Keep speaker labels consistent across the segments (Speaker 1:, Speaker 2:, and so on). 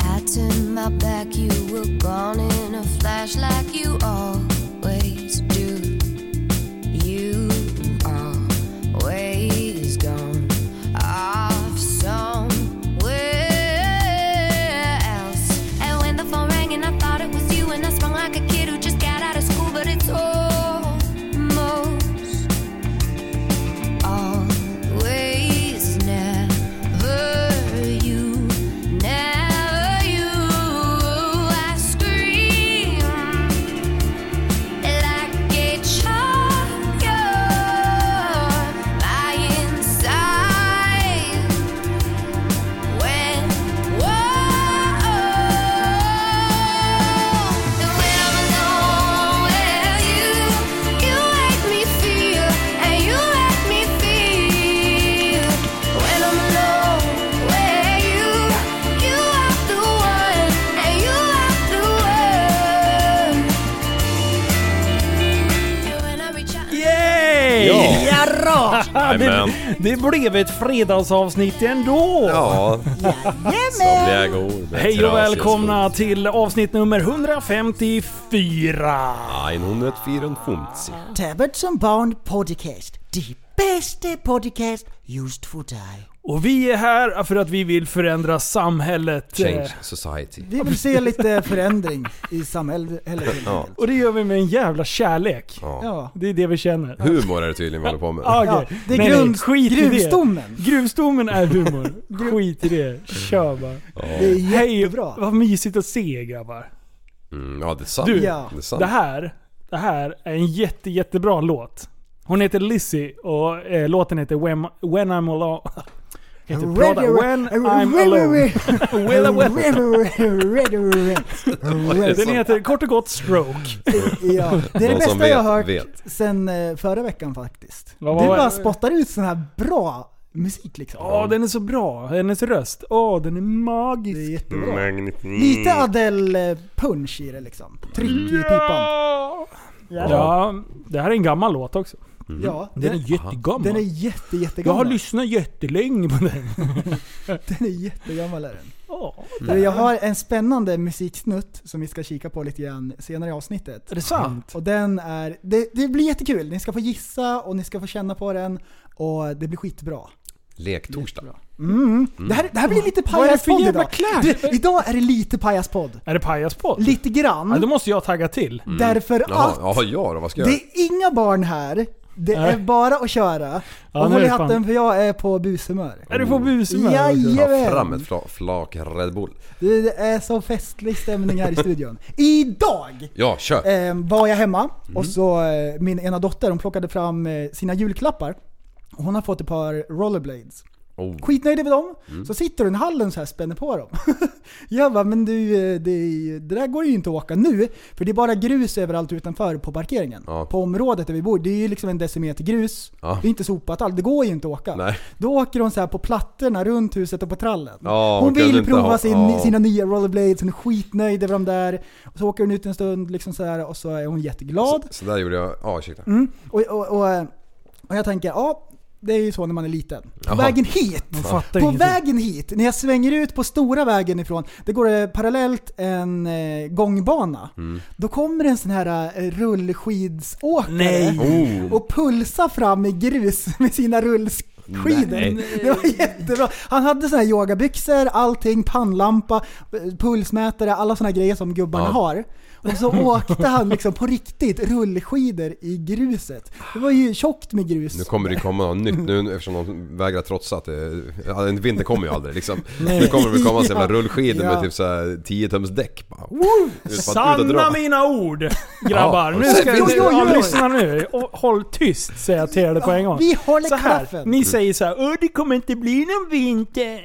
Speaker 1: I turn my back, you were gone in a flash like you always do. You always gone off somewhere else. And when the phone rang and I thought it was you, and I sprung like a kid who just got out of school, but it's almost always never you, never you. I scream like a child, my inside. When, whoa, and when I'm alone with you, you make me feel, and you make me feel. When I'm alone with you, you are the one, and you are the one. And when I reach out.
Speaker 2: Yay!
Speaker 3: Ja.
Speaker 2: Jadå!
Speaker 3: Jajamän.
Speaker 2: Det, det blev ett fredagsavsnitt ändå!
Speaker 3: Ja, somliga går med
Speaker 2: Hej
Speaker 3: trasiga
Speaker 2: och välkomna
Speaker 3: skor.
Speaker 2: till avsnitt nummer 154!
Speaker 3: 154.
Speaker 4: Tappert som barn podcast. De bästa podcast just för dig.
Speaker 2: Och vi är här för att vi vill förändra samhället.
Speaker 3: Change
Speaker 2: Eh,
Speaker 3: Society.
Speaker 4: Vi vill se lite förändring i samhället. helt enkelt.
Speaker 2: Och det gör vi med en jävla kärlek.
Speaker 4: Ja.
Speaker 2: Det är det vi känner.
Speaker 3: Humor är det tydligen vi håller på med.
Speaker 2: Ah, okej.
Speaker 4: Ja, det är
Speaker 2: Nej, nej,
Speaker 4: grund,
Speaker 2: skit i det.
Speaker 4: gruvstommen.
Speaker 2: Gruvstommen är humor. Skit i det. Kör bara.
Speaker 4: Det är
Speaker 2: Hej,
Speaker 4: jättebra.
Speaker 2: vad mysigt att se er grabbar.
Speaker 3: Mm, ja, det är sant.
Speaker 2: Du,
Speaker 4: Ja.
Speaker 3: det är sant.
Speaker 2: Det här, det här är en jätte, jättebra låt. Hon heter Lizzie och eh, låten heter When, When I'm Alone. Jag kan inte prata. When I'm Alone. Willa Willa. Den heter kort och gott Stroke.
Speaker 4: Ja, det är det
Speaker 3: De som
Speaker 4: bästa jag har hört
Speaker 3: vet,
Speaker 4: sen eh, förra veckan faktiskt.
Speaker 2: Vad var
Speaker 4: du
Speaker 2: det?
Speaker 4: bara spottar ut sån här bra musik liksom.
Speaker 2: Åh, den är så bra. Hennes röst. Åh, den är
Speaker 4: Det
Speaker 2: magisk.
Speaker 4: är jättebra.
Speaker 3: Mm.
Speaker 4: Lite
Speaker 2: Mm.
Speaker 4: Adele-punch i det liksom. Tryck i pipan.
Speaker 2: Ja, det här är en gammal låt också.
Speaker 4: Ja,
Speaker 2: Mm. Den är
Speaker 4: den,
Speaker 2: jättegammal.
Speaker 4: den är jätte,
Speaker 2: jag har
Speaker 4: jättegammal.
Speaker 2: lyssnat jättelänge på den.
Speaker 4: Den är jättegammal är den.
Speaker 2: Åh,
Speaker 4: Du, Jag har en spännande musiksnutt som vi ska kika på lite grann senare i avsnittet.
Speaker 2: är det sant?
Speaker 4: Och den är, det, det blir jättekul. Ni ska få gissa och ni ska få känna på den. Och det blir skitbra.
Speaker 3: Lektorsdag.
Speaker 2: Mm.
Speaker 4: Det, här, det här blir lite
Speaker 2: Vad är det för
Speaker 4: pajaspodd
Speaker 2: jävla
Speaker 4: idag. Du, idag är det lite pajaspodd.
Speaker 2: Är det pajaspodd?
Speaker 4: Lite grann.
Speaker 2: Ja, Mm. då måste jag tagga till.
Speaker 4: Därför
Speaker 3: Jaha,
Speaker 4: att
Speaker 3: jaha, ja då. Vad ska jag
Speaker 4: det
Speaker 3: göra?
Speaker 4: är inga barn här. Det
Speaker 2: Nej.
Speaker 4: är bara att köra.
Speaker 2: Ja,
Speaker 4: och
Speaker 2: nu är
Speaker 4: håll i
Speaker 2: det fan-
Speaker 4: hatten för jag är på bushumör.
Speaker 2: Är du på busumör?
Speaker 3: Ta fram
Speaker 4: Jajamän!
Speaker 3: ett fla, flak Red Bull.
Speaker 4: Du, Det är så festlig stämning här i studion. Idag
Speaker 3: Ja, kör!
Speaker 4: eh, var jag hemma
Speaker 2: Mm.
Speaker 4: och så eh, min ena dotter hon plockade fram eh, sina julklappar. Och Hon har fått ett par rollerblades.
Speaker 3: Oh.
Speaker 4: Skitnöjd Mm. med dem.
Speaker 3: Mm.
Speaker 4: Så sitter hon i hallen så här spänner på dem. jag bara, men du, eh, det, är- det där går ju inte att åka nu. För det är bara grus överallt utanför på parkeringen.
Speaker 3: Ja.
Speaker 4: På området där vi bor. Det är ju liksom en decimeter grus.
Speaker 3: Ja.
Speaker 4: Det är inte sopat alls. Det går ju inte att åka.
Speaker 3: Nej.
Speaker 4: Då åker hon så här på plattorna runt huset och på trallen.
Speaker 3: Ja,
Speaker 4: hon
Speaker 3: hon kunde
Speaker 4: vill
Speaker 3: inte
Speaker 4: prova
Speaker 3: ha-
Speaker 4: sin,
Speaker 3: ja.
Speaker 4: sina nya rollerblades. Hon är skitnöjd över dem där. Och så åker hon ut en stund liksom så här, och så är hon jätteglad.
Speaker 3: Så där gjorde jag. Ja, ursäkta.
Speaker 4: Mm. Och, och, och, och jag tänker, ja, det är ju så när man är liten. På
Speaker 3: Jaha.
Speaker 4: vägen hit,
Speaker 2: fattar
Speaker 4: på
Speaker 2: ingenting.
Speaker 4: vägen hit, när jag svänger ut på stora vägen ifrån, det går eh, parallellt en eh, gångbana.
Speaker 2: Mm.
Speaker 4: Då kommer en sån här eh, rullskidsåkare
Speaker 2: Nej.
Speaker 3: Oh.
Speaker 4: Mm.
Speaker 2: Mm.
Speaker 4: och pulsar fram i grus med sina rullskidor. skidor.
Speaker 3: Nej.
Speaker 4: Det var jättebra. Han hade såna här yogabyxor, allting, pannlampa, eh, pulsmätare, alla såna här grejer som gubbarna
Speaker 3: Ja.
Speaker 4: har. Och så åkte han liksom på riktigt rullskidor i gruset. Det var ju tjockt med grus.
Speaker 3: Nu kommer det komma något nytt nu eftersom de vägrar trotsa att det, ja, en vinter kommer ju aldrig liksom.
Speaker 4: Nej.
Speaker 3: Nu kommer det komma en jävla rullskidor
Speaker 4: Ja.
Speaker 3: med typ såhär 10 tums däck bara. Woo! Ut på- ut och
Speaker 2: Sanna
Speaker 3: dra.
Speaker 2: mina ord! Grabbar,
Speaker 3: Ja.
Speaker 2: nu ska
Speaker 4: Jo,
Speaker 2: vi...
Speaker 4: jo, jo.
Speaker 2: Ja, lyssna nu. Och håll tyst säger jag till er på en gång.
Speaker 4: Vi håller
Speaker 2: så här,
Speaker 4: klaffen.
Speaker 2: Ni säger så här, "Åh, det kommer inte bli någon vinter.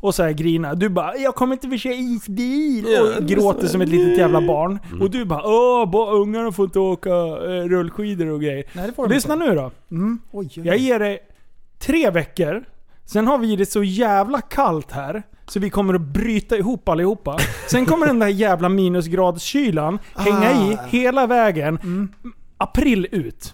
Speaker 2: Och så här grina. Du bara, jag kommer inte få köra isbil. Och gråter som ett litet jävla barn.
Speaker 4: Mm.
Speaker 2: Och du bara, åh, bara ungarna får inte åka eh, rullskidor och grejer.
Speaker 4: Nej, det får de
Speaker 2: Lyssna
Speaker 4: inte.
Speaker 2: nu då.
Speaker 4: Mm. Oj, oj, oj.
Speaker 2: Jag ger dig tre veckor. Sen har vi det så jävla kallt här. Så vi kommer att bryta ihop allihopa. Sen kommer den där jävla minusgradskylan hänga i
Speaker 4: Ah. Mm.
Speaker 2: hela vägen. April ut.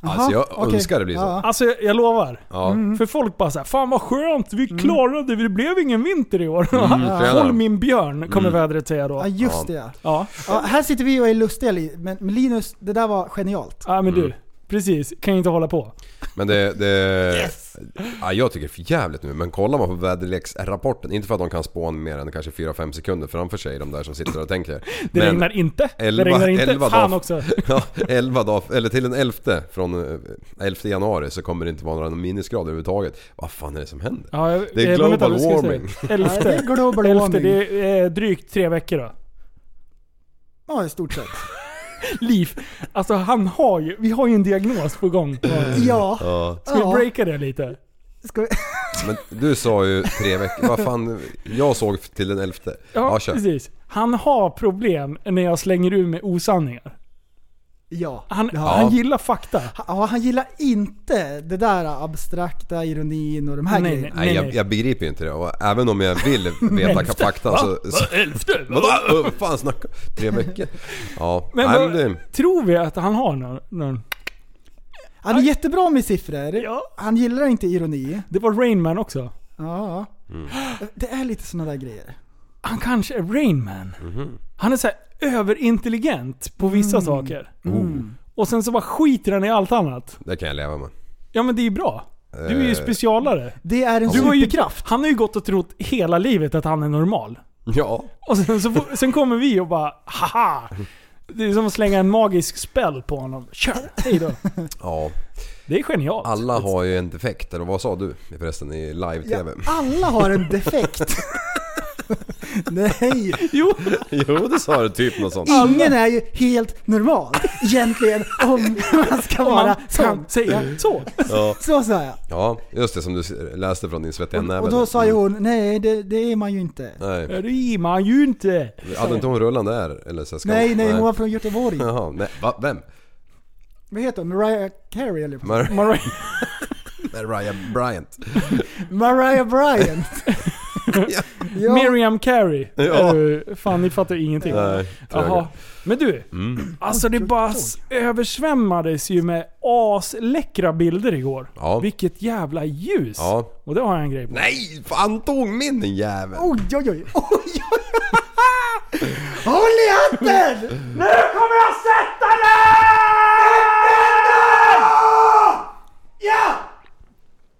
Speaker 3: Alltså jag
Speaker 4: Jaha, okej.
Speaker 3: önskar det blir så.
Speaker 4: Ja.
Speaker 2: Alltså jag, jag lovar.
Speaker 3: Ja.
Speaker 4: Mm.
Speaker 2: För folk bara såhär, fan vad skönt, vi klarade det, det blev ingen vinter i år.
Speaker 3: Mm, tjena.
Speaker 2: Håll min björn, kommer
Speaker 3: Mm.
Speaker 2: vädret säga då.
Speaker 4: Ja just det ja.
Speaker 2: Ja,
Speaker 4: ja. Här sitter vi och är lustiga li- men men Linus, det där var genialt.
Speaker 2: ja men
Speaker 3: Mm.
Speaker 2: du. Precis, kan ju inte hålla på.
Speaker 3: Men det... det ja, jag tycker det är för jävligt nu men kollar man på väderleksrapporten, inte för att de kan spåna mer än kanske 4-5 sekunder framför sig de där som sitter och tänker.
Speaker 2: Det
Speaker 3: Men-
Speaker 2: regnar inte.
Speaker 3: elva-
Speaker 2: det regnar inte.
Speaker 3: elva
Speaker 2: Fan
Speaker 3: dagar.
Speaker 2: också.
Speaker 3: Ja, 11 dagar, eller till den 11 från eh, 11 januari så kommer det inte vara några minusgrader överhuvudtaget. Vad fan är det som händer?
Speaker 2: Ja, jag-
Speaker 3: Det är
Speaker 2: eh, men vänta,
Speaker 3: global
Speaker 2: vad ska jag säga?
Speaker 3: warming.
Speaker 4: Ja, det är
Speaker 2: Elfte.
Speaker 4: global
Speaker 2: Elfte,
Speaker 4: warming.
Speaker 2: det är eh, drygt tre veckor då.
Speaker 4: Ja i stort sett.
Speaker 2: Liv, alltså han har ju, vi har ju en diagnos på gång.
Speaker 4: Ja.
Speaker 3: Ja.
Speaker 2: Ska vi
Speaker 4: Ja.
Speaker 2: breaka det lite?
Speaker 4: Ska vi...
Speaker 3: Men du sa ju tre veckor, vad fan, jag såg till den 11. Ja,
Speaker 2: Ja,
Speaker 3: kör.
Speaker 2: precis. Han har problem när jag slänger ur med osanningar.
Speaker 4: Ja.
Speaker 2: Han,
Speaker 4: ja.
Speaker 2: han gillar fakta.
Speaker 4: Ja, han gillar inte det där abstrakta ironin och de här
Speaker 2: Nej,
Speaker 4: grejerna.
Speaker 2: nej.
Speaker 3: Nej, jag, jag begriper ju inte det och även om jag vill veta
Speaker 2: Elfte.
Speaker 3: fakta så... så
Speaker 2: Elfte?
Speaker 3: Vadå? Vad fan snackar Tre veckor? Ja,
Speaker 2: Men,
Speaker 3: nej,
Speaker 2: vad-
Speaker 3: men det,
Speaker 2: Tror vi att han har någon, någon?
Speaker 4: Han är jättebra med siffror.
Speaker 2: Ja.
Speaker 4: Han gillar inte ironi.
Speaker 2: Det var Rainman också.
Speaker 4: Ja. Det är lite sådana där grejer.
Speaker 2: Han kanske är Rainman.
Speaker 3: Mhm.
Speaker 2: Han är så här överintelligent på vissa
Speaker 4: Mm.
Speaker 2: saker. Och sen så bara skiter han i allt annat.
Speaker 3: det kan jag leva med.
Speaker 2: Ja men det är ju bra. Du är ju
Speaker 3: Eh.
Speaker 2: specialare.
Speaker 4: Det är en
Speaker 2: Du har ju,
Speaker 4: superkraft.
Speaker 2: Alltså, han har ju gått och trott hela livet att han är normal.
Speaker 3: Ja,
Speaker 2: Och sen, så, får- sen kommer vi och bara haha. Det är som att slänga en magisk spell på honom. Kör! Hej då.
Speaker 3: ja.
Speaker 2: Det är genialt.
Speaker 3: Alla har ju en defekt, eller vad sa du förresten i live-tv?
Speaker 4: Alla har en defekt. Nej,
Speaker 2: Jo,
Speaker 3: Jo, det sa du typ något sånt.
Speaker 4: ingen är ju helt normal egentligen om man ska
Speaker 2: om
Speaker 4: vara
Speaker 2: man
Speaker 4: sån.
Speaker 2: kan säga så.
Speaker 3: Ja,
Speaker 4: Så sa jag.
Speaker 3: ja just det som du läste från din svettiga näve.
Speaker 4: Och då sa ju hon, nej det, det är man ju inte.
Speaker 3: Nej.
Speaker 2: Det rimmar ju inte.
Speaker 3: Hade inte hon rullande där? Eller så ska
Speaker 4: Nej, nej, hon var från Göteborg.
Speaker 3: Jaha, nej. Va? Vem?
Speaker 4: Vad heter hon? Mariah Carey eller?
Speaker 3: Mar-
Speaker 2: Mariah,
Speaker 3: Mariah Bryant.
Speaker 4: Mariah Bryant. ja.
Speaker 2: Miriam Carey.
Speaker 3: Ja.
Speaker 2: Eh, Fan, ni fattar ingenting.
Speaker 3: Nej, Mm.
Speaker 2: Jaha.
Speaker 3: Jaha.
Speaker 2: Men du, alltså det bara s- översvämmades ju med asläckra bilder igår.
Speaker 3: Ja.
Speaker 2: Vilket jävla ljus!
Speaker 3: Ja.
Speaker 2: Och det har jag en grej på.
Speaker 3: Nej! Fan tog min jävel!
Speaker 4: Oj, oj, oj. oj, oj. Håll i hatten!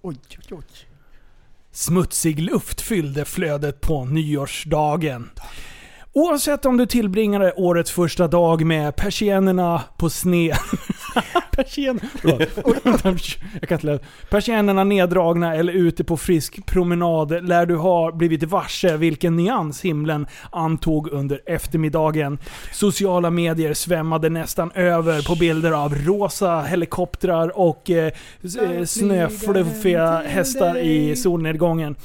Speaker 4: Oj, oj, oj.
Speaker 2: Smutsig luft fyllde flödet på nyårsdagen. Oavsett om du tillbringade årets första dag med persiennerna på sne... Persien... Förlåt. Jag kan inte läsa. Persiennerna neddragna eller ute på frisk promenad lär du ha blivit varse vilken nyans himlen antog under eftermiddagen. Sociala medier svämmade nästan över på bilder av rosa helikoptrar och eh, s- eh, snöfluffiga hästar i solnedgången.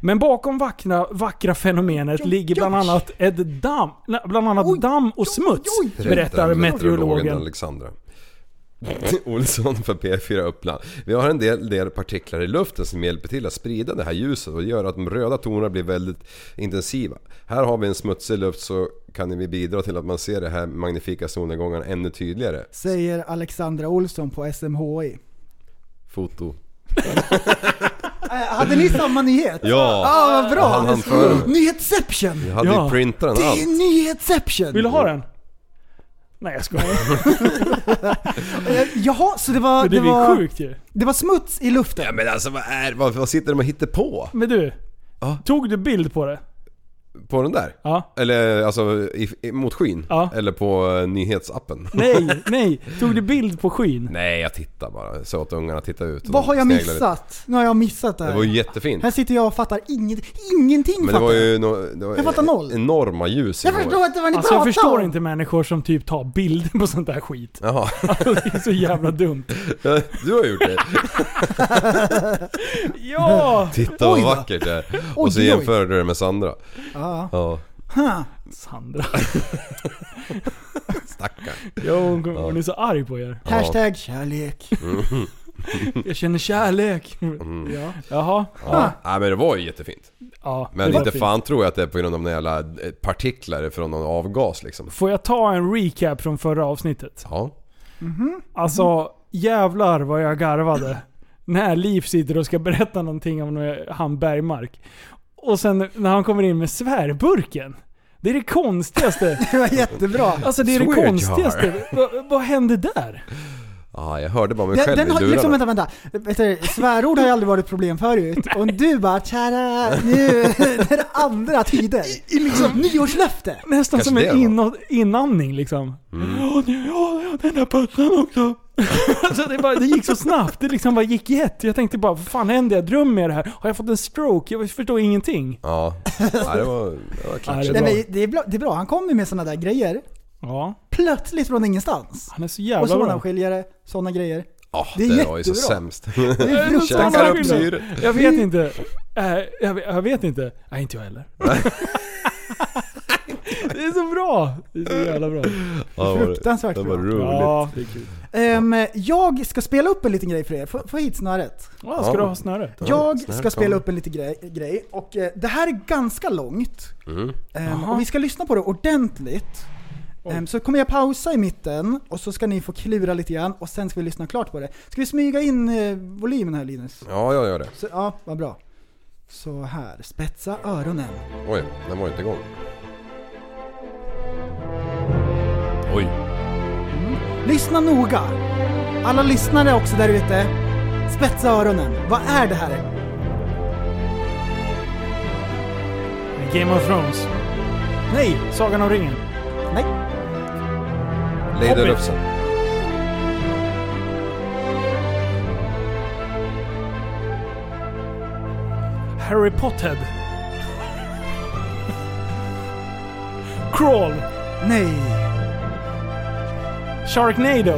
Speaker 2: Men bakom vackra, vackra fenomenet ligger bland annat ett damm, nej, bland annat damm och smuts,
Speaker 4: oj,
Speaker 2: berättar meteorologen.
Speaker 3: Alexandra. Olsson för P4 Uppland. Vi har en del, del partiklar i luften som hjälper till att sprida det här ljuset och gör att de röda tonerna blir väldigt intensiva. Här har vi en smutsig luft så kan vi bidra till att man ser det här magnifika solnedgången ännu tydligare.
Speaker 4: Säger Alexandra Olsson på SMHI.
Speaker 3: Foto.
Speaker 4: Äh, hade ni samma nyhet?
Speaker 3: Mm. Ja!
Speaker 4: Ah, vad bra!
Speaker 3: Han hann före mig.
Speaker 4: Nyhetsception!
Speaker 3: Jag hade
Speaker 2: Ah! Ja.
Speaker 3: ju printat den
Speaker 4: Det är
Speaker 3: allt.
Speaker 4: nyhetsception!
Speaker 2: Vill du ha den? Nej jag skojar.
Speaker 4: Eh, jaha, så det var,
Speaker 2: Men det
Speaker 4: det,
Speaker 2: är ju
Speaker 4: var,
Speaker 2: sjukt ju.
Speaker 4: det var smuts i luften?
Speaker 3: Ja, men alltså vad är vad, vad sitter de och hittar på?
Speaker 2: Men du.
Speaker 3: Ja.
Speaker 2: Tog du bild på det?
Speaker 3: På den där?
Speaker 2: Ja.
Speaker 3: Eller alltså i, i, mot skyn?
Speaker 2: Ja.
Speaker 3: Eller på eh, nyhetsappen?
Speaker 2: Nej, nej. Tog du bild på skyn?
Speaker 3: Nej, jag tittar bara. Så att ungarna tittar ut. och
Speaker 4: Vad
Speaker 3: de
Speaker 4: har jag
Speaker 3: sneglar lite.
Speaker 4: missat? Nu har jag missat det här.
Speaker 3: Det var ju jättefint.
Speaker 4: Här sitter jag och fattar inget, ingenting
Speaker 3: Men det
Speaker 4: fattar
Speaker 3: var
Speaker 4: jag.
Speaker 3: ju no, det var
Speaker 4: Jag fattar noll.
Speaker 3: enorma ljus i
Speaker 4: Jag
Speaker 3: går.
Speaker 4: förstår inte vad ni
Speaker 2: Alltså
Speaker 4: pratar
Speaker 2: jag förstår
Speaker 4: om.
Speaker 2: inte människor som typ tar bilder på sånt där skit.
Speaker 3: Jaha,
Speaker 2: Alltså, det är så jävla dumt.
Speaker 3: du har gjort det.
Speaker 2: Ja!
Speaker 3: Titta vad
Speaker 4: Oj då.
Speaker 3: vackert det är. Och så
Speaker 4: Oj, oj.
Speaker 3: jämförde du det med Sandra.
Speaker 4: Ja.
Speaker 3: Ja,
Speaker 4: Huh.
Speaker 2: Sandra.
Speaker 3: stackarn.
Speaker 2: Ja, hon, kom, hon är så arg på er.
Speaker 4: Hashtag kärlek.
Speaker 2: Jag känner kärlek.
Speaker 4: Ja.
Speaker 2: Jaha.
Speaker 4: Ah.
Speaker 3: Ja. Nej men det var ju jättefint.
Speaker 2: Ja, det
Speaker 3: Men
Speaker 2: var
Speaker 3: inte
Speaker 2: fint.
Speaker 3: fan tror jag att det är på grund av några jävla eh, partiklar från någon avgas liksom.
Speaker 2: Får jag ta en recap från förra avsnittet?
Speaker 3: Ja.
Speaker 2: Alltså, jävlar vad jag garvade. När Liv sitter och ska berätta någonting om eh, han Bergmark. Och sen när han kommer in med svärburken. Det är det konstigaste.
Speaker 4: Det var jättebra.
Speaker 2: Alltså det är det
Speaker 3: Swear jar.
Speaker 2: konstigaste. Vad- vad hände där?
Speaker 3: Ja, jag hörde bara mig
Speaker 4: Den,
Speaker 3: själv
Speaker 4: den
Speaker 3: i
Speaker 4: har,
Speaker 3: lurarna.
Speaker 4: liksom, vänta, vänta. Vet du, svärord har ju aldrig varit ett problem förut. Och du bara kära, nu det är det andra tider.
Speaker 2: liksom-
Speaker 4: Nyårslöfte.
Speaker 2: Nästan
Speaker 3: Kanske
Speaker 2: som
Speaker 3: det
Speaker 2: en
Speaker 3: då. Mm.
Speaker 2: inå- inandning liksom. Ja, nu- ja, ja, den där pussen också. alltså det, bara, det gick så snabbt. Det liksom bara gick jätt. Jag tänkte bara, vad fan händer? Jag drömmer med det här. Har jag fått en stroke? Jag förstår ingenting.
Speaker 3: Ja. ja, det var, det var
Speaker 2: Ja,
Speaker 3: klart.
Speaker 2: det
Speaker 4: Nej,
Speaker 2: var-
Speaker 4: men det, är bra, det är bra, han kommer med sådana där grejer.
Speaker 2: Ja,
Speaker 4: Plötsligt från ingenstans.
Speaker 2: han är så
Speaker 4: Och
Speaker 2: jävla bra.
Speaker 4: zonavskiljare, sådana grejer.
Speaker 3: Ja,
Speaker 4: Det är
Speaker 3: det var ju så
Speaker 4: jättebra.
Speaker 3: sämst.
Speaker 4: Det är
Speaker 2: det
Speaker 3: Käkar
Speaker 2: någon sån
Speaker 4: fruktansvärt
Speaker 3: upp
Speaker 4: bra.
Speaker 2: skillnad?
Speaker 3: syret.
Speaker 2: Jag vet inte. Äh, jag, jag vet inte. Nej, inte jag heller. det är så bra. Det är så jävla bra.
Speaker 3: Ja, det var-
Speaker 4: Fruktansvärt
Speaker 3: Det var
Speaker 4: bra.
Speaker 3: roligt.
Speaker 2: Ja, det är kul.
Speaker 4: Ehm, jag ska spela upp en liten grej för er. Få, få hit snöret.
Speaker 2: Ja, ska du ha snöret?
Speaker 4: Jag
Speaker 3: snäll
Speaker 4: ska spela
Speaker 3: kamera.
Speaker 4: upp en liten grej, grej och eh, det här är ganska långt.
Speaker 3: Mm.
Speaker 4: Ehm,
Speaker 2: Jaha.
Speaker 4: och vi ska lyssna på det ordentligt. Ehm, så kommer jag pausa i mitten och så ska ni få klura lite grann och sen ska vi lyssna klart på det. Ska vi smyga in eh, volymen här Linus?
Speaker 3: Ja, jag gör det.
Speaker 4: Så, ja, vad bra. Så här, spetsa öronen.
Speaker 3: Oj, den var ju inte igång. Oj.
Speaker 4: Lyssna noga. Alla lyssnare också där ute. Spetsa öronen. Vad är det här?
Speaker 2: Game of Thrones. Nej, Sagan om ringen.
Speaker 4: Nej,
Speaker 3: Lady
Speaker 2: Hobbit.
Speaker 3: Lufsen.
Speaker 2: Harry Potter. Crawl.
Speaker 4: nej,
Speaker 2: Sharknado.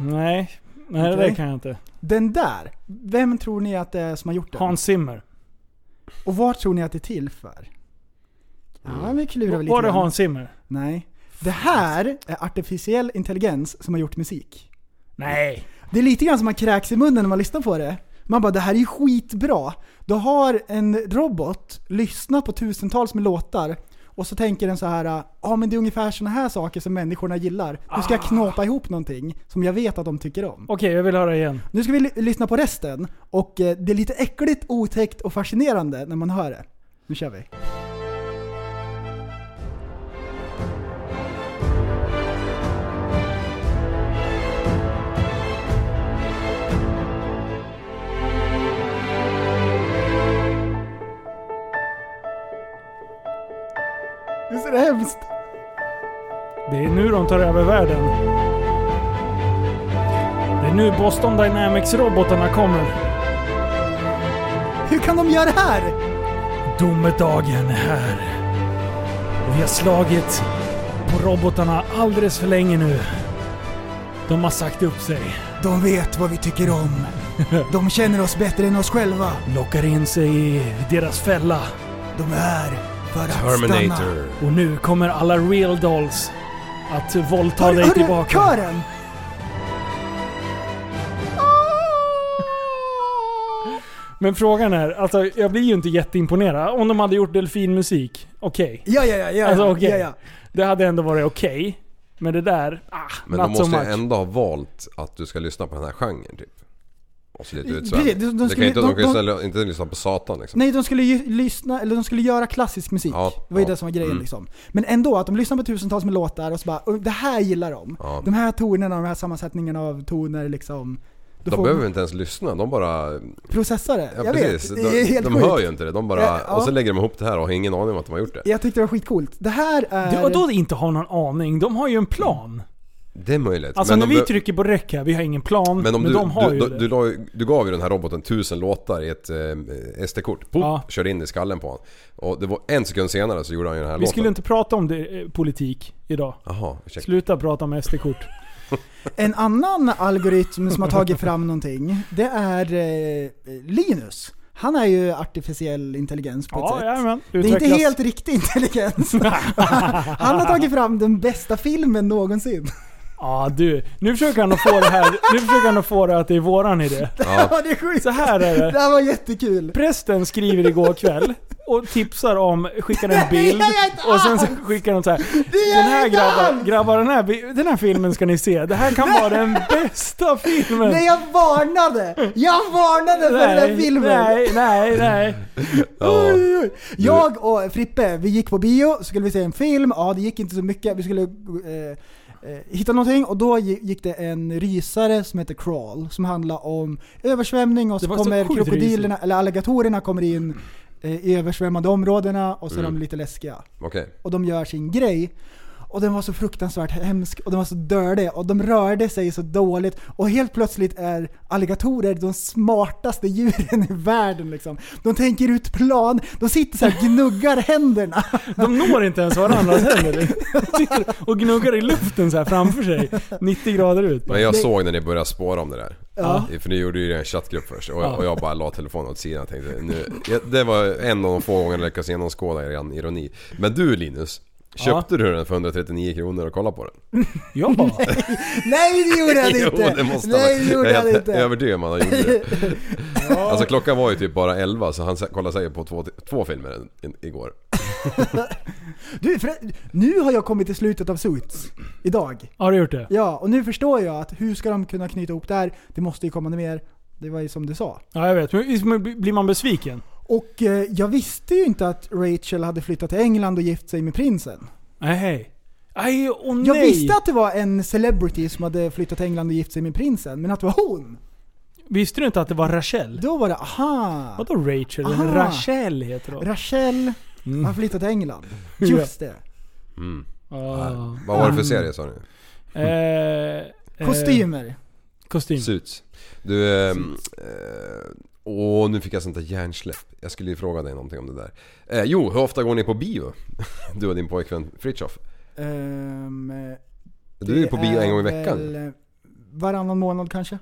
Speaker 2: Nej, nej det
Speaker 4: Okej.
Speaker 2: där kan jag inte.
Speaker 4: den där. Vem tror ni att det är som har gjort den?
Speaker 2: Hans Zimmer.
Speaker 4: Och vad tror ni att det är till för? Ja, vi klurar väl lite
Speaker 2: Var det
Speaker 4: grann.
Speaker 2: Hans Zimmer?
Speaker 4: Nej. Det här är artificiell intelligens som har gjort musik.
Speaker 2: Nej.
Speaker 4: Det är lite grann som man kräks i munnen när man lyssnar på det. Man bara, det här är ju skitbra. Då har en robot lyssnat på tusentals med låtar och så tänker den så här, ja men det är ungefär såna här saker som människorna gillar. Nu ska jag knåpa ihop någonting som jag vet att de tycker om.
Speaker 2: Okej, jag vill höra igen.
Speaker 4: Nu ska vi ly- lyssna på resten och eh, det är lite äckligt, otäckt och fascinerande när man hör det. Nu kör vi. Visst är det hemskt?
Speaker 2: Det är nu de tar över världen. Det är nu Boston Dynamics-robotarna kommer.
Speaker 4: Hur kan de göra det här?
Speaker 2: Domedagen är här. Och vi har slagit på robotarna alldeles för länge nu. De har sagt upp sig.
Speaker 4: De vet vad vi tycker om. De känner oss bättre än oss själva.
Speaker 2: Lockar in sig i deras fälla.
Speaker 4: De är här för att stanna.
Speaker 3: Terminator.
Speaker 2: Och nu kommer alla real dolls att våldta
Speaker 4: Hör,
Speaker 2: dig
Speaker 4: hör du
Speaker 2: tillbaka.
Speaker 4: kören?
Speaker 2: Men frågan är, alltså jag blir ju inte jätteimponerad. Om de hade gjort delfinmusik, okej.
Speaker 4: Ja, ja, ja. ja,
Speaker 2: Alltså,
Speaker 4: ja,
Speaker 2: okej.
Speaker 4: ja, ja.
Speaker 2: Det hade ändå varit okej. Men det där, ah,
Speaker 3: Men
Speaker 2: not
Speaker 3: de
Speaker 2: so
Speaker 3: måste
Speaker 2: much.
Speaker 3: ju ändå ha valt att du ska lyssna på den här genren typ. Och så lite
Speaker 4: Precis,
Speaker 3: utsvävning.
Speaker 4: de- de
Speaker 3: Det kan
Speaker 4: skulle-
Speaker 3: ju inte, de kan ju
Speaker 4: de- de-
Speaker 3: snälla- inte lyssna på Satan liksom.
Speaker 4: Nej, de skulle ju lyssna, eller de skulle göra klassisk musik.
Speaker 3: Ja,
Speaker 4: det var ju
Speaker 3: ja.
Speaker 4: det som var grejen
Speaker 3: Mm.
Speaker 4: liksom. Men ändå, att de lyssnar på tusentals med låtar och så bara "Och det här gillar de.
Speaker 3: Ja.
Speaker 4: De här tonerna, de här sammansättningarna av toner liksom. Då
Speaker 3: De
Speaker 4: får
Speaker 3: behöver inte ens lyssna, de bara...
Speaker 4: processa det.
Speaker 3: Ja,
Speaker 4: jag
Speaker 3: precis.
Speaker 4: vet, det är
Speaker 3: De,
Speaker 4: helt
Speaker 3: de
Speaker 4: sjukt.
Speaker 3: hör ju inte det, de bara...
Speaker 4: Ja, ja.
Speaker 3: Och så lägger de ihop det här och har ingen aning om att de har gjort det.
Speaker 4: Jag tyckte det var skitcoolt. Det här är...
Speaker 2: Du, och då inte har någon aning. De har ju en plan.
Speaker 3: Det är möjligt.
Speaker 2: Alltså
Speaker 3: Men
Speaker 2: när
Speaker 3: de
Speaker 2: vi
Speaker 3: be-
Speaker 2: trycker på räck här, vi har ingen plan. Men,
Speaker 3: Men om du,
Speaker 2: de har
Speaker 3: du,
Speaker 2: ju
Speaker 3: du,
Speaker 2: det.
Speaker 3: du, la ju- du gav ju den här roboten tusen låtar i ett eh, SD-kort. Pop,
Speaker 2: Ja.
Speaker 3: Körde in i skallen på honom. Och det var en sekund senare så gjorde han ju den här
Speaker 2: vi
Speaker 3: låten.
Speaker 2: skulle inte prata om det, eh, politik idag.
Speaker 3: Jaha, ursäkta.
Speaker 2: Sluta prata om SD-kort.
Speaker 4: En annan algoritm som har tagit fram någonting, det är eh, Linus. Han är ju artificiell intelligens på ett
Speaker 2: Ja,
Speaker 4: sätt.
Speaker 2: jajamän.
Speaker 4: Det är inte
Speaker 2: Utvecklas.
Speaker 4: helt riktig intelligens. Han har tagit fram den bästa filmen någonsin.
Speaker 2: Ja du, nu försöker han att få det här, nu försöker han att få det att det är våran idé.
Speaker 4: Ja. det är sjukt.
Speaker 2: Så här är det.
Speaker 4: Det här var jättekul.
Speaker 2: Prästen skriver igår kväll och tipsar om, skickar en bild
Speaker 4: Nej, jag är inte
Speaker 2: och sen så skickar de så här.
Speaker 4: är
Speaker 2: Den här
Speaker 4: inte
Speaker 2: grabbar,
Speaker 4: alls!"
Speaker 2: grabbar den, här, bi- den här filmen ska ni se. Det här kan vara den bästa filmen.
Speaker 4: Nej jag varnade! Jag varnade för den där filmen!
Speaker 2: nej, nej, nej.
Speaker 3: Ja.
Speaker 4: Oj, oj. Jag och Frippe, vi gick på bio, så skulle vi se en film, ja det gick inte så mycket, vi skulle eh, eh, hitta någonting och då gi- gick det en rysare som heter Crawl, som handlar om översvämning och
Speaker 2: Det
Speaker 4: så
Speaker 2: var så
Speaker 4: kommer
Speaker 2: sjukt
Speaker 4: krokodilerna, eller alligatorerna kommer in eh, i översvämmade områdena och så är de
Speaker 2: Mm.
Speaker 4: lite läskiga.
Speaker 3: Okej.
Speaker 4: Och de gör sin grej. Och den var så fruktansvärt hemsk och den var så dördig och de rörde sig så dåligt. Och helt plötsligt är alligatorer de smartaste djuren i världen liksom. De tänker ut plan, de sitter så här och gnuggar händerna.
Speaker 2: De når inte ens varandras händer. De sitter och gnuggar i luften så här framför sig. 90 grader ut. bara.
Speaker 3: Men jag såg när ni började spåra om det där.
Speaker 4: Ja.
Speaker 3: För ni gjorde ju en chattgrupp först och, och jag bara la telefonen åt sidan och tänkte nu, jag- Det var en av de få gångerna jag lyckades genomskåda er ironi. Men du Linus, köpte du den för 139 kronor och kollade på den?
Speaker 2: Ja.
Speaker 4: Nej det gjorde han inte!
Speaker 3: det måste
Speaker 4: Nej
Speaker 3: han.
Speaker 4: det gjorde
Speaker 3: jag
Speaker 4: han
Speaker 3: är
Speaker 4: inte!
Speaker 3: övertygad om att han gjorde det. Alltså klockan var ju typ bara 11 så han sa- kollade säkert på två, två filmer i- igår.
Speaker 4: Du, för, nu har jag kommit till slutet av Suits. Idag.
Speaker 2: Har du gjort det?
Speaker 4: Ja, och nu förstår jag att hur ska de kunna knyta ihop det här? Det måste ju komma mer. Det var ju som du sa.
Speaker 2: Ja, jag vet. Men visst blir man besviken?
Speaker 4: Och eh, jag visste ju inte att Rachel hade flyttat till England och gift sig med prinsen.
Speaker 2: Nej. hej. Aj, åh nej.
Speaker 4: Jag visste att det var en celebrity som hade flyttat till England och gift sig med prinsen, men att det var hon!
Speaker 2: Visste du inte att det var Rachel?
Speaker 4: Då var det aha!
Speaker 2: Vadå Rachel?
Speaker 4: Aha.
Speaker 2: Rachel heter hon.
Speaker 4: Rachel
Speaker 3: Mm.
Speaker 4: har flyttat till England. Just det.
Speaker 2: Ah.
Speaker 3: Vad var det för
Speaker 4: Mm.
Speaker 3: serie sa ni?
Speaker 2: Eh, eh,
Speaker 4: Kostymer.
Speaker 2: Kostym.
Speaker 3: Suits. Du, ehm, eh, åh nu fick jag sånt där hjärnsläpp. Jag skulle ju fråga dig någonting om det där. Eh, jo, hur ofta går ni på bio? Du och din pojkvän Fritiof.
Speaker 4: Ehm,
Speaker 3: Du är ju
Speaker 4: det
Speaker 3: på bio en gång i
Speaker 4: är
Speaker 3: veckan.
Speaker 4: väl eh, Varannan månad kanske.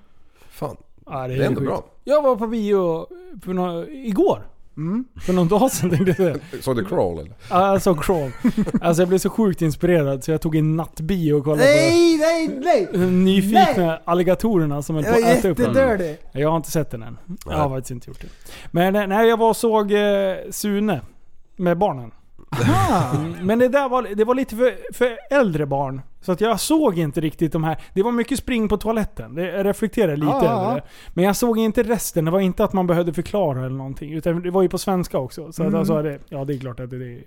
Speaker 3: Fan,
Speaker 2: Ja,
Speaker 3: det är ändå
Speaker 2: sjukt.
Speaker 3: bra.
Speaker 2: Jag var på bio för några, igår. För någon dag sedan tänkte jag säga.
Speaker 3: Såg du Crawl eller?
Speaker 2: Alltså crawl. Alltså jag blev så sjukt inspirerad så jag tog en nattbio och kollade
Speaker 4: Nej, nej, nej!
Speaker 2: på de nyfikna alligatorerna som höll på
Speaker 4: Jag
Speaker 2: att
Speaker 4: är
Speaker 2: äta upp honom.
Speaker 4: jättedördig.
Speaker 2: Jag har inte sett den än. Jag har
Speaker 3: Nej.
Speaker 2: faktiskt inte gjort det. Men eh, nej, jag var och såg eh, Sune med barnen.
Speaker 4: Ah,
Speaker 2: Mm, Men det där var, det var lite för, för äldre barn. Så att jag såg inte riktigt de här. Det var mycket spring på toaletten. Det- Jag reflekterade lite
Speaker 4: Ja, ja,
Speaker 2: över
Speaker 4: ja.
Speaker 2: det. Men jag såg inte resten. Det var inte att man behövde förklara eller någonting. Utan det var ju på svenska också. Så att
Speaker 4: Mm.
Speaker 2: jag sa det. Ja, det är klart att det är,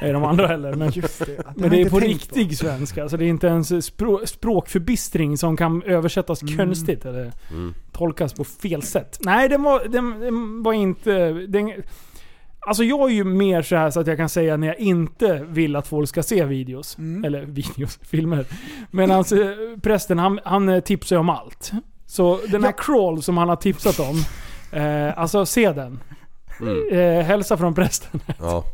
Speaker 2: är de andra heller. Men,
Speaker 4: just det. Det har
Speaker 2: men
Speaker 4: jag
Speaker 2: det är
Speaker 4: inte
Speaker 2: på
Speaker 4: tänkt
Speaker 2: riktig svenska. Så det är inte ens språ, språkförbistring som kan översättas
Speaker 4: Mm.
Speaker 2: konstigt eller
Speaker 3: Mm.
Speaker 2: tolkas på fel sätt. Nej, den var, den, den var inte... Den, Alltså jag är ju mer så här så att jag kan säga när jag inte vill att folk ska se videos.
Speaker 4: Mm.
Speaker 2: Eller videos, filmer. Men alltså, prästen han, han eh, tipsar ju om allt. Så den här crawl som han har tipsat om. Eh, alltså se den. Eh, hälsa från prästen.
Speaker 3: Mm. Ja.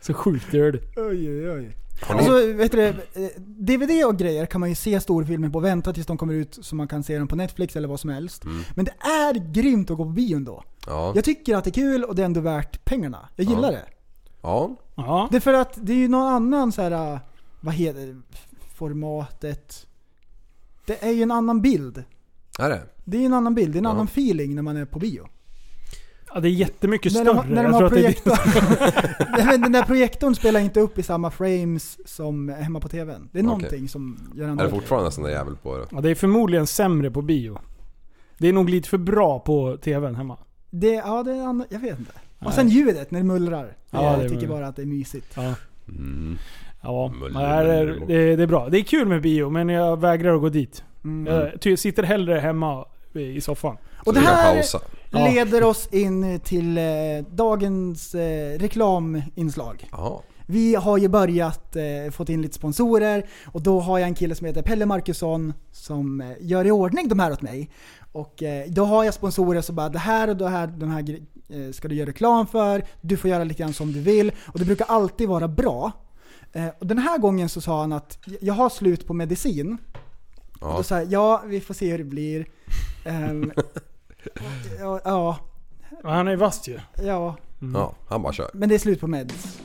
Speaker 2: Så sjukt dirty.
Speaker 4: Oj, oj, oj.
Speaker 3: Har ni-
Speaker 4: Alltså, vet du det, eh, DVD och grejer kan man ju se storfilmer på, vänta tills de kommer ut så man kan se dem på Netflix eller vad som helst.
Speaker 2: Mm.
Speaker 4: Men det är grymt att gå på bion då.
Speaker 3: ja.
Speaker 4: Jag tycker att det är kul och det är ändå värt pengarna. Jag gillar det.
Speaker 3: ja.
Speaker 2: Ja.
Speaker 4: Det är för att det är ju någon annan så här, eh, vad heter det? formatet? Det är ju en annan bild.
Speaker 3: Är det?
Speaker 4: Det är ju en annan bild, det är en
Speaker 3: Ja.
Speaker 4: annan feeling när man är på bio.
Speaker 2: Ja, det är jättemycket
Speaker 4: När
Speaker 2: större.
Speaker 4: de, när de
Speaker 2: jag
Speaker 4: har
Speaker 2: tror att det är
Speaker 4: projektorn. Nej, men den där projektorn spelar inte upp i samma frames som hemma på TVn. Det
Speaker 3: Okej.
Speaker 4: är någonting som gör
Speaker 3: Är det
Speaker 4: annorlunda.
Speaker 3: fortfarande en sån där jävel på det?
Speaker 2: Ja, det är förmodligen sämre på bio. Det är nog lite för bra på tvn hemma.
Speaker 4: Det, ja, det är en annan, jag vet inte.
Speaker 2: Nej.
Speaker 4: Och sen ljudet när det mullrar.
Speaker 2: Ja,
Speaker 4: jag
Speaker 2: det är
Speaker 4: tycker
Speaker 2: bra.
Speaker 4: bara att det är mysigt.
Speaker 2: Ja.
Speaker 3: Mm.
Speaker 2: Ja,
Speaker 3: Muller,
Speaker 2: det, här är,
Speaker 3: muller.
Speaker 2: det, det är bra. Det är kul med bio, men jag vägrar att gå dit.
Speaker 4: Mm.
Speaker 2: Jag ty, sitter hellre hemma i soffan.
Speaker 3: Så
Speaker 4: Och det
Speaker 3: vi kan
Speaker 4: här
Speaker 3: pausa.
Speaker 2: Ja.
Speaker 4: leder oss in till eh, dagens eh, reklaminslag.
Speaker 3: Jaha.
Speaker 4: Vi har ju börjat eh, fått in lite sponsorer och då har jag en kille som heter Pelle Markusson som eh, gör i ordning de här åt mig. Och eh, då har jag sponsorer som bara det här och det här, de här gre- eh, ska du göra reklam för, du får göra lite grann som du vill och det brukar alltid vara bra. Eh, och den här gången så sa han att "Jag- jag har slut på medicin. Och
Speaker 3: Ja.
Speaker 4: då sa jag ja, vi får se hur det blir. Ehm, ja, ja,
Speaker 2: Men han är vass ju.
Speaker 4: ja,
Speaker 3: ja, han bara kör.
Speaker 4: men det är slut på meds.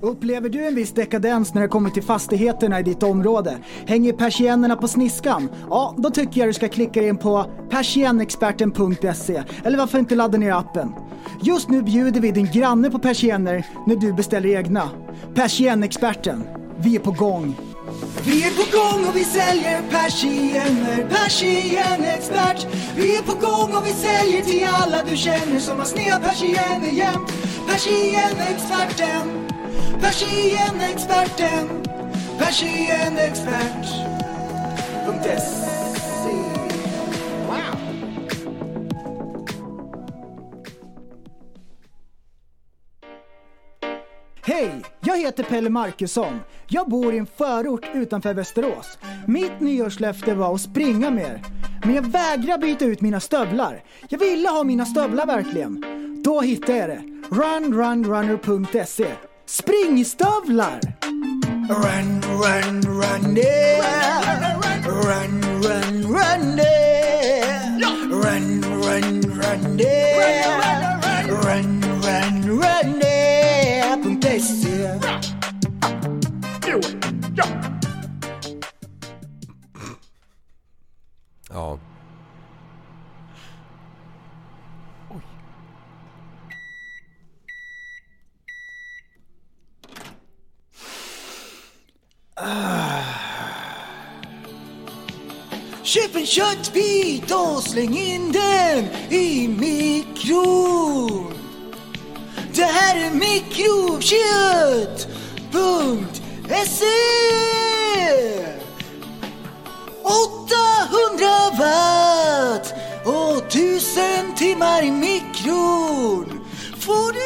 Speaker 4: Upplever du en viss dekadens när det kommer till fastigheterna i ditt område? Hänger persiennerna på sniskan? Ja, då tycker jag du ska klicka in på persiennexperten.se eller varför inte ladda ner appen. Just nu bjuder vi din granne på persienner när du beställer egna. Persiennexperten, vi är på gång. Vi är på gång och vi säljer persienner, persiennexpert. Vi är på gång och vi säljer till alla du känner som har sneda persienner jämt. Persiennexperten, persiennexperten, persiennexpert.se Hej! Jag heter Pelle Markusson. Jag bor i en förort utanför Västerås. Mitt nyårslöfte var att springa mer. Men jag vägrar byta ut mina stövlar. Jag ville ha mina stövlar verkligen. Då hittade jag det. Runrunrunner.se Springstövlar! Run, run, run yeah. Run, run, run yeah. Run, run, run yeah. Run, run, run yeah.se
Speaker 3: Ja.
Speaker 4: Köp en köttbit och släng in den i mikron. Det här är mikrokött.se 800 watt och 1000 timmar i mikron får du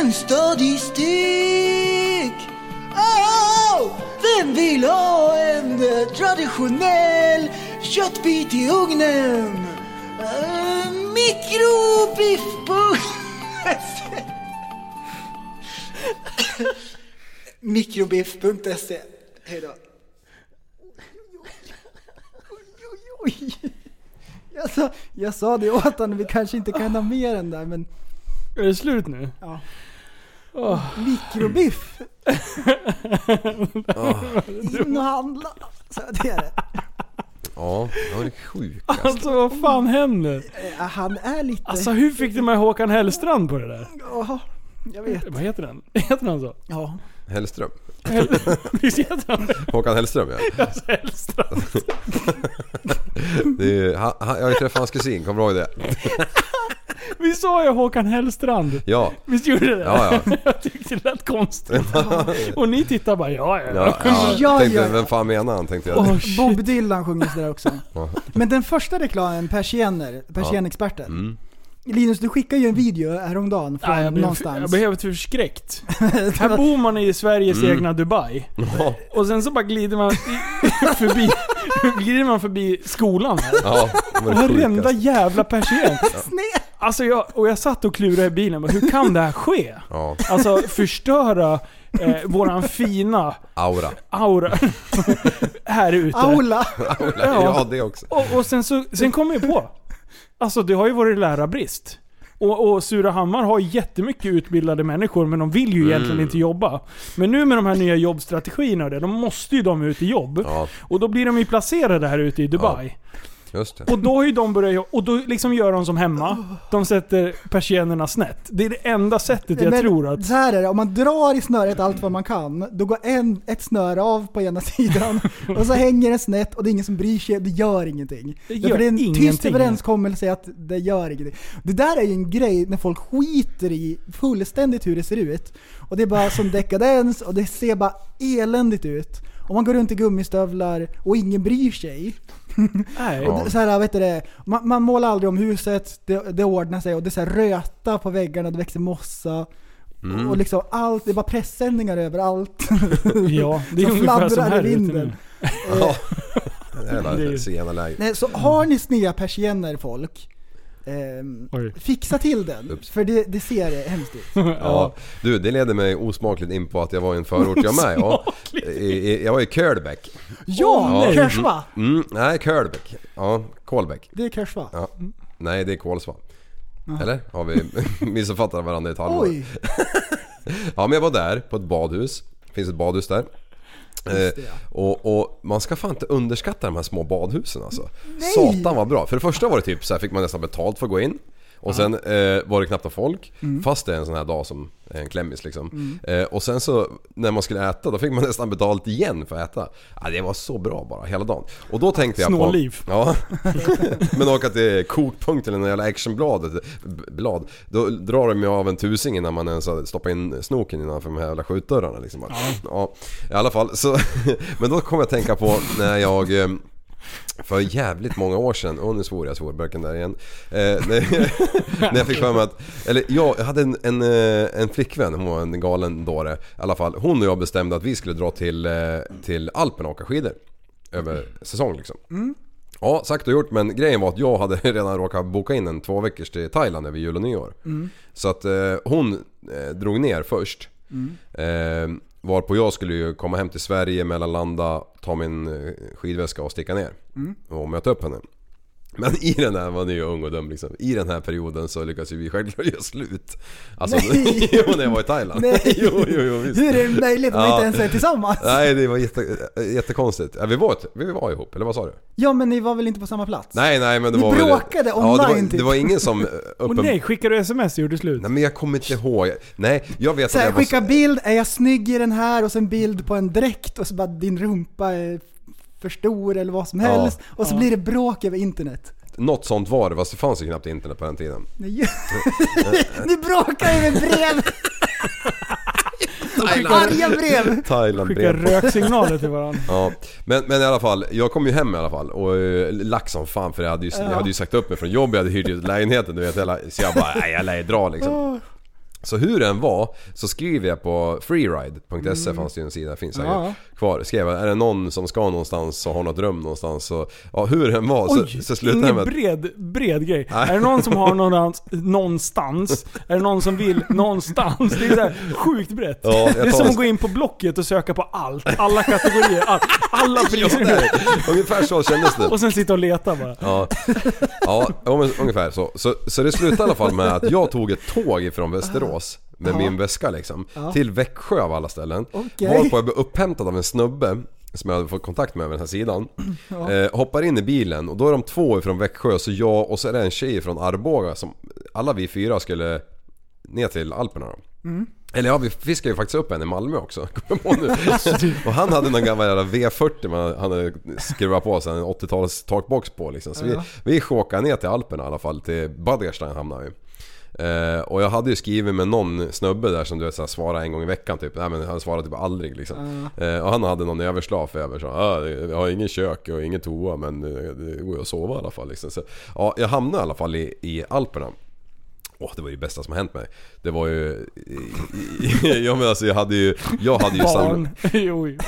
Speaker 4: en statistik. Oh, vem vill ha en eh, traditionell köttbit i ugnen? Uh, Mikrobiff.se Mikrobiff.se Hejdå. Oj, oj, oj. Jag sa, jag sa det åt honom, vi kanske inte kan ha mer än där men
Speaker 2: Är det slut nu?
Speaker 4: ja.
Speaker 2: Åh.
Speaker 4: Mikrobiff.
Speaker 3: Ah.
Speaker 4: In och handla. Så det är det.
Speaker 3: Ja, han är sjuk.
Speaker 2: Alltså vad fan händer?
Speaker 4: Eh, Han är lite...
Speaker 2: Alltså hur fick du med Håkan Hellstrand på det där?
Speaker 4: Jaha, jag vet.
Speaker 2: Vad heter den? Heter han så?
Speaker 4: Ja.
Speaker 3: Hellström.
Speaker 2: Visst heter han
Speaker 3: Håkan Hellström ja.
Speaker 2: Hellstrand?
Speaker 3: Det är, ju- han, han, jag har ju träffat hans kusin, kommer du ihåg det?
Speaker 2: Vi sa ju Håkan Hellstrand?
Speaker 3: Ja.
Speaker 2: Visst gjorde det?
Speaker 3: Ja, ja.
Speaker 2: Jag tyckte det lät konstigt. Och ni tittar bara ja ja.
Speaker 3: Ja,
Speaker 4: Ja,
Speaker 3: ja. Tänkte,
Speaker 4: ja.
Speaker 3: vem fan menar han? Tänkte jag.
Speaker 2: Åh, shit.
Speaker 4: Bob Dylan sjunger sådär också.
Speaker 3: Ja.
Speaker 4: Men den första reklamen, persienner, persiennexperten.
Speaker 3: Mm.
Speaker 4: Linus, du skickade ju en video häromdagen från
Speaker 2: Ja, jag, blev, jag
Speaker 4: någonstans.
Speaker 2: blev helt förskräckt. Här bor man i Sveriges egna Dubai.
Speaker 3: Ja,
Speaker 2: Och sen så bara glider man i- förbi, glider man förbi skolan här.
Speaker 3: ja, de är
Speaker 2: Och
Speaker 3: det
Speaker 2: varenda
Speaker 3: sjukaste.
Speaker 2: jävla persien.
Speaker 4: Sned.
Speaker 2: Alltså jag, och jag satt och klurade i bilen. Men hur kan det här ske?
Speaker 3: Ja,
Speaker 2: Alltså förstöra eh, våran fina
Speaker 3: aura.
Speaker 2: aura här ute.
Speaker 4: Aula.
Speaker 3: aura. Ja, det också.
Speaker 2: Och, och sen, så, sen kom jag på. Alltså det har ju varit lärarbrist. Och, och Surahammar har jättemycket utbildade människor men de vill ju
Speaker 3: Mm.
Speaker 2: egentligen inte jobba. Men nu med de här nya jobbstrategierna och det, de måste ju de ut i jobb.
Speaker 3: Ja.
Speaker 2: Och då blir de ju placerade här ute i Dubai.
Speaker 3: Just det.
Speaker 2: Och då har ju de börjat göra- och då liksom gör de som hemma. De sätter persiennerna snett. Det är det enda sättet jag
Speaker 4: Men
Speaker 2: tror att...
Speaker 4: Så här är det, om man drar i snöret allt vad man kan, då går en, ett snöre av på ena sidan och så hänger den snett och det är ingen som bryr sig, det gör ingenting.
Speaker 2: Det
Speaker 4: Det,
Speaker 2: gör
Speaker 4: det är en tyst
Speaker 2: ingenting.
Speaker 4: överenskommelse att det gör ingenting. Det där är ju en grej när folk skiter i fullständigt hur det ser ut. Och det är bara som dekadens och det ser bara eländigt ut. Om man går runt i gummistövlar och ingen bryr sig.
Speaker 2: Nej.
Speaker 3: Ja.
Speaker 4: Så här, vet du det, man, man målar aldrig om huset, det, det ordnar sig och det är så här röta på väggarna, det växer mossa.
Speaker 3: Mm.
Speaker 4: Och liksom allt, det är bara pressändningar överallt.
Speaker 2: Ja, det är
Speaker 4: Så
Speaker 2: ungefär som
Speaker 4: fladdrar i
Speaker 2: här ute
Speaker 4: vinden. Eh,
Speaker 2: nu.
Speaker 3: Ja.
Speaker 2: Det är ju-
Speaker 3: Jävla zigenarläger.
Speaker 4: Nej, så har ni sneda persienner folk, ehm,
Speaker 2: Oj.
Speaker 4: fixa till den.
Speaker 3: Ups.
Speaker 4: För det, det ser hemskt ut.
Speaker 3: Ja. Du, det leder mig osmakligt in på att jag var i en förort jag med. Ja. I, i, jag var i Kölbäck.
Speaker 4: Ja,
Speaker 3: nej.
Speaker 4: Kersva!
Speaker 3: Mm, nej, Kölbäck. Ja, Kolbäck.
Speaker 4: Det är Kersva.
Speaker 3: Ja. Nej, det är Kolsva. Eller? Har vi missuppfattat varandra i ett halvår?
Speaker 4: Oj!
Speaker 3: Ja men jag var där på ett badhus. Det finns ett badhus där. Eh, och, och man ska fan inte underskatta de här små badhusen alltså. Satan vad bra. För det första var det typ så här fick man nästan betalt för att gå in. Och sen eh, var det knappt någon folk. Fast det är en sån här dag som är en klämmis liksom. Eh, och sen så när man skulle äta då fick man nästan betalt igen för att äta. Ja, det var så bra bara hela dagen. Och då tänkte jag
Speaker 2: Snåliv.
Speaker 3: på... Ja. Men åka till kokpunkt eller något jävla actionbladet b- blad, då drar de ju av en tusing innan man ens har stoppat in snoken innanför de här jävla skjutdörrarna liksom. Bara, ja. I alla fall så, men då kom jag att tänka på när jag eh, för jävligt många år sedan, och nu svor jag svorböken där igen. Eh, när, när jag fick för mig att, eller jag, jag hade en, en, eh, en flickvän, hon var en galen dåre i alla fall. Hon och jag bestämde att vi skulle dra till, eh, till Alperna och åka skidor. Över säsong liksom. Ja, sagt och gjort men grejen var att jag hade redan råkat boka in en två veckors till Thailand över jul och nyår.
Speaker 4: Mm.
Speaker 3: Så att eh, hon eh, drog ner först.
Speaker 4: Mm.
Speaker 3: Eh, varpå jag skulle ju komma hem till Sverige, mellanlanda, ta min eh, skidväska och sticka ner.
Speaker 4: Mm.
Speaker 3: Och möta upp henne. Men i den här, man är ju ung och dum liksom. I den här perioden så lyckas ju vi självklart göra slut. Alltså,
Speaker 4: Nej.
Speaker 3: jo när jag var i Thailand.
Speaker 4: Nej.
Speaker 3: Jo, jo, jo visst.
Speaker 4: Hur är det möjligt om man
Speaker 3: Ja.
Speaker 4: inte ens är tillsammans?
Speaker 3: Nej det var jätte, jättekonstigt. Ja, vi, var, ett- vi var ihop, eller vad sa du?
Speaker 4: Ja men ni var väl inte på samma plats?
Speaker 3: Nej nej men det
Speaker 4: Ni
Speaker 3: var väl-
Speaker 4: bråkade
Speaker 3: ja, det,
Speaker 4: online,
Speaker 3: var,
Speaker 4: typ.
Speaker 3: det var ingen som
Speaker 2: Och
Speaker 3: uppen...
Speaker 2: nej, skickar du sms och gjorde slut?
Speaker 3: Nej men jag kommer inte ihåg. Nej jag vet
Speaker 4: Så
Speaker 3: att
Speaker 4: här,
Speaker 3: jag var...
Speaker 4: skicka bild, är jag snygg i den här? Och sen bild på en dräkt och så bara din rumpa är för stor eller vad som
Speaker 3: Ja.
Speaker 4: helst. Och så blir det bråk över internet.
Speaker 3: Något sånt var det fast det fanns ju knappt internet på den tiden.
Speaker 4: Ni, ni bråkar över brev! Arga brev!
Speaker 3: Thailand
Speaker 2: Skickar
Speaker 3: brev.
Speaker 2: röksignaler till varandra.
Speaker 3: Ja, men, men i alla fall, jag kom ju hem i alla fall och eh, lack som fan för jag hade, ju, jag hade ju sagt upp mig från jobbet, jag hade hyrt ut lägenheten du vet. Hela, så jag bara, nej jag lär ju dra liksom. Så hur den var så skriver jag på freeride.se fanns det ju en sida, finns säkert
Speaker 4: Mm. Ja.
Speaker 3: kvar. Skrev jag, är det någon som ska någonstans och har något rum någonstans så, ja hur den var så,
Speaker 2: Oj,
Speaker 3: så slutade den
Speaker 2: ingen
Speaker 3: med att-
Speaker 2: bred, bred grej. Är det någon som har någonstans, någonstans? Är det någon som vill någonstans? Det är så här sjukt brett.
Speaker 3: Ja, jag
Speaker 2: det är
Speaker 3: tar
Speaker 2: som
Speaker 3: en-
Speaker 2: att gå in på Blocket och söka på allt. Alla kategorier, all, alla priser.
Speaker 3: Ungefär så kändes det.
Speaker 2: Och sen sitta och leta bara.
Speaker 3: Ja, ja om- ungefär så. så. Så det slutade i alla fall med att jag tog ett tåg ifrån Västerås med min väska liksom. Till Växjö av alla ställen.
Speaker 4: Okej.
Speaker 3: Varpå jag blev upphämtad av en snubbe som jag hade fått kontakt med över den här sidan. Eh, hoppar in i bilen och då är de två ifrån Växjö så jag och så är det en tjej från Arboga som alla vi fyra skulle ner till Alperna då. Eller ja, vi fiskade ju faktiskt upp en i Malmö också. Kommer jag på nu. och han hade någon gammal jävla V40 man, han hade skruvat på sig en 80-tals takbox på liksom. Så vi, vi chokade ner till Alperna i alla fall, till Badgerstein hamnade vi. Eh, och jag hade ju skrivit med någon snubbe där som du vet så här, svarar en gång i veckan typ. Nej men han svarar typ aldrig liksom. Eh, och han hade någon överslav för över så ah, jag har ingen kök och ingen toa men eh, det går ju att sova i alla fall liksom. Så, ja, jag hamnade i alla fall i, i Alperna. Åh, det var ju det bästa som har hänt mig. Det var ju... Ja men alltså jag hade ju... Jag hade ju
Speaker 2: Barn. Jo, jo.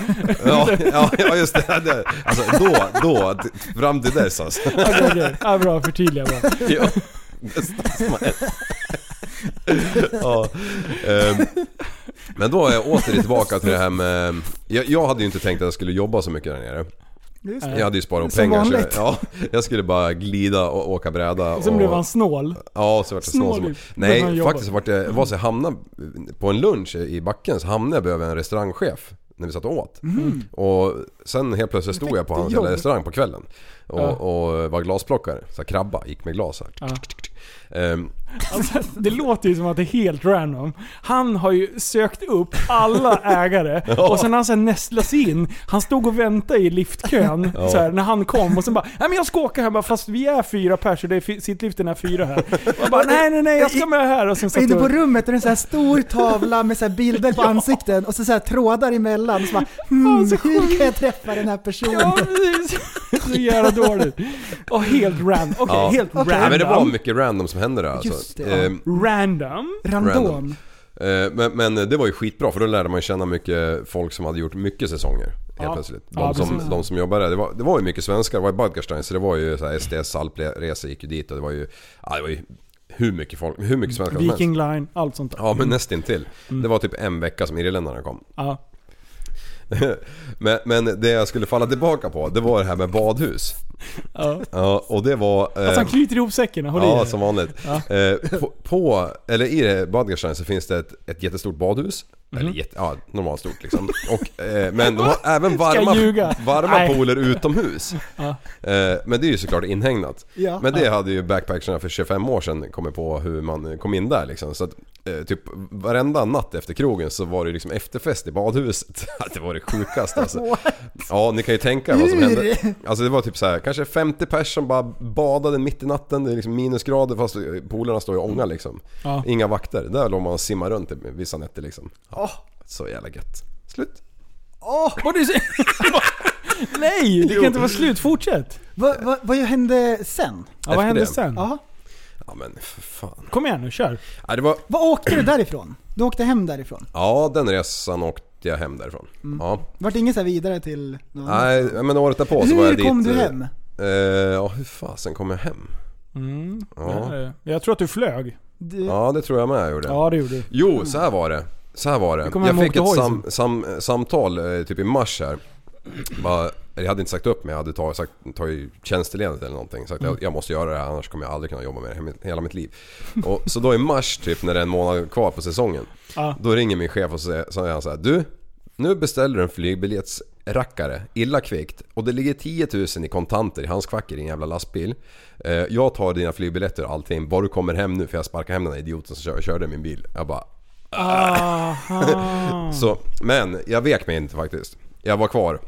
Speaker 3: Ja, ja, ja just det. det. Alltså då, då, fram till dess alltså.
Speaker 2: Okej, okej. Ja, bra, förtydliga bara.
Speaker 3: Ja, bästa som har hänt. Ja. ehm, Men då är jag åter tillbaka till det här med... Jag, jag hade ju inte tänkt att jag skulle jobba så mycket där nere.
Speaker 4: Just
Speaker 3: Jag hade ju sparat ihop
Speaker 4: Som
Speaker 3: pengar. Så jag,
Speaker 4: vanligt.
Speaker 3: ja, jag skulle bara glida och åka bräda.
Speaker 2: Sen
Speaker 3: och...
Speaker 2: blev han snål.
Speaker 3: Ja, så vart det snål. som-
Speaker 2: Snålig. Den han
Speaker 3: Nej,
Speaker 2: jobbar.
Speaker 3: faktiskt vart det, var så jag hamnade på en lunch i backen så hamnade jag bredvid en restaurangchef. när vi satt och åt.
Speaker 2: Mhm.
Speaker 3: Och sen helt plötsligt stod jag på hans
Speaker 4: jobb.
Speaker 3: jävla restaurang på kvällen och,
Speaker 2: Ja.
Speaker 3: och var glasplockare. Så här krabba, gick med glas här.
Speaker 2: Ja.
Speaker 3: Ehm,
Speaker 2: Alltså, det låter ju som att det är helt random. Han har ju sökt upp alla ägare och sen har han så här nästlas in. Han stod och väntade i liftkön så här, när han kom och sen bara Nej men jag ska åka här bara, fast vi är fyra pers och det är fi- sittliften är fyra här. Jag bara Nej nej nej jag ska med här och sen
Speaker 4: Och
Speaker 2: satt
Speaker 4: inne
Speaker 2: jag
Speaker 4: på
Speaker 2: och...
Speaker 4: rummet är det en så här stor tavla med så här bilder på ansikten och så, så här trådar emellan. Och så bara,
Speaker 2: Ja,
Speaker 4: hmm,
Speaker 2: så
Speaker 4: hur kan jag träffa den här personen?
Speaker 2: Ja, precis. så jävla dåligt. Och helt random. Okej,
Speaker 3: Ja.
Speaker 2: helt
Speaker 4: Okej.
Speaker 2: random.
Speaker 3: nej men det var mycket random som hände där
Speaker 4: Just
Speaker 3: alltså.
Speaker 4: det, ja.
Speaker 3: Ehm,
Speaker 2: Random?
Speaker 4: Random.
Speaker 3: Random. Eh, Men, men det var ju skitbra för då lärde man känna mycket folk som hade gjort mycket säsonger. Helt
Speaker 2: Ja.
Speaker 3: plötsligt. De,
Speaker 2: Ja,
Speaker 3: som,
Speaker 2: precis.
Speaker 3: de som jobbade där, det var, det var ju mycket svenskar. Det var i Badgerstein så det var ju så här STS alpresa gick ju dit och det var ju, ja, det var ju hur mycket folk, hur mycket svenskar som helst.
Speaker 2: Viking Mm. Line, allt sånt där.
Speaker 3: Ja men nästintill. Det var typ en vecka som irländarna kom.
Speaker 2: Ja.
Speaker 3: men, men det jag skulle falla tillbaka på det var det här med badhus.
Speaker 2: Ja.
Speaker 3: Ja, och det var... eh,
Speaker 2: Alltså han knyter ihop säcken och håller i
Speaker 3: Ja,
Speaker 2: den.
Speaker 3: som vanligt. Eh, på, på, eller i det Badgerstein så finns det ett, ett jättestort badhus.
Speaker 2: Mhm.
Speaker 3: Eller jätte, ja, normalt stort liksom. Och, eh, men de har även varma,
Speaker 2: jag ljuga?
Speaker 3: varma
Speaker 2: Nej.
Speaker 3: pooler utomhus. Eh, men det är ju såklart inhägnat.
Speaker 4: Ja.
Speaker 3: Men det hade ju backpackerna för 25 år sedan kommit på hur man kom in där liksom. Så att, eh, typ varenda natt efter krogen så var det ju liksom efterfest i badhuset. det var det sjukaste alltså. Ja, ni kan ju tänka er vad som
Speaker 4: Hur?
Speaker 3: hände. Alltså det var typ så här, kanske 50 pers som bara badade mitt i natten, det är liksom minusgrader fast polarna står i ånga liksom.
Speaker 2: Ja.
Speaker 3: Inga vakter. Där låg man och simmade runt vissa nätter liksom. Ja, Så jävla gött. Slut.
Speaker 2: Åh! vad du säger? Nej, det kan inte vara slut. Fortsätt.
Speaker 4: Vad, vad, vad hände sen?
Speaker 2: Ja, vad
Speaker 3: Efter
Speaker 2: hände
Speaker 3: det.
Speaker 2: sen?
Speaker 4: Ja.
Speaker 3: Ja men för fan.
Speaker 2: Kom igen nu, kör.
Speaker 3: Ja, det var,
Speaker 4: Vad åkte du därifrån? Du åkte hem därifrån?
Speaker 3: ja den resan åkte jag hem därifrån. Ja.
Speaker 4: Vart det ingen så här vidare till någon annan?
Speaker 3: Nej men året därpå så var jag
Speaker 4: Hur
Speaker 3: dit.
Speaker 4: kom du
Speaker 3: eh,
Speaker 4: hem?
Speaker 3: Eh, ja hur fasen kom jag hem? Ja.
Speaker 2: Eh, Jag tror att du flög.
Speaker 4: Du,
Speaker 3: ja det tror jag med jag gjorde.
Speaker 2: Ja, det gjorde du.
Speaker 3: Jo, så här var det. Så här var det.
Speaker 2: kommer
Speaker 3: Jag
Speaker 2: hem och
Speaker 3: fick ett
Speaker 2: åkte
Speaker 3: sam, sam, samtal eh, typ i mars här. Bara, eller jag hade inte sagt upp mig, jag hade tagit, sagt, tagit tjänsteledigt eller någonting. Sagt
Speaker 2: Mm.
Speaker 3: jag, jag måste göra det här annars kommer jag aldrig kunna jobba med det he- hela mitt liv. Och, så då i mars typ när det är en månad kvar på säsongen.
Speaker 2: Ja.
Speaker 3: Då ringer min chef och säger, så är han så här, Du, nu beställer du en flygbiljettsrackare illa kvickt och det ligger 10 000 i kontanter i hans kvack i din jävla lastbil. Eh, jag tar dina flygbiljetter och allting bara du kommer hem nu för jag sparkar hem den här idioten som kör, körde min bil. Jag bara "Ah."
Speaker 2: Aha.
Speaker 3: Så, men jag vek mig inte faktiskt. Jag var kvar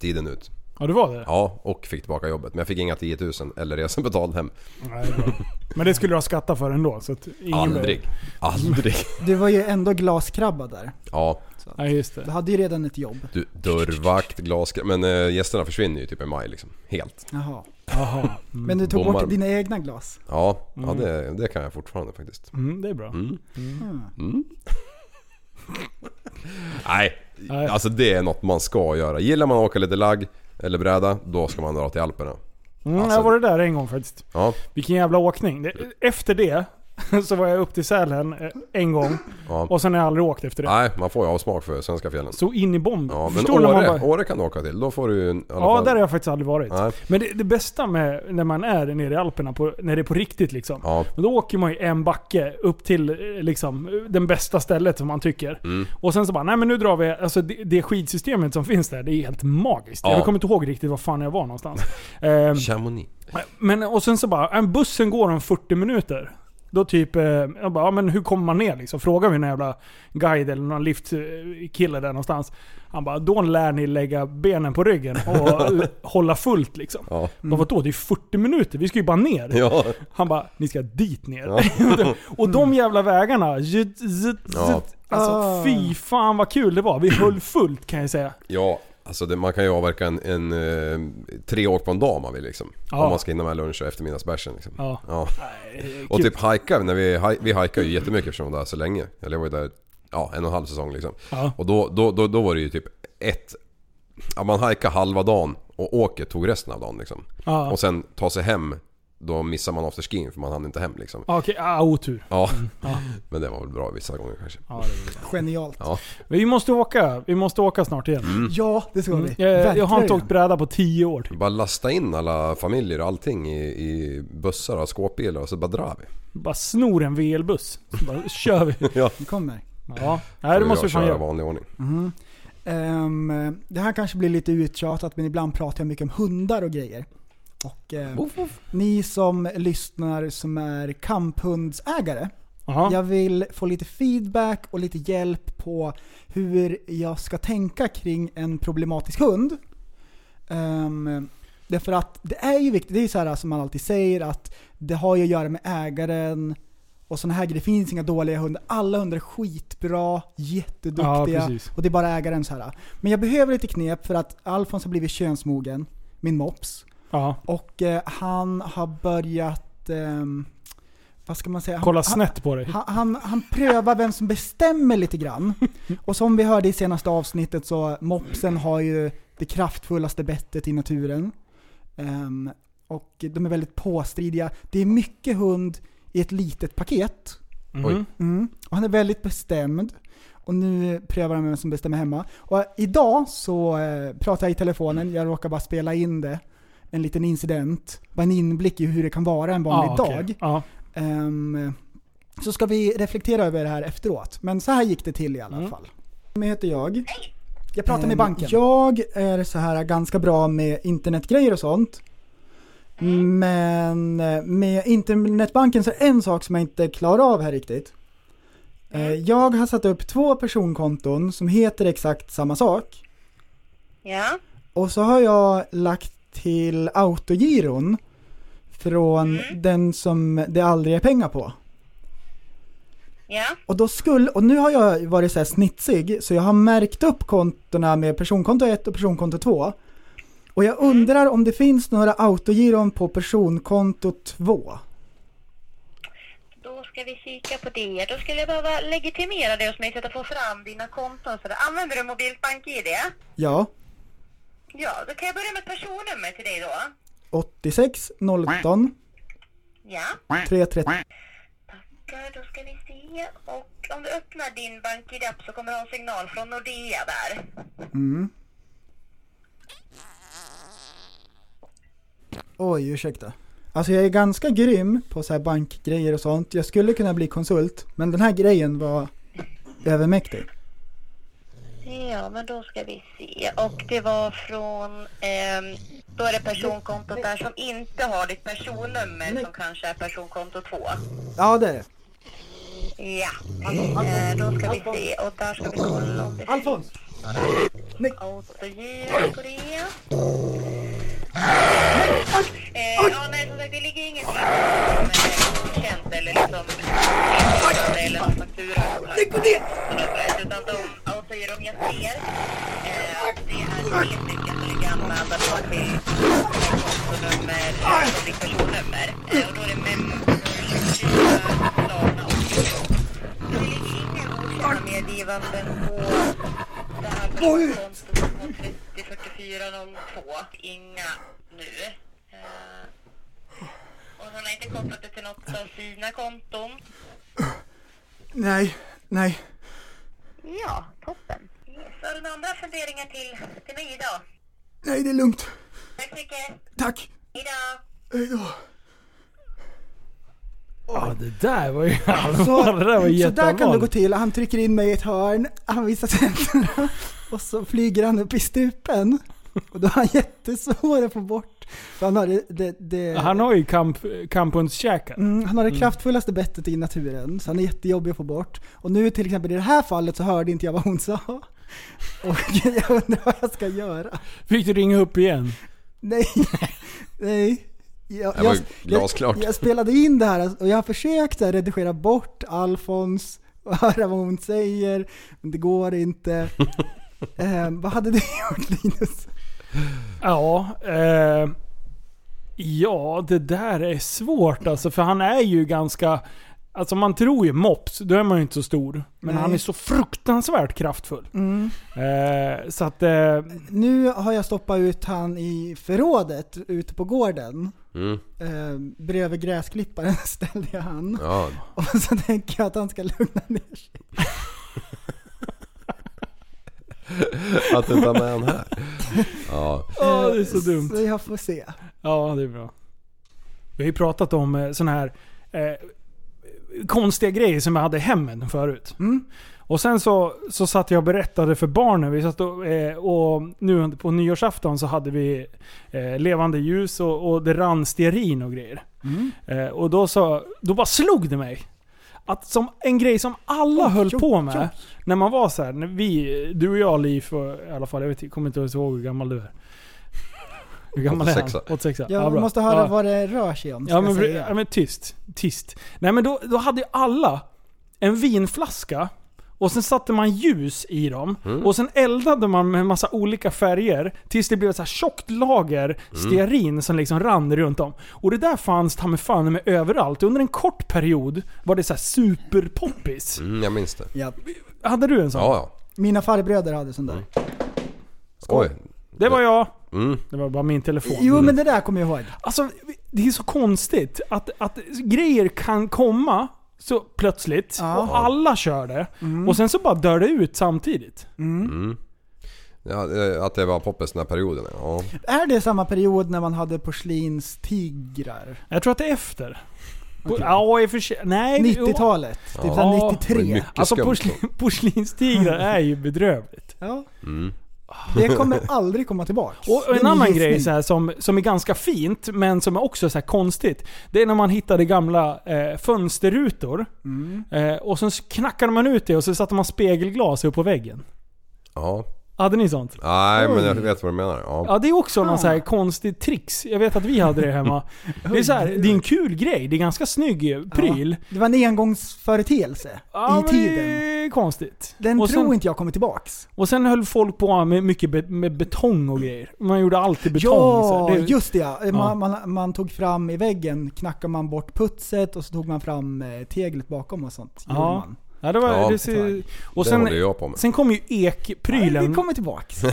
Speaker 3: tiden ut.
Speaker 2: Ja, du var det?
Speaker 3: Ja, och fick tillbaka jobbet. Men jag fick inga 10 000 eller resan betald hem.
Speaker 2: Nej, det var- Men det skulle du ha skattat för ändå. Så att ingen
Speaker 3: Aldrig. Aldrig.
Speaker 4: du var ju ändå glaskrabba där.
Speaker 3: Ja,
Speaker 2: Nej, just
Speaker 4: Du
Speaker 2: det.
Speaker 4: hade ju redan ett jobb.
Speaker 3: du, dörrvakt, glas... Men eh, gästerna försvinner ju typ i maj liksom. Helt.
Speaker 4: Jaha. Mm.
Speaker 2: Jaha.
Speaker 4: Men du tog
Speaker 3: Bommar.
Speaker 4: bort dina egna glas?
Speaker 3: Ja, ja det, det kan jag fortfarande faktiskt.
Speaker 2: Mm, det är bra. Mm.
Speaker 4: Mm.
Speaker 3: Nej,
Speaker 2: Nej.
Speaker 3: alltså det är något man ska göra. Gillar man att åka lite lagg eller bräda, då ska man dra till Alperna.
Speaker 2: Mm,
Speaker 3: Alltså-
Speaker 2: jag var det där en gång faktiskt.
Speaker 3: Ja,
Speaker 2: Vilken jävla åkning. Det- Efter det så var jag upp till Sälen eh, en gång.
Speaker 3: ja.
Speaker 2: Och sen har jag aldrig åkt efter det.
Speaker 3: Nej, man får ju avsmak för svenska fjällen.
Speaker 2: Så in i bomben.
Speaker 3: Ja, men
Speaker 2: Förstår du när man
Speaker 3: Åre,
Speaker 2: bara...
Speaker 3: Åre kan du åka till. Då får du ju... en- i alla
Speaker 2: Ja,
Speaker 3: fall-
Speaker 2: där har jag faktiskt aldrig varit.
Speaker 3: Nej.
Speaker 2: Men det, det bästa med när man är nere i Alperna, på, när det är på riktigt liksom.
Speaker 3: Ja.
Speaker 2: Men Då åker man ju en backe upp till eh, liksom, den bästa stället som man tycker.
Speaker 3: Mm.
Speaker 2: Och sen så bara, nej men nu drar vi, alltså det, det skidsystemet som finns där, det är helt magiskt.
Speaker 3: Ja.
Speaker 2: Jag kommer inte ihåg riktigt var fan jag var någonstans. Ehm,
Speaker 3: Chamonix.
Speaker 2: men, och sen så bara, eh, bussen går om 40 minuter. Då typ, eh, jag bara, ja, men hur kommer man ner liksom? Frågar vi någon jävla guide eller någon liftkille där någonstans. Han bara, då lär ni lägga benen på ryggen och l- hålla fullt liksom.
Speaker 3: Ja.
Speaker 2: Mm. Bara, vadå? Det är 40 minuter, vi ska ju bara ner.
Speaker 3: Ja.
Speaker 2: Han bara, ni ska dit ner. och de jävla vägarna, jut, jut,
Speaker 3: Ja.
Speaker 2: jut. Alltså fy fan vad kul det var. Vi höll fullt kan jag säga.
Speaker 3: Ja, alltså det, man kan ju avverka en, en, eh, tre år på en dag om man vill liksom.
Speaker 2: Ja.
Speaker 3: Om man ska hinna med lunch och eftermiddagsbärsen liksom.
Speaker 2: Ja.
Speaker 3: Och typ hajka, när vi, haj- vi hajkar ju jättemycket eftersom vi var där så länge. Eller jag var ju där ja, en och en halv säsong liksom.
Speaker 2: Ja.
Speaker 3: Och då, då, då, då var det ju typ ett... Ja, man hajkade halva dagen och åket tog resten av dagen liksom.
Speaker 2: Ja.
Speaker 3: Och sen ta sig hem, då missar man afterskin för man hann inte hem liksom.
Speaker 2: Ja, Okej, ah, otur.
Speaker 3: Ja. Men det var väl bra vissa gånger kanske.
Speaker 2: Ja, det var
Speaker 4: Genialt.
Speaker 3: Ja.
Speaker 2: det. Vi måste åka, vi måste åka snart igen.
Speaker 4: Ja, det ska vi.
Speaker 2: Mm. Eh, Jag, jag har inte
Speaker 4: Verkligen.
Speaker 2: åkt bräda på 10 år.
Speaker 3: Typ. Bara lasta in alla familjer och allting i, i bussar och skåpbilar och så bara drar vi.
Speaker 2: Bara snor en VL-buss. Så Bara kör vi.
Speaker 4: Det kommer.
Speaker 2: Ja. Nej, det
Speaker 3: Får
Speaker 2: måste
Speaker 3: jag
Speaker 2: vi fan
Speaker 3: köra i
Speaker 2: göra.
Speaker 3: vanlig ordning.
Speaker 4: Ehm, det här kanske blir lite uttjatat men ibland pratar jag mycket om hundar och grejer. Och eh, ni som lyssnar som är kamphundsägare.
Speaker 2: Jaha.
Speaker 4: Jag vill få lite feedback och lite hjälp på hur jag ska tänka kring en problematisk hund. Ehm, därför att det är ju viktigt, det är ju så här som man alltid säger att det har ju att göra med ägaren och sådana här grejer. Det finns inga dåliga hundar. Alla hundar är skitbra,
Speaker 2: Ja,
Speaker 4: jätteduktiga
Speaker 2: precis.
Speaker 4: och det är bara ägaren så här. Men jag behöver lite knep för att Alfons har blivit könsmogen, min mops.
Speaker 2: Ja.
Speaker 4: Och eh, han har börjat, ehm, vad ska man säga? Han-
Speaker 2: Kolla
Speaker 4: han-
Speaker 2: snett på dig.
Speaker 4: han, han, han prövar vem som bestämmer lite grann. Och som vi hörde i senaste avsnittet så mopsen har ju det kraftfullaste bettet i naturen. Ehm, och de är väldigt påstridiga. Det är mycket hund i ett litet paket.
Speaker 2: Mhm.
Speaker 4: Mm. Och han är väldigt bestämd. Och nu prövar han vem som bestämmer hemma. Och idag så eh, pratar jag i telefonen, jag råkar bara spela in det. En liten incident, bara en inblick i hur det kan vara en vanlig
Speaker 2: Ja, Ah, okej.
Speaker 4: dag.
Speaker 2: Ja.
Speaker 4: Ehm, så ska vi reflektera över det här efteråt. Men så här gick det till i alla fall. Vem heter jag?
Speaker 2: Jag
Speaker 4: pratar med banken. Ehm, Jag är så här ganska bra med internetgrejer och sånt. Men eh, med internetbanken så är det en sak som jag inte klarar av här riktigt. Eh, Jag har satt upp två personkonton som heter exakt samma sak.
Speaker 5: Ja,
Speaker 4: Och så har jag lagt till autogiron från den som det aldrig är pengar på.
Speaker 5: ja,
Speaker 4: Och då skulle, och nu har jag varit så här snitsig, så jag har märkt upp kontona med personkonto 1 och personkonto 2. Och jag undrar om det finns några autogiron på personkonto 2.
Speaker 5: då ska vi kika på det. Då skulle jag behöva legitimera dig hos mig så att jag får fram dina konton. Så där. Använder du Mobilt BankID?
Speaker 4: Ja,
Speaker 5: Ja, då kan jag börja med personnummer till dig då.
Speaker 4: 86 017
Speaker 5: Ja,
Speaker 4: 330.
Speaker 5: tackar. Då ska vi se. Och om du öppnar din BankID-app så kommer du ha en signal från Nordea där.
Speaker 4: Oj, ursäkta. Alltså jag är ganska grym på så här bankgrejer och sånt. Jag skulle kunna bli konsult, men den här grejen var övermäktig.
Speaker 5: Ja, men då ska vi se. Och det var från... ehm, då är det personkontot där som inte har ditt personnummer som kanske är personkonto 2.
Speaker 4: Ja, det är det.
Speaker 5: Ja, eh, då ska vi se. Och där ska vi kolla om det
Speaker 4: Alfons!
Speaker 5: Återgiv på det. Eh, ja, nej, som sagt, det ligger inget som är godkänt eller liksom eller någon faktura. Lägg på det! Utan de autogir om jag ser. Eh, det är tre stycken som ligger anmälda då till kontonummer och ditt personnummer. Eh, och då är det Memorial, Klarna och Klarna. Det ligger inga godkända medgivanden på det här personkontot mot 304402. Inga nu. Eh, Och han har inte kopplat det till något av sina konton.
Speaker 4: Nej, nej.
Speaker 5: Ja, toppen. Yes. Har du några andra funderingar till, till mig idag?
Speaker 4: Nej, det är lugnt.
Speaker 5: Tack så mycket.
Speaker 4: Tack.
Speaker 5: Hejdå.
Speaker 4: Hej då.
Speaker 2: Ja, det där var ju
Speaker 4: Så,
Speaker 2: allvar. Det där var
Speaker 4: så där kan det gå
Speaker 2: jätteallvarligt.
Speaker 4: till. Han trycker in mig i ett hörn, han visar tänderna och så flyger han upp i stupen. Och då är han jättesvår att få bort. För han har det, det, det,
Speaker 2: Han har ju kamp, kamphundskäkar.
Speaker 4: mm, han har det kraftfullaste bettet i naturen, så han är jättejobbig att få bort. Och nu till exempel i det här fallet så hörde inte jag vad hon sa. Och jag undrar vad jag ska göra.
Speaker 2: Fick du ringa upp igen?
Speaker 4: Nej, nej. Jag,
Speaker 3: Det var ju glasklart.
Speaker 4: Jag, jag spelade in det här alltså, och jag har försökt att redigera bort Alfons och höra vad hon säger, men det går inte. Ehm, vad hade du gjort Linus?
Speaker 2: Ja, eh, ja, det där är svårt alltså. För han är ju ganska... Alltså man tror ju mops, då är man ju inte så stor. Men
Speaker 4: Nej.
Speaker 2: han är så fruktansvärt kraftfull. Eh, så att... Eh,
Speaker 4: Nu har jag stoppat ut han i förrådet ute på gården.
Speaker 3: Mm.
Speaker 4: Ehm, bredvid gräsklipparen ställde jag han.
Speaker 3: Ja.
Speaker 4: Och så tänker jag att han ska lugna ner sig.
Speaker 3: Att du inte har med han här. Ja.
Speaker 2: åh, det är så dumt.
Speaker 4: Så jag får se.
Speaker 2: Ja, det är bra. Vi har ju pratat eh, om sådana här eh, konstiga grejer som jag hade i hemmen förut.
Speaker 4: Mm.
Speaker 2: Och sen så, så satt jag och berättade för barnen. Vi satt och, eh, och nu på nyårsafton så hade vi eh, levande ljus och, och det rann stearin och grejer. Eh, och då, så, då bara slog det mig. Att som en grej som alla höll
Speaker 4: oj,
Speaker 2: på med.
Speaker 4: oj.
Speaker 2: När man var så här, när vi, du och jag Liv, och, i alla fall, jag vet, kommer inte ens ihåg hur gammal du är. Hur gammal är han?
Speaker 3: 86.
Speaker 2: 86.
Speaker 4: Jag
Speaker 2: ja, bra.
Speaker 4: måste höra
Speaker 2: ja.
Speaker 4: vad det rör sig om. ska
Speaker 2: Ja men,
Speaker 4: jag
Speaker 2: pre-
Speaker 4: säga.
Speaker 2: ja men tyst. Tyst. Nej men då, då hade ju alla en vinflaska och sen satte man ljus i dem och sen eldade man med massa olika färger tills det blev ett så här tjockt lager stearin som liksom rann runt om. Och det där fanns ta mig fan med överallt. Under en kort period var det så här superpoppis.
Speaker 3: Mm, jag minns det.
Speaker 4: ja.
Speaker 2: Hade du en sån?
Speaker 3: Ja, ja.
Speaker 4: Mina farbröder hade sån där.
Speaker 3: Oj.
Speaker 2: Det var jag.
Speaker 3: Mm.
Speaker 2: Det var bara min telefon.
Speaker 4: Jo men det där kommer jag ihåg.
Speaker 2: Alltså, det är så konstigt att, att grejer kan komma så plötsligt
Speaker 4: Ja.
Speaker 2: och alla kör det. Och sen så bara dör det ut samtidigt.
Speaker 3: Mm. Ja, eh, att det var poppis den här perioden. Ja.
Speaker 4: Är det samma period när man hade porslinstigrar?
Speaker 2: Jag tror att det är efter. Ja, i och för sig. Nej. Eh, jo.
Speaker 4: 90-talet? Typ
Speaker 2: Ja.
Speaker 4: såhär
Speaker 3: Det var
Speaker 4: 93?
Speaker 3: mycket
Speaker 2: Alltså
Speaker 3: skumt
Speaker 2: porslin, porslinstigrar är ju bedrövligt.
Speaker 4: Ja. Det kommer aldrig komma tillbaks.
Speaker 2: Mm. Och
Speaker 4: Det är
Speaker 2: en annan
Speaker 4: gissning.
Speaker 2: grej så här, som, som är ganska fint, men som är också så här konstigt. Det är när man hittade gamla eh, fönsterrutor. Eh, och sen knackade man ut det och så satte man spegelglas upp på väggen.
Speaker 3: Ja.
Speaker 2: Hade ni sånt?
Speaker 3: Nej, men jag vet vad du menar. Ja.
Speaker 2: Ja det är också någon
Speaker 4: Ah.
Speaker 2: så här konstig trix. Jag vet att vi hade det hemma. Det är, så här, det är en kul grej, det är en ganska snygg pryl.
Speaker 4: Det var en engångsföreteelse
Speaker 2: Ja,
Speaker 4: i
Speaker 2: men
Speaker 4: tiden.
Speaker 2: det är konstigt.
Speaker 4: Den
Speaker 2: och,
Speaker 4: tror
Speaker 2: sen,
Speaker 4: inte jag kommer tillbaks.
Speaker 2: och sen höll folk på med mycket be, med betong och grejer. Man gjorde alltid betong. så
Speaker 4: ja,
Speaker 2: här. det,
Speaker 4: just det ja. Man, man, man tog fram i väggen, knackade man bort putset och så tog man fram eh, teglet bakom och sånt. Gjorde
Speaker 2: Ja.
Speaker 4: man.
Speaker 2: ja, det var,
Speaker 3: Ja,
Speaker 2: det, ser- och
Speaker 3: det
Speaker 2: sen,
Speaker 3: håller jag på med.
Speaker 2: sen kom ju
Speaker 4: Nej,
Speaker 2: ekprylen.
Speaker 4: det kommer tillbaks.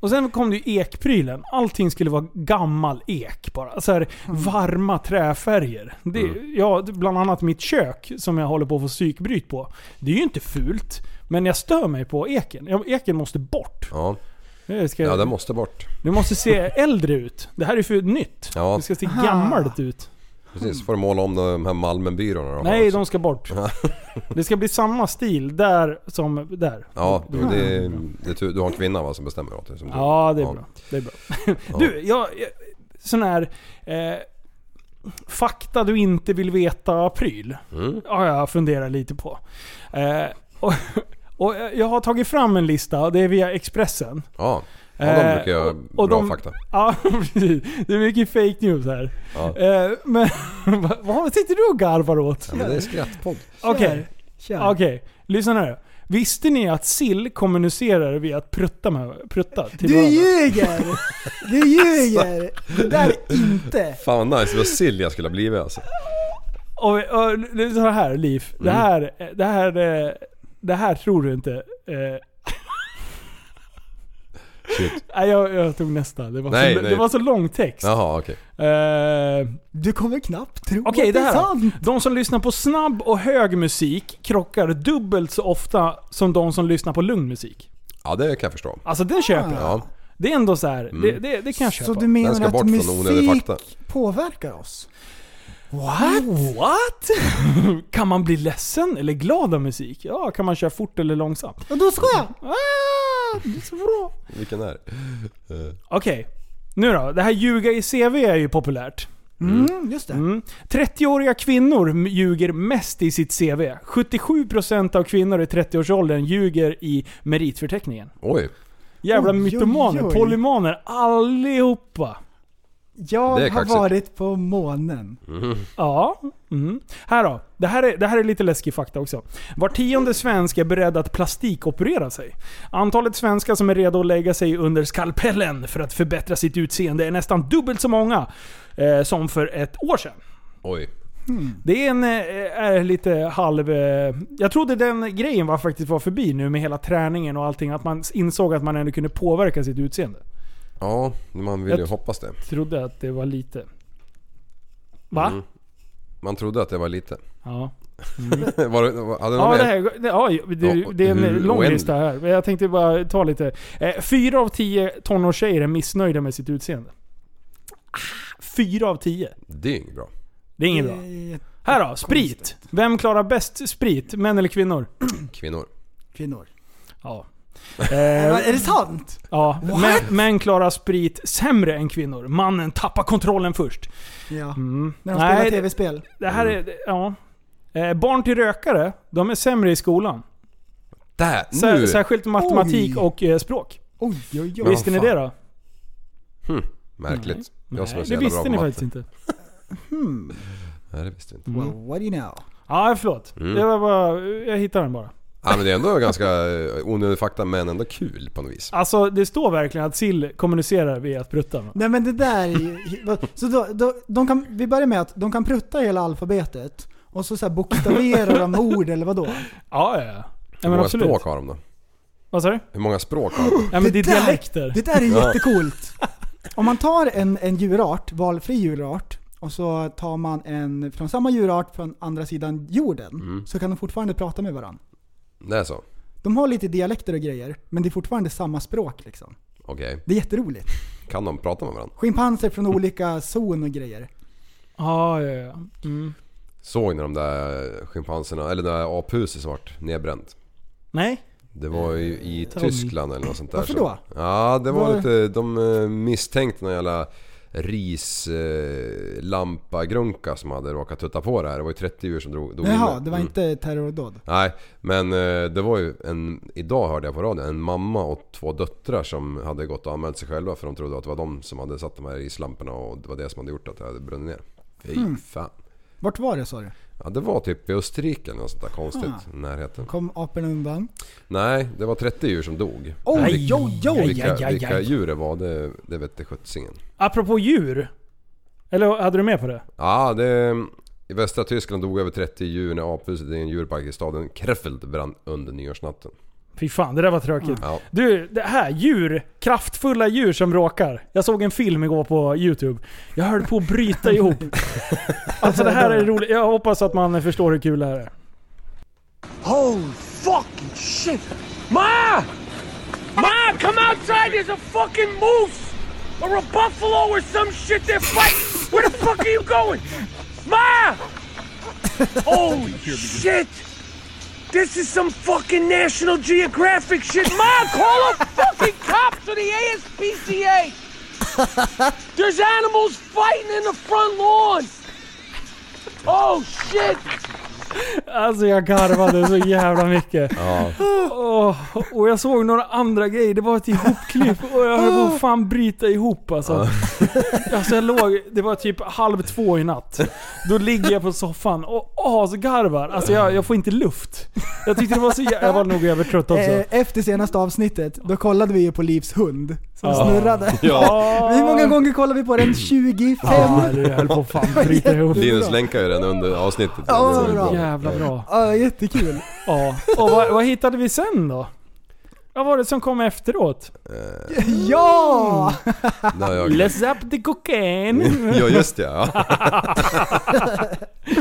Speaker 2: Och sen kom det ju ekprylen. Allting skulle vara gammal ek bara. Så här, Varma träfärger. Det,
Speaker 3: Mm.
Speaker 2: ja, det- bland annat mitt kök som jag håller på att få psykbryt på. Det är ju inte fult, men jag stör mig på eken. Ja, Eken måste bort.
Speaker 3: Ja.
Speaker 2: Det, ska,
Speaker 3: ja, den måste bort.
Speaker 2: det måste se äldre ut. Det här är för nytt.
Speaker 3: Ja.
Speaker 2: Det ska se
Speaker 4: Aha.
Speaker 2: gammalt ut.
Speaker 3: Precis, får du måla om de här Malmenbyråerna då.
Speaker 2: Nej, de ska bort. Det ska bli samma stil där som där.
Speaker 3: Ja, det, det, det, är tur- du har en kvinna va, som bestämmer åt dig? som du-
Speaker 2: Ja, det är bra. Det är bra. Du, jag... jag sån här... Eh, fakta du inte vill veta-pryl.
Speaker 3: Mm.
Speaker 2: Har jag funderat lite på. Eh, och, och jag har tagit fram en lista, det är via Expressen.
Speaker 3: Ja, ja de
Speaker 2: Eh,
Speaker 3: brukar göra
Speaker 2: och- och
Speaker 3: bra
Speaker 2: de-
Speaker 3: fakta.
Speaker 2: Ja, precis. Det är mycket fake news här.
Speaker 3: Ja.
Speaker 2: Eh, men vad- vad sitter du och garvar åt?
Speaker 3: Ja, men det är skrattpodd.
Speaker 2: Okej,
Speaker 4: Kör.
Speaker 2: okej. Lyssna nu. Visste ni att sill kommunicerar via att prutta, med, prutta till
Speaker 4: Du
Speaker 2: varandra?
Speaker 4: ljuger! Du ljuger! Det där är inte.
Speaker 3: Fan vad nice, vad sill jag skulle ha blivit alltså.
Speaker 2: Och, och, det är så här Liv,
Speaker 3: Mm.
Speaker 2: det, här, det, här, eh, det här tror du inte. Eh,
Speaker 3: Shit.
Speaker 2: nej, jag, jag tog nästa. Det var,
Speaker 3: Nej,
Speaker 2: så,
Speaker 3: nej.
Speaker 2: Det var så lång text.
Speaker 3: Jaha, okej.
Speaker 2: Eh,
Speaker 4: Du kommer knappt tro
Speaker 2: Okej,
Speaker 4: att
Speaker 2: det
Speaker 4: det är
Speaker 2: här då.
Speaker 4: sant.
Speaker 2: De som lyssnar på snabb och hög musik krockar dubbelt så ofta som de som lyssnar på lugn musik.
Speaker 3: Ja, det kan jag förstå.
Speaker 2: Alltså den köper jag.
Speaker 3: Ja.
Speaker 2: Det är ändå så här. Det,
Speaker 3: Mm.
Speaker 2: det, det kan jag
Speaker 4: Så
Speaker 2: köpa.
Speaker 4: du
Speaker 3: Den
Speaker 4: menar
Speaker 3: ska bort
Speaker 4: att
Speaker 3: från onödig
Speaker 4: musik
Speaker 3: fakta.
Speaker 4: påverkar oss?
Speaker 2: What? What? kan man bli ledsen eller glad av musik? Ja, kan man köra fort eller långsamt?
Speaker 4: Och då ska jag!
Speaker 2: Ah, det är så bra.
Speaker 3: Vilken är det?
Speaker 2: Okej, nu då. Det här ljuga i CV är ju populärt.
Speaker 4: Mm, just det.
Speaker 2: Mm. 30-åriga kvinnor m- ljuger mest i sitt CV. 77% av kvinnor i 30-årsåldern ljuger i meritförteckningen.
Speaker 3: Oj,
Speaker 2: Jävla
Speaker 4: Oj, oj,
Speaker 2: mytomaner,
Speaker 4: oj.
Speaker 2: polymaner, allihopa.
Speaker 3: Det
Speaker 4: Jag
Speaker 3: är
Speaker 4: har
Speaker 3: kaxigt.
Speaker 4: varit på månen.
Speaker 2: Ja. Mm. Här då. Det här, är, det här är lite läskig fakta också. Var tionde svensk är beredd att plastikoperera sig. Antalet svenskar som är redo att lägga sig under skalpellen för att förbättra sitt utseende är nästan dubbelt så många eh, som för ett år sedan.
Speaker 3: oj.
Speaker 2: Det är en eh, är lite halv... Eh, jag trodde den grejen var faktiskt var förbi nu med hela träningen och allting. Att man insåg att man ändå kunde påverka sitt utseende.
Speaker 3: Ja, man vill ju
Speaker 2: Jag-
Speaker 3: hoppas det.
Speaker 2: Trodde att det var lite... Va?
Speaker 3: Mm. Man trodde att det var lite.
Speaker 2: Ja.
Speaker 3: Var det, var- hade du
Speaker 2: Ja,
Speaker 3: någon
Speaker 2: det,
Speaker 3: mer?
Speaker 2: här, det, ja, det, det är en
Speaker 3: Hur
Speaker 2: lång
Speaker 3: oändligt?
Speaker 2: lista här. Men Jag tänkte bara ta lite. Eh, fyra av tio tonårstjejer är missnöjda med sitt utseende. Fyra av tio.
Speaker 3: Det är ju inget bra.
Speaker 2: Det är inget bra.
Speaker 4: Eh,
Speaker 2: Här då, sprit. Vem klarar bäst sprit? Män eller kvinnor?
Speaker 3: Kvinnor.
Speaker 4: kvinnor.
Speaker 2: Ja.
Speaker 4: Va,
Speaker 2: Eh,
Speaker 4: Är det sant?
Speaker 2: ja.
Speaker 4: What?
Speaker 2: Män, män klarar sprit sämre än kvinnor. Mannen tappar kontrollen först.
Speaker 4: Ja.
Speaker 2: Mm.
Speaker 4: När de spelar
Speaker 2: Nej, det,
Speaker 4: tv-spel.
Speaker 2: det här är... Ja. Eh, barn till rökare, de är sämre i skolan.
Speaker 3: Där!
Speaker 2: Sär,
Speaker 3: Nu!
Speaker 2: Särskilt matematik
Speaker 4: Oj.
Speaker 2: och eh, språk.
Speaker 4: Oj, oj,
Speaker 3: Ja,
Speaker 4: oj.
Speaker 2: Visste ni
Speaker 3: fan.
Speaker 2: det då?
Speaker 3: Märkligt. Jag som är
Speaker 2: Nej,
Speaker 3: så
Speaker 2: det
Speaker 3: jävla bra
Speaker 2: visste
Speaker 3: på
Speaker 2: ni
Speaker 3: matte.
Speaker 2: faktiskt inte.
Speaker 3: Nej, det visste jag inte.
Speaker 2: Mm.
Speaker 4: Well, what do you know?
Speaker 2: Ja, förlåt. Det var bara, jag hittade den bara.
Speaker 3: Ja, men det är ändå ganska eh, onödig fakta men ändå kul på något vis.
Speaker 2: Alltså, det står verkligen att sill kommunicerar via att prutta. va?
Speaker 4: Nej men det där är ju... vad- Så då, då, de kan, vi börjar med att de kan prutta hela alfabetet och så, så här bokstaverar de ord eller vadå?
Speaker 2: Ja, ja, ja.
Speaker 3: Hur
Speaker 2: ja men
Speaker 3: många
Speaker 2: absolut.
Speaker 3: språk har de då?
Speaker 2: Vad sa du?
Speaker 3: Hur många språk har de?
Speaker 2: Ja, men det är
Speaker 4: där-
Speaker 2: dialekter.
Speaker 4: Det där är jättecoolt. Om man tar en, en djurart, valfri djurart, och så tar man en från samma djurart från andra sidan jorden, så kan de fortfarande prata med varandra.
Speaker 3: Det är så?
Speaker 4: De har lite dialekter och grejer, men det är fortfarande samma språk liksom.
Speaker 3: Okej.
Speaker 4: Det är jätteroligt.
Speaker 3: Kan de prata med varandra?
Speaker 4: Schimpanser från olika zon och grejer.
Speaker 2: Ja, ja, ja. Mm.
Speaker 3: Såg ni de där schimpanserna, eller det där aphuset som vart nedbränt?
Speaker 2: Nej?
Speaker 3: Det var ju i Tyskland eller något sånt där.
Speaker 4: Mm. Varför
Speaker 3: som-
Speaker 4: då?
Speaker 3: Ja, det var
Speaker 4: Var-
Speaker 3: lite... De eh, misstänkte någon jävla rislampagrunka som hade råkat tutta på det här. Det var ju 30 djur som drog, dog
Speaker 4: Jaha,
Speaker 3: inne.
Speaker 4: det var
Speaker 3: Mm.
Speaker 4: inte terrordåd.
Speaker 3: Nej, men eh, det var ju en... Idag hörde jag på radion en mamma och två döttrar som hade gått och anmält sig själva för de trodde att det var de som hade satt de här islamporna och det var det som hade gjort att det hade brunnit ner. Fy
Speaker 4: Mm.
Speaker 3: fan.
Speaker 4: Vart var det sa du?
Speaker 3: Ja, det var typ i Österrike eller något sånt där konstigt i
Speaker 4: Ah.
Speaker 3: närheten.
Speaker 4: Kom aporna undan?
Speaker 3: Nej, det var 30 djur som dog.
Speaker 4: Oj,
Speaker 3: Men
Speaker 4: oj, oj, oj,
Speaker 3: vilka,
Speaker 2: oj, oj.
Speaker 3: vilka djur det var, det, det vette sjuttsingen.
Speaker 2: Apropå djur. Eller hade du med på det?
Speaker 3: Ja, det... I västra Tyskland dog över 30 djur när aphuset i en djurpark i staden Krefeld brann under nyårsnatten.
Speaker 2: Fy fan, det där var tråkigt.
Speaker 3: Ja.
Speaker 2: Du, det här. Djur. Kraftfulla djur som råkar. Jag såg en film igår på YouTube. Jag höll på att bryta ihop. Alltså det här är roligt. Jag hoppas att man förstår hur kul det här är.
Speaker 6: Holy fucking shit! Ma! Ma, come outside! There's a fucking moose! Or a buffalo or some shit they're fighting! Where the fuck are you going? Ma! Holy shit! This is some fucking National Geographic shit! Ma, call a fucking cops to the ASPCA! There's animals fighting in the front lawn! Oh shit!
Speaker 2: Alltså jag garvade så jävla mycket. Åh, och jag såg några andra grejer. Det var ett ihopklipp och jag höll på att fan bryta ihop alltså. alltså jag låg, det var typ halv två i natt. Då ligger jag på soffan och asgarvar. Alltså jag, jag får inte luft. Jag tyckte det var så jävla... Jag var nog övertrött också.
Speaker 4: Eh, efter senaste avsnittet, då kollade vi ju på Livs hund som
Speaker 2: Ja.
Speaker 4: snurrade.
Speaker 2: Ah,
Speaker 4: Hur många gånger kollade vi på den? 25?
Speaker 2: ah, jag höll på att fan bryta ihop.
Speaker 3: Linus länkar ju den under avsnittet.
Speaker 4: Ja,
Speaker 3: Den är
Speaker 4: bra.
Speaker 2: Jävla bra.
Speaker 4: Ja, jättekul.
Speaker 2: Ja. Och vad, vad hittade vi sen då? Vad var det som kom efteråt?
Speaker 4: Ja!
Speaker 3: Det har jag glömt.
Speaker 2: Let's up the cocaine.
Speaker 3: Ja, just det ja.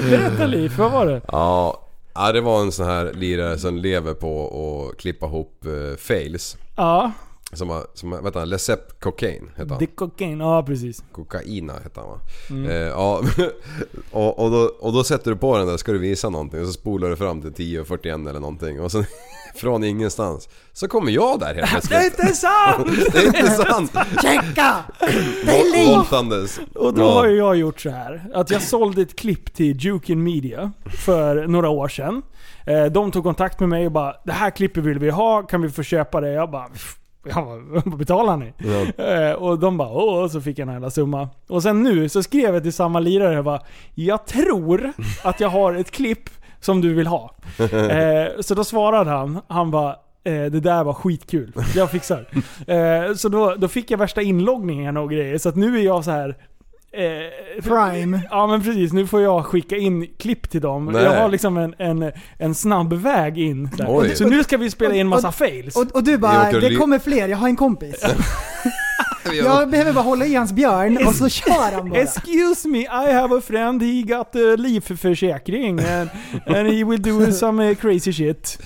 Speaker 2: Berätta Liv, vad var det?
Speaker 3: ja. Ja, det var en sån här lirare som lever på att klippa ihop eh, fails.
Speaker 2: Ja,
Speaker 3: Som har, som, har- vänta, Lesep Cocaine heter han.
Speaker 2: the cocaine. Ja, precis.
Speaker 3: Kokaina hette han va?
Speaker 2: Mm.
Speaker 3: Eh, ja, och, och, då, och då sätter du på den där, ska du visa någonting och så spolar du fram till 10.41 eller någonting och sen från ingenstans så kommer jag där helt plötsligt.
Speaker 2: inte sant!
Speaker 3: Det är inte sant!
Speaker 4: Checka!
Speaker 3: Vol- Voltandes.
Speaker 2: Och då
Speaker 3: Ja.
Speaker 2: har ju jag gjort så här. Att jag sålde ett klipp till Jukin Media för några år sedan. Eh, De tog kontakt med mig och bara “Det här klippet vill vi ha, kan vi få köpa det?” Jag bara "Pff, jag bara, vad betalar ni? Eh, Och de bara åh, och så fick jag den här hela summa. Och sen nu så skrev jag till samma lirare, jag bara “Jag tror att jag har ett klipp som du vill ha”. Eh, Så då svarade han, han bara Eh, det där var skitkul. Jag fixar. Eh, så då, då fick jag värsta inloggningen och grejer. Så att nu är jag så här Eh,
Speaker 4: Prime.
Speaker 2: Ja men precis, nu får jag skicka in klipp till dem.
Speaker 3: Nej.
Speaker 2: Jag har liksom en, en, en snabb väg in. där.
Speaker 3: Oj.
Speaker 2: Så nu ska vi spela in massa fails.
Speaker 4: Och, och du
Speaker 3: Vi
Speaker 4: bara,
Speaker 3: åker och
Speaker 4: det
Speaker 3: ly-
Speaker 4: kommer fler, jag har en kompis. Jag behöver bara hålla i hans björn och så kör han bara.
Speaker 2: Excuse me, I have a friend, he got eh, a livförsäkring and, and he will do some eh, crazy shit.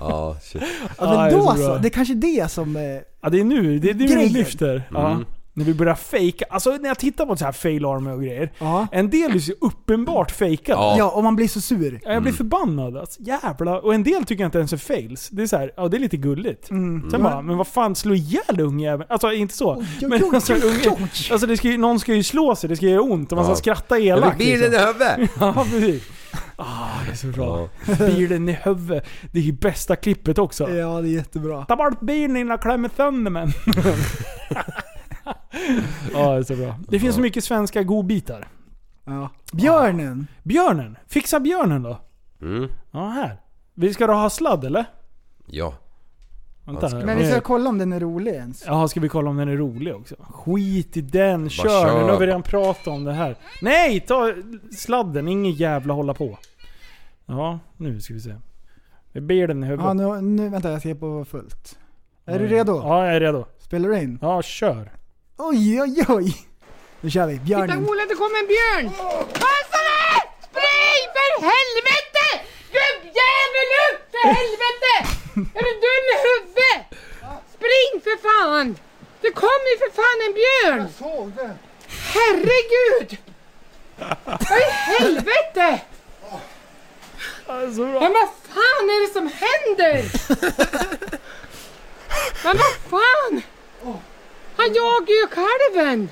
Speaker 3: Ja, shit.
Speaker 4: Ja, men
Speaker 2: Ja, det är
Speaker 4: då
Speaker 2: så
Speaker 4: så,
Speaker 2: bra.
Speaker 4: det är kanske det som... eh,
Speaker 2: Ja det är nu, det är nu det
Speaker 4: Grejen.
Speaker 3: Mm.
Speaker 2: lyfter. Ja. När vi börjar fejka. Alltså när jag tittar på så här fail army och grejer.
Speaker 4: Ja.
Speaker 2: En del är ju så uppenbart fejkade.
Speaker 3: Ja. Mm.
Speaker 4: Ja, och man blir så sur.
Speaker 2: Ja, Jag blir förbannad alltså. Jävlar. Och en del tycker jag inte ens är fails. Det är så här, ja det är lite gulligt.
Speaker 4: Mm.
Speaker 2: Sen bara, men vad fan slå ihjäl ungjäveln? Alltså inte så.
Speaker 4: oj,
Speaker 2: men
Speaker 4: oj,
Speaker 2: alltså,
Speaker 4: oj,
Speaker 2: unge, alltså det ska ju, någon ska ju slå sig, det ska göra ont och man ska
Speaker 3: Ja.
Speaker 2: skratta
Speaker 3: Jag
Speaker 2: elakt.
Speaker 3: fick bilen i
Speaker 2: liksom.
Speaker 3: huvudet!
Speaker 2: Ja precis. Ah, det är så bra. Bilen i huvudet. Det är ju bästa klippet också.
Speaker 4: Ja, det är jättebra.
Speaker 2: Ta bort bilen innan jag klämmer sönder mig. ja, det är så bra. Det finns så mycket svenska godbitar.
Speaker 4: Ja. Björnen.
Speaker 2: Björnen. Fixa björnen då.
Speaker 3: Mm.
Speaker 2: Ja, här. Vi ska då ha sladd eller?
Speaker 3: Ja.
Speaker 2: Vänta,
Speaker 3: Han ska-
Speaker 4: Men vi ska kolla om den är rolig ens.
Speaker 2: Jaha, ska vi kolla om den är rolig också? Skit i den, kör!
Speaker 3: kör.
Speaker 2: Nu har vi redan pratat om det här. Nej! Ta sladden, ingen jävla hålla på. Ja, nu ska vi se. Det blir den i huvudet.
Speaker 4: Ja, nu, nu, vänta, jag ser på fullt. Är du redo?
Speaker 2: Ja, jag är redo.
Speaker 4: Spelar du in?
Speaker 2: Ja, kör.
Speaker 4: Oj, oj, oj. Nu kör vi. Björnen.
Speaker 7: Ola, det kommer en björn! Passare! Spring för helvete! Gubbjävel upp för helvete! Är du dum i huvudet? Spring för fan! Det kommer ju för fan en björn! Jag såg det. Herregud! Vad i helvete! Men vad fan är det som händer? Men vad fan! Han jagar ju kalven!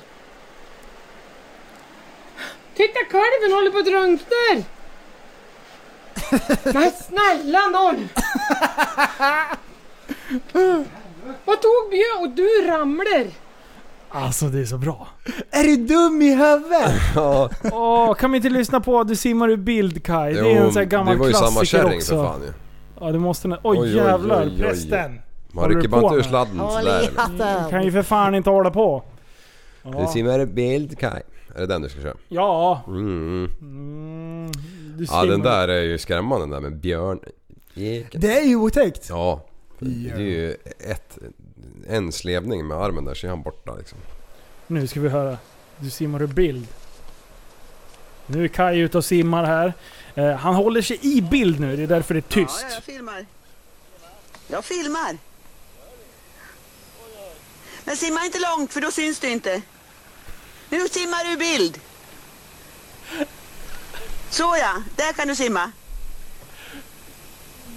Speaker 7: Titta kalven håller på att drunkna! Men snälla nån! Vad tog Björn? Och du ramlar!
Speaker 2: Alltså det är så bra.
Speaker 4: Är du dum i huvudet?
Speaker 3: ja.
Speaker 2: Åh, kan vi inte lyssna på Du simmar i bild Kai? Det är en sån här gammal
Speaker 3: det var ju samma
Speaker 2: klassiker
Speaker 3: kärring
Speaker 2: också.
Speaker 3: för fan ju.
Speaker 2: Ja, det måste... Oj,
Speaker 3: oj,
Speaker 2: jävlar,
Speaker 3: oj, oj.
Speaker 2: prästen!
Speaker 3: Man
Speaker 2: Håller du
Speaker 3: rycker bara
Speaker 2: på
Speaker 3: inte ur
Speaker 2: med?
Speaker 3: sladden sådär. eller?
Speaker 2: Kan ju för fan inte hålla på.
Speaker 3: Du simmar i bild Kaj. Är det den du ska köra?
Speaker 2: Ja.
Speaker 3: Mm.
Speaker 2: Mm, du
Speaker 3: Ja den
Speaker 2: simmar.
Speaker 3: där är ju skrämmande den där med björn. Jäkel.
Speaker 4: Det är ju otäckt.
Speaker 3: Ja. Det är ju ett, en slevning med armen där så är han borta liksom.
Speaker 2: Nu ska vi höra. Du simmar ur bild. Nu är Kaj ute och simmar här. Eh, han håller sig i bild nu, det är därför det är tyst.
Speaker 8: Ja, jag filmar. Jag filmar. Men simma inte långt för då syns du inte. Nu simmar du i bild. Såja, där kan du simma.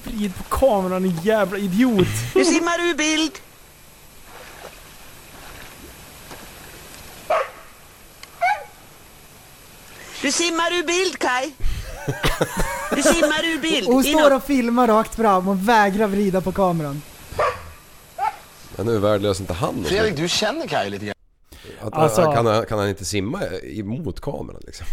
Speaker 2: Vrid på kameran, din jävla idiot!
Speaker 8: Nu simmar du i bild. Du simmar ur bild, Kai. Du simmar ur bild.
Speaker 4: Och hon står
Speaker 8: Inåt.
Speaker 4: och filmar rakt fram och vägrar vrida på kameran.
Speaker 3: Men hur värdelös är inte han?
Speaker 9: Fredrik, du känner Kaj lite grann.
Speaker 3: Att,
Speaker 2: Alltså-
Speaker 3: kan, han, kan han inte simma emot kameran liksom?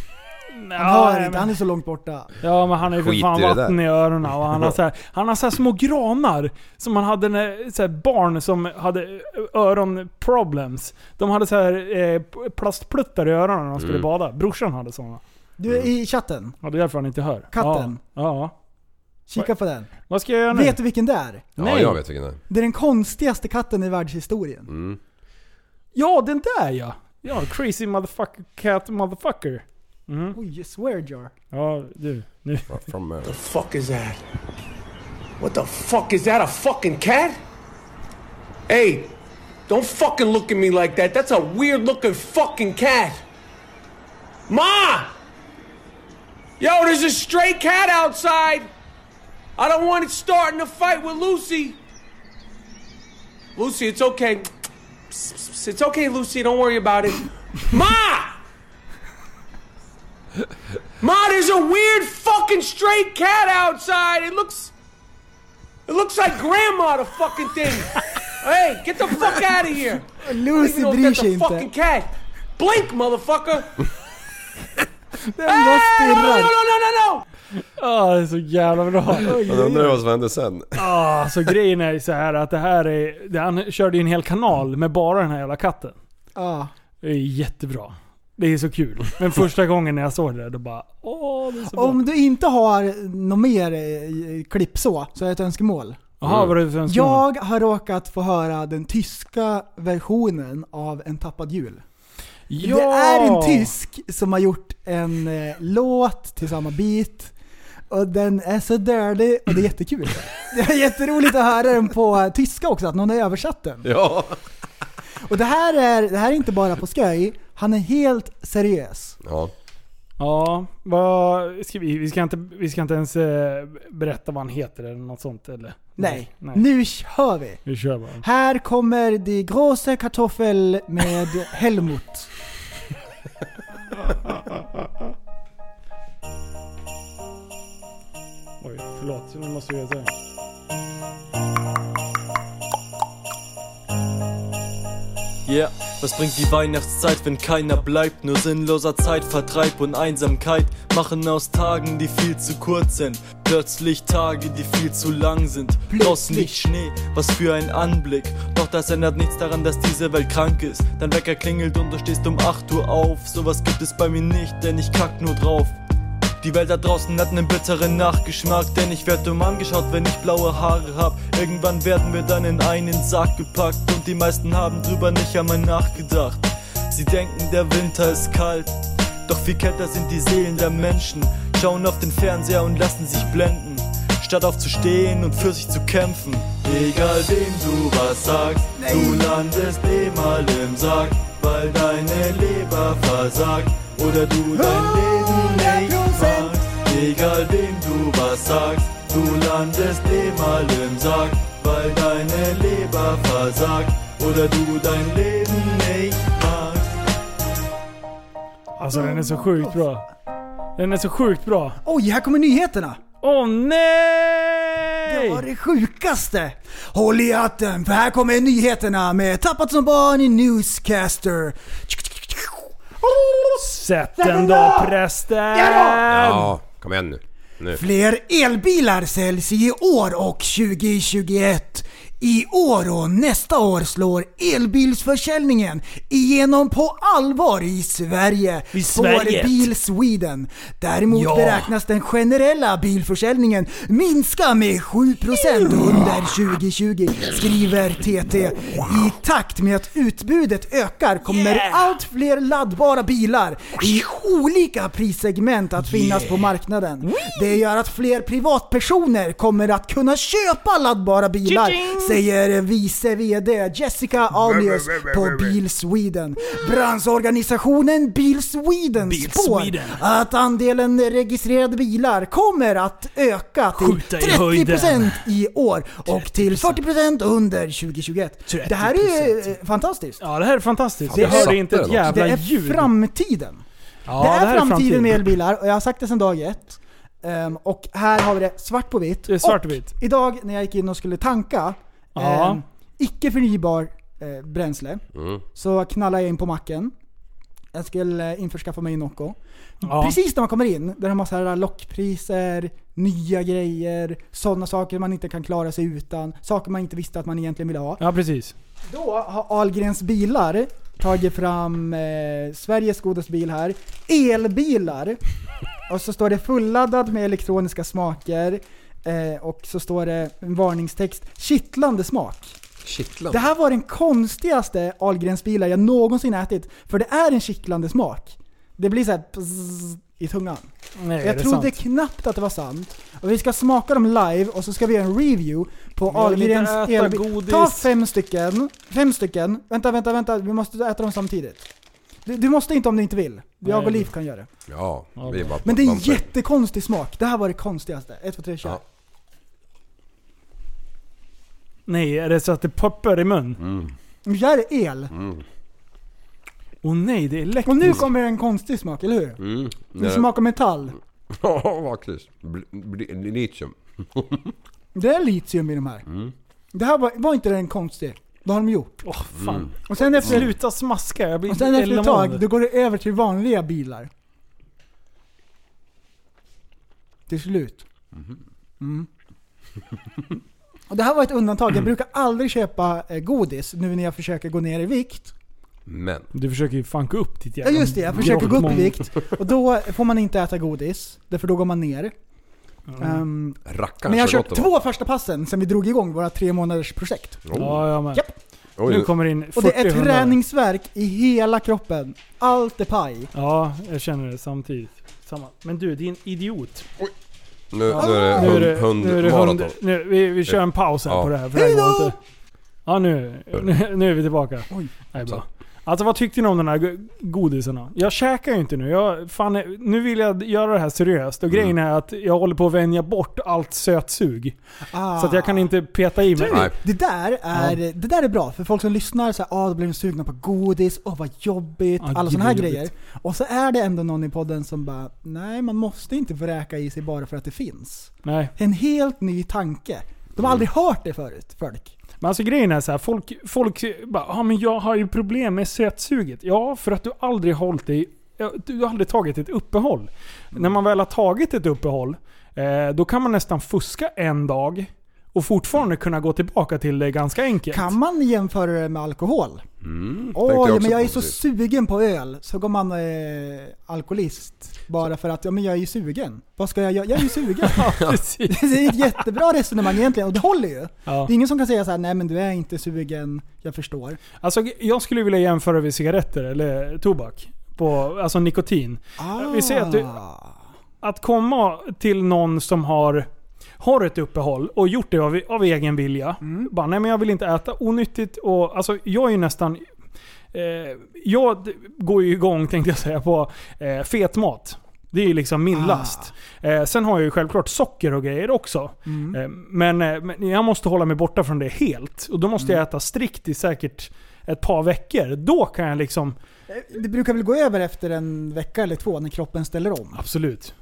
Speaker 4: Han hör
Speaker 2: Ja,
Speaker 4: inte, han är så långt borta.
Speaker 2: Ja men han är ju för
Speaker 3: Skit
Speaker 2: fan
Speaker 3: i det där.
Speaker 2: vatten i öronen och han har så här, han har så här små granar som man hade när så här barn som hade öronproblems. De hade så här eh, plastpluttar i öronen när de
Speaker 3: Mm.
Speaker 2: skulle bada. Brorsan hade sådana.
Speaker 4: Du
Speaker 2: Mm.
Speaker 4: är i chatten.
Speaker 2: Ja, det är därför han inte hör.
Speaker 4: Katten.
Speaker 2: Ja.
Speaker 4: Kika på den.
Speaker 2: ja. Vad ska jag göra nu?
Speaker 4: Vet du vilken det är?
Speaker 3: Ja,
Speaker 2: Nej.
Speaker 3: jag vet vilken det är.
Speaker 4: Det är den konstigaste katten i världshistorien.
Speaker 2: Mm. Ja den där ja! Ja, crazy motherfucker cat motherfucker.
Speaker 4: Oj, swear jar.
Speaker 2: Ja du, nu.
Speaker 3: Bara From, eh,
Speaker 6: fuck is that? What the fuck is that? A fucking cat? Hey, don't fucking look at me like that. That's a weird looking fucking cat. Ma! Yo, there's a stray cat outside. I don't want it starting a fight with Lucy. Lucy, it's okay. It's okay, Lucy. Don't worry about it. Ma! Ma, there's a weird fucking stray cat outside. It looks. It looks like grandma, the fucking thing. hey, get the fuck out of here.
Speaker 4: Lucy
Speaker 6: You know
Speaker 4: bryr
Speaker 6: that's
Speaker 4: sig
Speaker 6: a fucking
Speaker 4: inte.
Speaker 6: cat. Blink, motherfucker.
Speaker 4: Den bara
Speaker 6: Hey, no, no,
Speaker 4: stirrar.
Speaker 6: no, no, no, no.
Speaker 2: Ah, det är så jävla bra.
Speaker 3: jag undrar vad som hände sen.
Speaker 2: Alltså grejen är ju så här att det här är... Det, han körde ju en hel kanal med bara den här jävla katten.
Speaker 4: Ja.
Speaker 2: Det är jättebra. Det är så kul. Men första gången när jag såg det, då bara åh, det är så bra.
Speaker 4: Om du inte har något mer eh, klipp så, så är det ett önskemål.
Speaker 2: Jaha, vad är det för önskemål?
Speaker 4: Jag har råkat få höra den tyska versionen av En tappad jul.
Speaker 2: ja!
Speaker 4: Det är en tysk som har gjort en eh, låt till samma beat. Och den är så dirty och det är jättekul. Det är jätteroligt att höra den på tyska också, att någon har översatt den.
Speaker 3: Ja,
Speaker 4: Och det här, är, det här är inte bara på skoj, han är helt seriös.
Speaker 3: Ja.
Speaker 2: Ja, vad ska vi, vi, ska inte, vi ska inte ens eh, berätta vad han heter eller något sånt eller?
Speaker 4: Nej, nu kör vi!
Speaker 2: Vi kör bara.
Speaker 4: Här kommer Die große Kartoffel med Helmut.
Speaker 2: Oj, förlåt. Nu måste vi göra så här.
Speaker 10: Ja, yeah. was bringt die Weihnachtszeit, wenn keiner bleibt? Nur sinnloser Zeitvertreib und Einsamkeit machen aus Tagen, die viel zu kurz sind. Plötzlich Tage, die viel zu lang sind. Draußen liegt Schnee, was für ein Anblick. Doch das ändert nichts daran, dass diese Welt krank ist. Dein Wecker klingelt und du stehst um 8 Uhr auf. Sowas gibt es bei mir nicht, denn ich kack nur drauf. Die Welt da draußen hat nen bitteren Nachgeschmack, denn ich werd dumm angeschaut, wenn ich blaue Haare hab. Irgendwann werden wir dann in einen Sack gepackt und die meisten haben drüber nicht einmal nachgedacht. Sie denken, der Winter ist kalt, doch viel kälter sind die Seelen der Menschen. Schauen auf den Fernseher und lassen sich blenden, statt aufzustehen und für sich zu kämpfen. Egal wem du was sagst, du landest eh mal im Sack, weil deine Leber versagt oder du dein Leben nicht magst. Egal wem du was sagst, du landest eh mal im Sack, weil deine Leber versagt oder du dein Leben nicht magst.
Speaker 2: Alltså den är så sjukt bra. Den är så sjukt bra.
Speaker 4: Oj, här kommer nyheterna!
Speaker 2: Åh nej!
Speaker 4: Det var det sjukaste! Håll i hatten, för här kommer nyheterna med Tappat som barn i Newscaster.
Speaker 2: Sätt den då prästen!
Speaker 3: Ja, kom igen nu. nu.
Speaker 4: Fler elbilar säljs i år och 2021. I år och nästa år slår elbilsförsäljningen igenom på allvar i Sverige.
Speaker 2: I
Speaker 4: spår
Speaker 2: Sverige.
Speaker 4: Bil Sweden. Däremot
Speaker 2: Ja.
Speaker 4: beräknas den generella bilförsäljningen minska med 7% under 2020, skriver TT. I takt med att utbudet ökar kommer allt fler laddbara bilar i olika prissegment att finnas på marknaden. Det gör att fler privatpersoner kommer att kunna köpa laddbara bilar, säger vice VD Jessica Alius på Bil Sweden. Branschorganisationen Bil Sweden
Speaker 2: Bil
Speaker 4: spår
Speaker 2: Sweden.
Speaker 4: att andelen registrerade bilar kommer att öka till
Speaker 2: Skjuta i höjden.
Speaker 4: 30% i år och till 40% under 2021. Det här är eh, fantastiskt.
Speaker 2: Ja, det här är fantastiskt.
Speaker 3: Fan,
Speaker 2: Jag
Speaker 3: jag
Speaker 2: hörde
Speaker 3: satte
Speaker 2: inte
Speaker 3: den
Speaker 2: ett
Speaker 3: också.
Speaker 2: jävla
Speaker 4: det är
Speaker 2: ljud.
Speaker 4: framtiden.
Speaker 2: Ja,
Speaker 4: det, är framtiden med elbilar och jag har sagt det sedan dag ett. Ehm, och här har vi det svart på vitt.
Speaker 2: Det är svart
Speaker 4: och
Speaker 2: och vitt.
Speaker 4: idag när jag gick in och skulle tanka
Speaker 2: Ja.
Speaker 4: ehm, icke förnybar eh, bränsle så knallade jag in på macken. Jag skulle eh, införskaffa mig en Nocco.
Speaker 2: Ja.
Speaker 4: Precis när man kommer in, där de har så här lockpriser, nya grejer, sådana saker man inte kan klara sig utan, saker man inte visste att man egentligen ville ha.
Speaker 2: Ja, precis.
Speaker 4: Då har Ahlgrens bilar tagit fram eh, Sveriges godaste bil här. Elbilar. Och så står det fulladdad med elektroniska smaker. Eh, och så står det en varningstext. Kittlande smak.
Speaker 3: Kittlande.
Speaker 4: Det här var den konstigaste Ahlgrens bilar jag någonsin ätit. För det är en kittlande smak. Det blir så här pzzz i tungan.
Speaker 2: Nej,
Speaker 4: Jag
Speaker 2: det är
Speaker 4: trodde
Speaker 2: sant.
Speaker 4: knappt att det var sant. Och vi ska smaka dem live och så ska vi göra en review på
Speaker 2: Jag vill inte
Speaker 4: Ahlgrens
Speaker 2: äta
Speaker 4: elbil.
Speaker 2: godis.
Speaker 4: Ta fem stycken. Fem stycken. Vänta, vänta, vänta. Vi måste äta dem samtidigt. Du, du måste inte om du inte vill. Jag och
Speaker 2: Nej.
Speaker 4: Liv kan göra det.
Speaker 3: Ja, vi bara
Speaker 4: Men det är en
Speaker 3: vampyr.
Speaker 4: jättekonstig smak. Det här var det konstigaste. 1, 2, 3, kör.
Speaker 3: Ja.
Speaker 2: Nej, är det så att det poppar i mun?
Speaker 4: Nu gör det el.
Speaker 2: Åh nej, det är elektriskt.
Speaker 4: Och nu kommer en konstig smak, eller hur?
Speaker 3: Mm.
Speaker 4: Det smakar metall.
Speaker 3: Ja, faktiskt. Bl- bl- Litium.
Speaker 4: Det är litium i de här. Det här var, var inte den konstiga. Vad har de gjort?
Speaker 2: Åh fan.
Speaker 4: Och sen efter,
Speaker 2: Sluta smaska, jag blir
Speaker 4: och sen efter ett tag,
Speaker 2: illamående.
Speaker 4: då går det över till vanliga bilar. Till slut.
Speaker 2: Mhm.
Speaker 4: Mm. Och det här var ett undantag. Jag brukar aldrig köpa eh, godis nu när jag försöker gå ner i vikt.
Speaker 3: Men.
Speaker 2: Du försöker ju funka upp ditt
Speaker 4: Ja
Speaker 2: jävla...
Speaker 4: just det, jag försöker gå upp i
Speaker 2: grottmång.
Speaker 4: vikt. Och då får man inte äta godis, därför då går man ner.
Speaker 2: Mm.
Speaker 4: Ehm,
Speaker 3: Rackarn
Speaker 4: men jag har
Speaker 3: så
Speaker 4: kört
Speaker 3: gott det var.
Speaker 4: två första passen sen vi drog igång våra tre månaders projekt.
Speaker 2: Ja, jag med.
Speaker 4: Japp.
Speaker 3: Oj,
Speaker 2: Nu kommer det in 40
Speaker 4: Och det är
Speaker 2: hundar.
Speaker 4: träningsverk i hela kroppen. Allt är paj.
Speaker 2: Ja, jag känner det samtidigt. Samma. Men du, din idiot.
Speaker 3: nu, nu är det
Speaker 2: Nu är
Speaker 3: hund-
Speaker 2: det, nu är det
Speaker 3: hundmaraton.
Speaker 2: hund, nu, vi, vi kör en paus här
Speaker 3: Ja.
Speaker 2: på det här för det här går inte. Ja, nu, nu, nu är vi tillbaka.
Speaker 4: Oj.
Speaker 2: Det är bra. Alltså vad tyckte ni om de här go- godisarna? Jag käkar ju inte nu. Jag, fan, nu vill jag göra det här seriöst. Och
Speaker 3: Mm.
Speaker 2: grejen är att jag håller på att vänja bort allt sötsug.
Speaker 4: Ah.
Speaker 2: Så att jag kan inte peta i
Speaker 3: Typ.
Speaker 2: mig.
Speaker 4: Du, det där, är, det där är bra för folk som lyssnar så här, ah, då blir de sugna på godis, åh vad jobbigt,
Speaker 2: Ah,
Speaker 4: alla sådana här
Speaker 2: gud, vad
Speaker 4: grejer.
Speaker 2: jobbigt.
Speaker 4: Och så är det ändå någon i podden som bara, nej man måste inte vräka i sig bara för att det finns.
Speaker 2: Nej.
Speaker 4: En helt ny tanke. De
Speaker 3: Mm.
Speaker 4: har aldrig hört det förut, folk.
Speaker 2: Men alltså grejen är så här, folk, folk bara ah, men jag har ju problem med sötsuget. Ja, för att du aldrig hållit dig, ja, du har aldrig tagit ett uppehåll.
Speaker 4: Mm.
Speaker 2: När man väl har tagit ett uppehåll, eh, då kan man nästan fuska en dag och fortfarande kunna gå tillbaka till det ganska enkelt.
Speaker 4: Kan man jämföra det med alkohol?
Speaker 3: Mm,
Speaker 4: Oj,
Speaker 3: tänkte också
Speaker 4: men jag är
Speaker 3: på
Speaker 4: så
Speaker 3: precis.
Speaker 4: sugen på öl, så går man eh, alkoholist. Bara för att, ja men jag är ju sugen. Vad ska jag göra? Jag är ju sugen.
Speaker 2: precis.
Speaker 4: Det är ett jättebra resonemang egentligen, och det håller ju.
Speaker 2: Ja.
Speaker 4: Det är ingen som kan säga så här: nej men du är inte sugen, jag förstår.
Speaker 2: Alltså jag skulle vilja jämföra vid cigaretter eller tobak. På, alltså nikotin.
Speaker 4: Ah.
Speaker 2: Vi säger att, du, att komma till någon som har, har ett uppehåll och gjort det av, av egen vilja. Bara, nej men jag vill inte äta onyttigt och alltså jag är ju nästan... Eh, jag d- går ju igång tänkte jag säga på eh, fetmat. Det är ju liksom min
Speaker 4: Ah.
Speaker 2: last. Eh, sen har jag ju självklart socker och grejer också.
Speaker 4: Mm.
Speaker 2: Eh, Men, eh, men jag måste hålla mig borta från det helt. Och då måste jag äta strikt i säkert ett par veckor. Då kan jag liksom...
Speaker 4: Det brukar väl gå över efter en vecka eller två när kroppen ställer om?
Speaker 2: Absolut.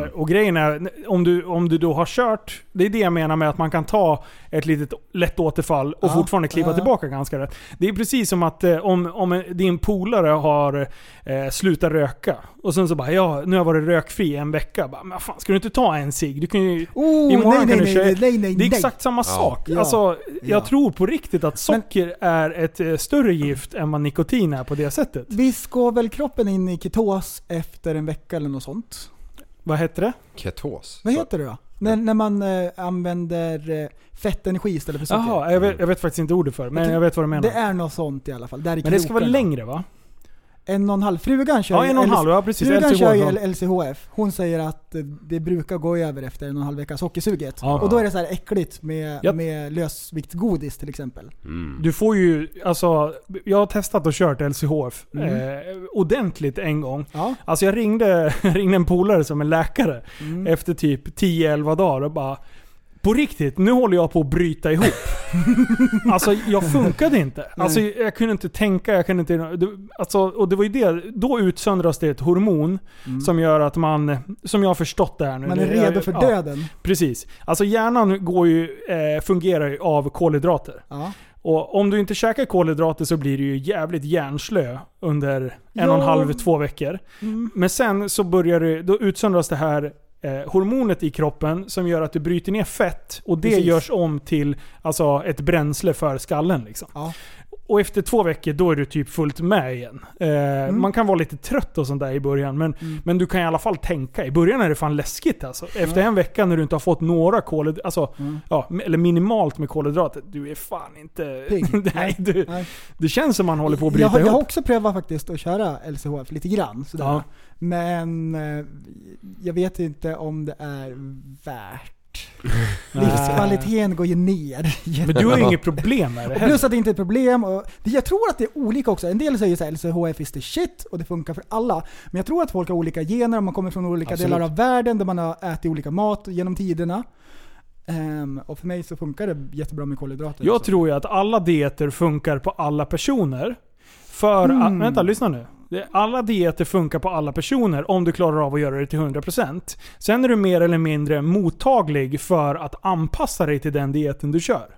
Speaker 2: Eh, Och grejen är, om du, om du då har kört, det är det jag menar med att man kan ta ett litet lätt återfall och
Speaker 4: Ja,
Speaker 2: fortfarande kliva
Speaker 4: ja, ja.
Speaker 2: tillbaka ganska rätt. Det är precis som att eh, om, om en- din polare har eh, slutat röka och sen så bara ja, nu har jag varit rökfri en vecka. Bara, men fan, ska du inte ta en cigg? Du kan ju...
Speaker 4: Oh,
Speaker 2: imorgon
Speaker 4: nej, nej,
Speaker 2: kan du
Speaker 4: nej,
Speaker 2: köra-
Speaker 4: nej, nej, nej,
Speaker 2: Det är
Speaker 4: nej.
Speaker 2: exakt samma sak.
Speaker 4: Ja.
Speaker 2: Alltså, jag
Speaker 4: Ja.
Speaker 2: tror på riktigt att socker är ett eh, större gift än vad nikotin är på det sättet.
Speaker 4: Visst går väl kroppen in i ketos efter en vecka eller något sånt?
Speaker 2: Vad heter det?
Speaker 3: Ketos.
Speaker 4: Vad heter det då? När, när man eh, använder eh, fettenergi istället för socker?
Speaker 2: Jaha, jag vet, jag vet faktiskt inte ordet för det, men
Speaker 4: Jag
Speaker 2: jag,
Speaker 4: tror-
Speaker 2: vet vad du menar.
Speaker 4: Det är något sånt i alla fall. Där i
Speaker 2: men det ska vara
Speaker 4: krokarna.
Speaker 2: längre va?
Speaker 4: En och en halv. Frugan kör
Speaker 2: Ja, en och en
Speaker 4: ju-
Speaker 2: halv, ja, precis.
Speaker 4: Frugan
Speaker 2: LCHF,
Speaker 4: kör ju
Speaker 2: ja.
Speaker 4: L- LCHF. Hon säger att eh, det brukar gå över efter en och en halv vecka sockersuget.
Speaker 2: Ja.
Speaker 4: Och då är det så här äckligt med,
Speaker 2: Ja.
Speaker 4: med lösviktsgodis till exempel.
Speaker 2: Du får ju, alltså, jag har testat och kört LCHF
Speaker 4: Mm.
Speaker 2: eh, ordentligt en gång.
Speaker 4: Ja.
Speaker 2: Alltså jag ringde, ringde en polare som är läkare
Speaker 4: Mm.
Speaker 2: efter typ 10-11 dagar och bara på riktigt, nu håller jag på att bryta ihop. alltså jag funkade inte. Alltså jag kunde inte tänka, jag kunde inte... det- Alltså, och det var ju det, då utsöndras det ett hormon som gör att man, som jag har förstått det här nu.
Speaker 4: Mm. Man är
Speaker 2: Det- jag-
Speaker 4: redo för
Speaker 2: ja.
Speaker 4: döden.
Speaker 2: Precis. Alltså hjärnan går ju, eh, fungerar ju av kolhydrater.
Speaker 4: Ja.
Speaker 2: Och om du inte käkar kolhydrater så blir du ju jävligt hjärnslö under en
Speaker 4: Ja.
Speaker 2: och en halv, två veckor.
Speaker 4: Mm.
Speaker 2: Men sen så börjar du, då utsöndras det här eh, hormonet i kroppen som gör att du bryter ner fett och det
Speaker 4: Precis.
Speaker 2: görs om till alltså, ett bränsle för skallen. Liksom.
Speaker 4: Ja.
Speaker 2: Och efter två veckor då är du typ fullt med igen. Eh,
Speaker 4: Mm.
Speaker 2: Man kan vara lite trött och sånt där i början men, men du kan i alla fall tänka. I början är det fan läskigt alltså.
Speaker 4: Mm.
Speaker 2: Efter en vecka när du inte har fått några kolhydrater, alltså, ja, eller minimalt med kolhydrater, du är fan inte...
Speaker 4: Pigg.
Speaker 2: Nej, du,
Speaker 4: Nej.
Speaker 2: det känns som man håller på att bryta
Speaker 4: jag, har- jag har
Speaker 2: ihop.
Speaker 4: också prövat faktiskt att köra LCHF lite grann. Sådär.
Speaker 2: Ja.
Speaker 4: Men eh, jag vet inte om det är värt.
Speaker 2: Nej.
Speaker 4: Livskvaliteten går ju ner.
Speaker 2: Men du har ju inget problem med det
Speaker 4: Och
Speaker 2: heller.
Speaker 4: plus att det inte är ett problem. Och det, jag tror att det är olika också. En del säger så här, LCHF is the shit och det funkar för alla. Men jag tror att folk har olika gener och man kommer från olika
Speaker 2: Absolut.
Speaker 4: delar av världen där man har ätit olika mat genom tiderna. Ehm, och för mig så funkar det jättebra med kolhydrater.
Speaker 2: Jag
Speaker 4: också.
Speaker 2: tror ju att alla dieter funkar på alla personer. För att,
Speaker 4: Mm.
Speaker 2: vänta, lyssna nu. Det- Alla dieter funkar på alla personer om du klarar av att göra det till 100%. Sen är du mer eller mindre mottaglig för att anpassa dig till den dieten du kör.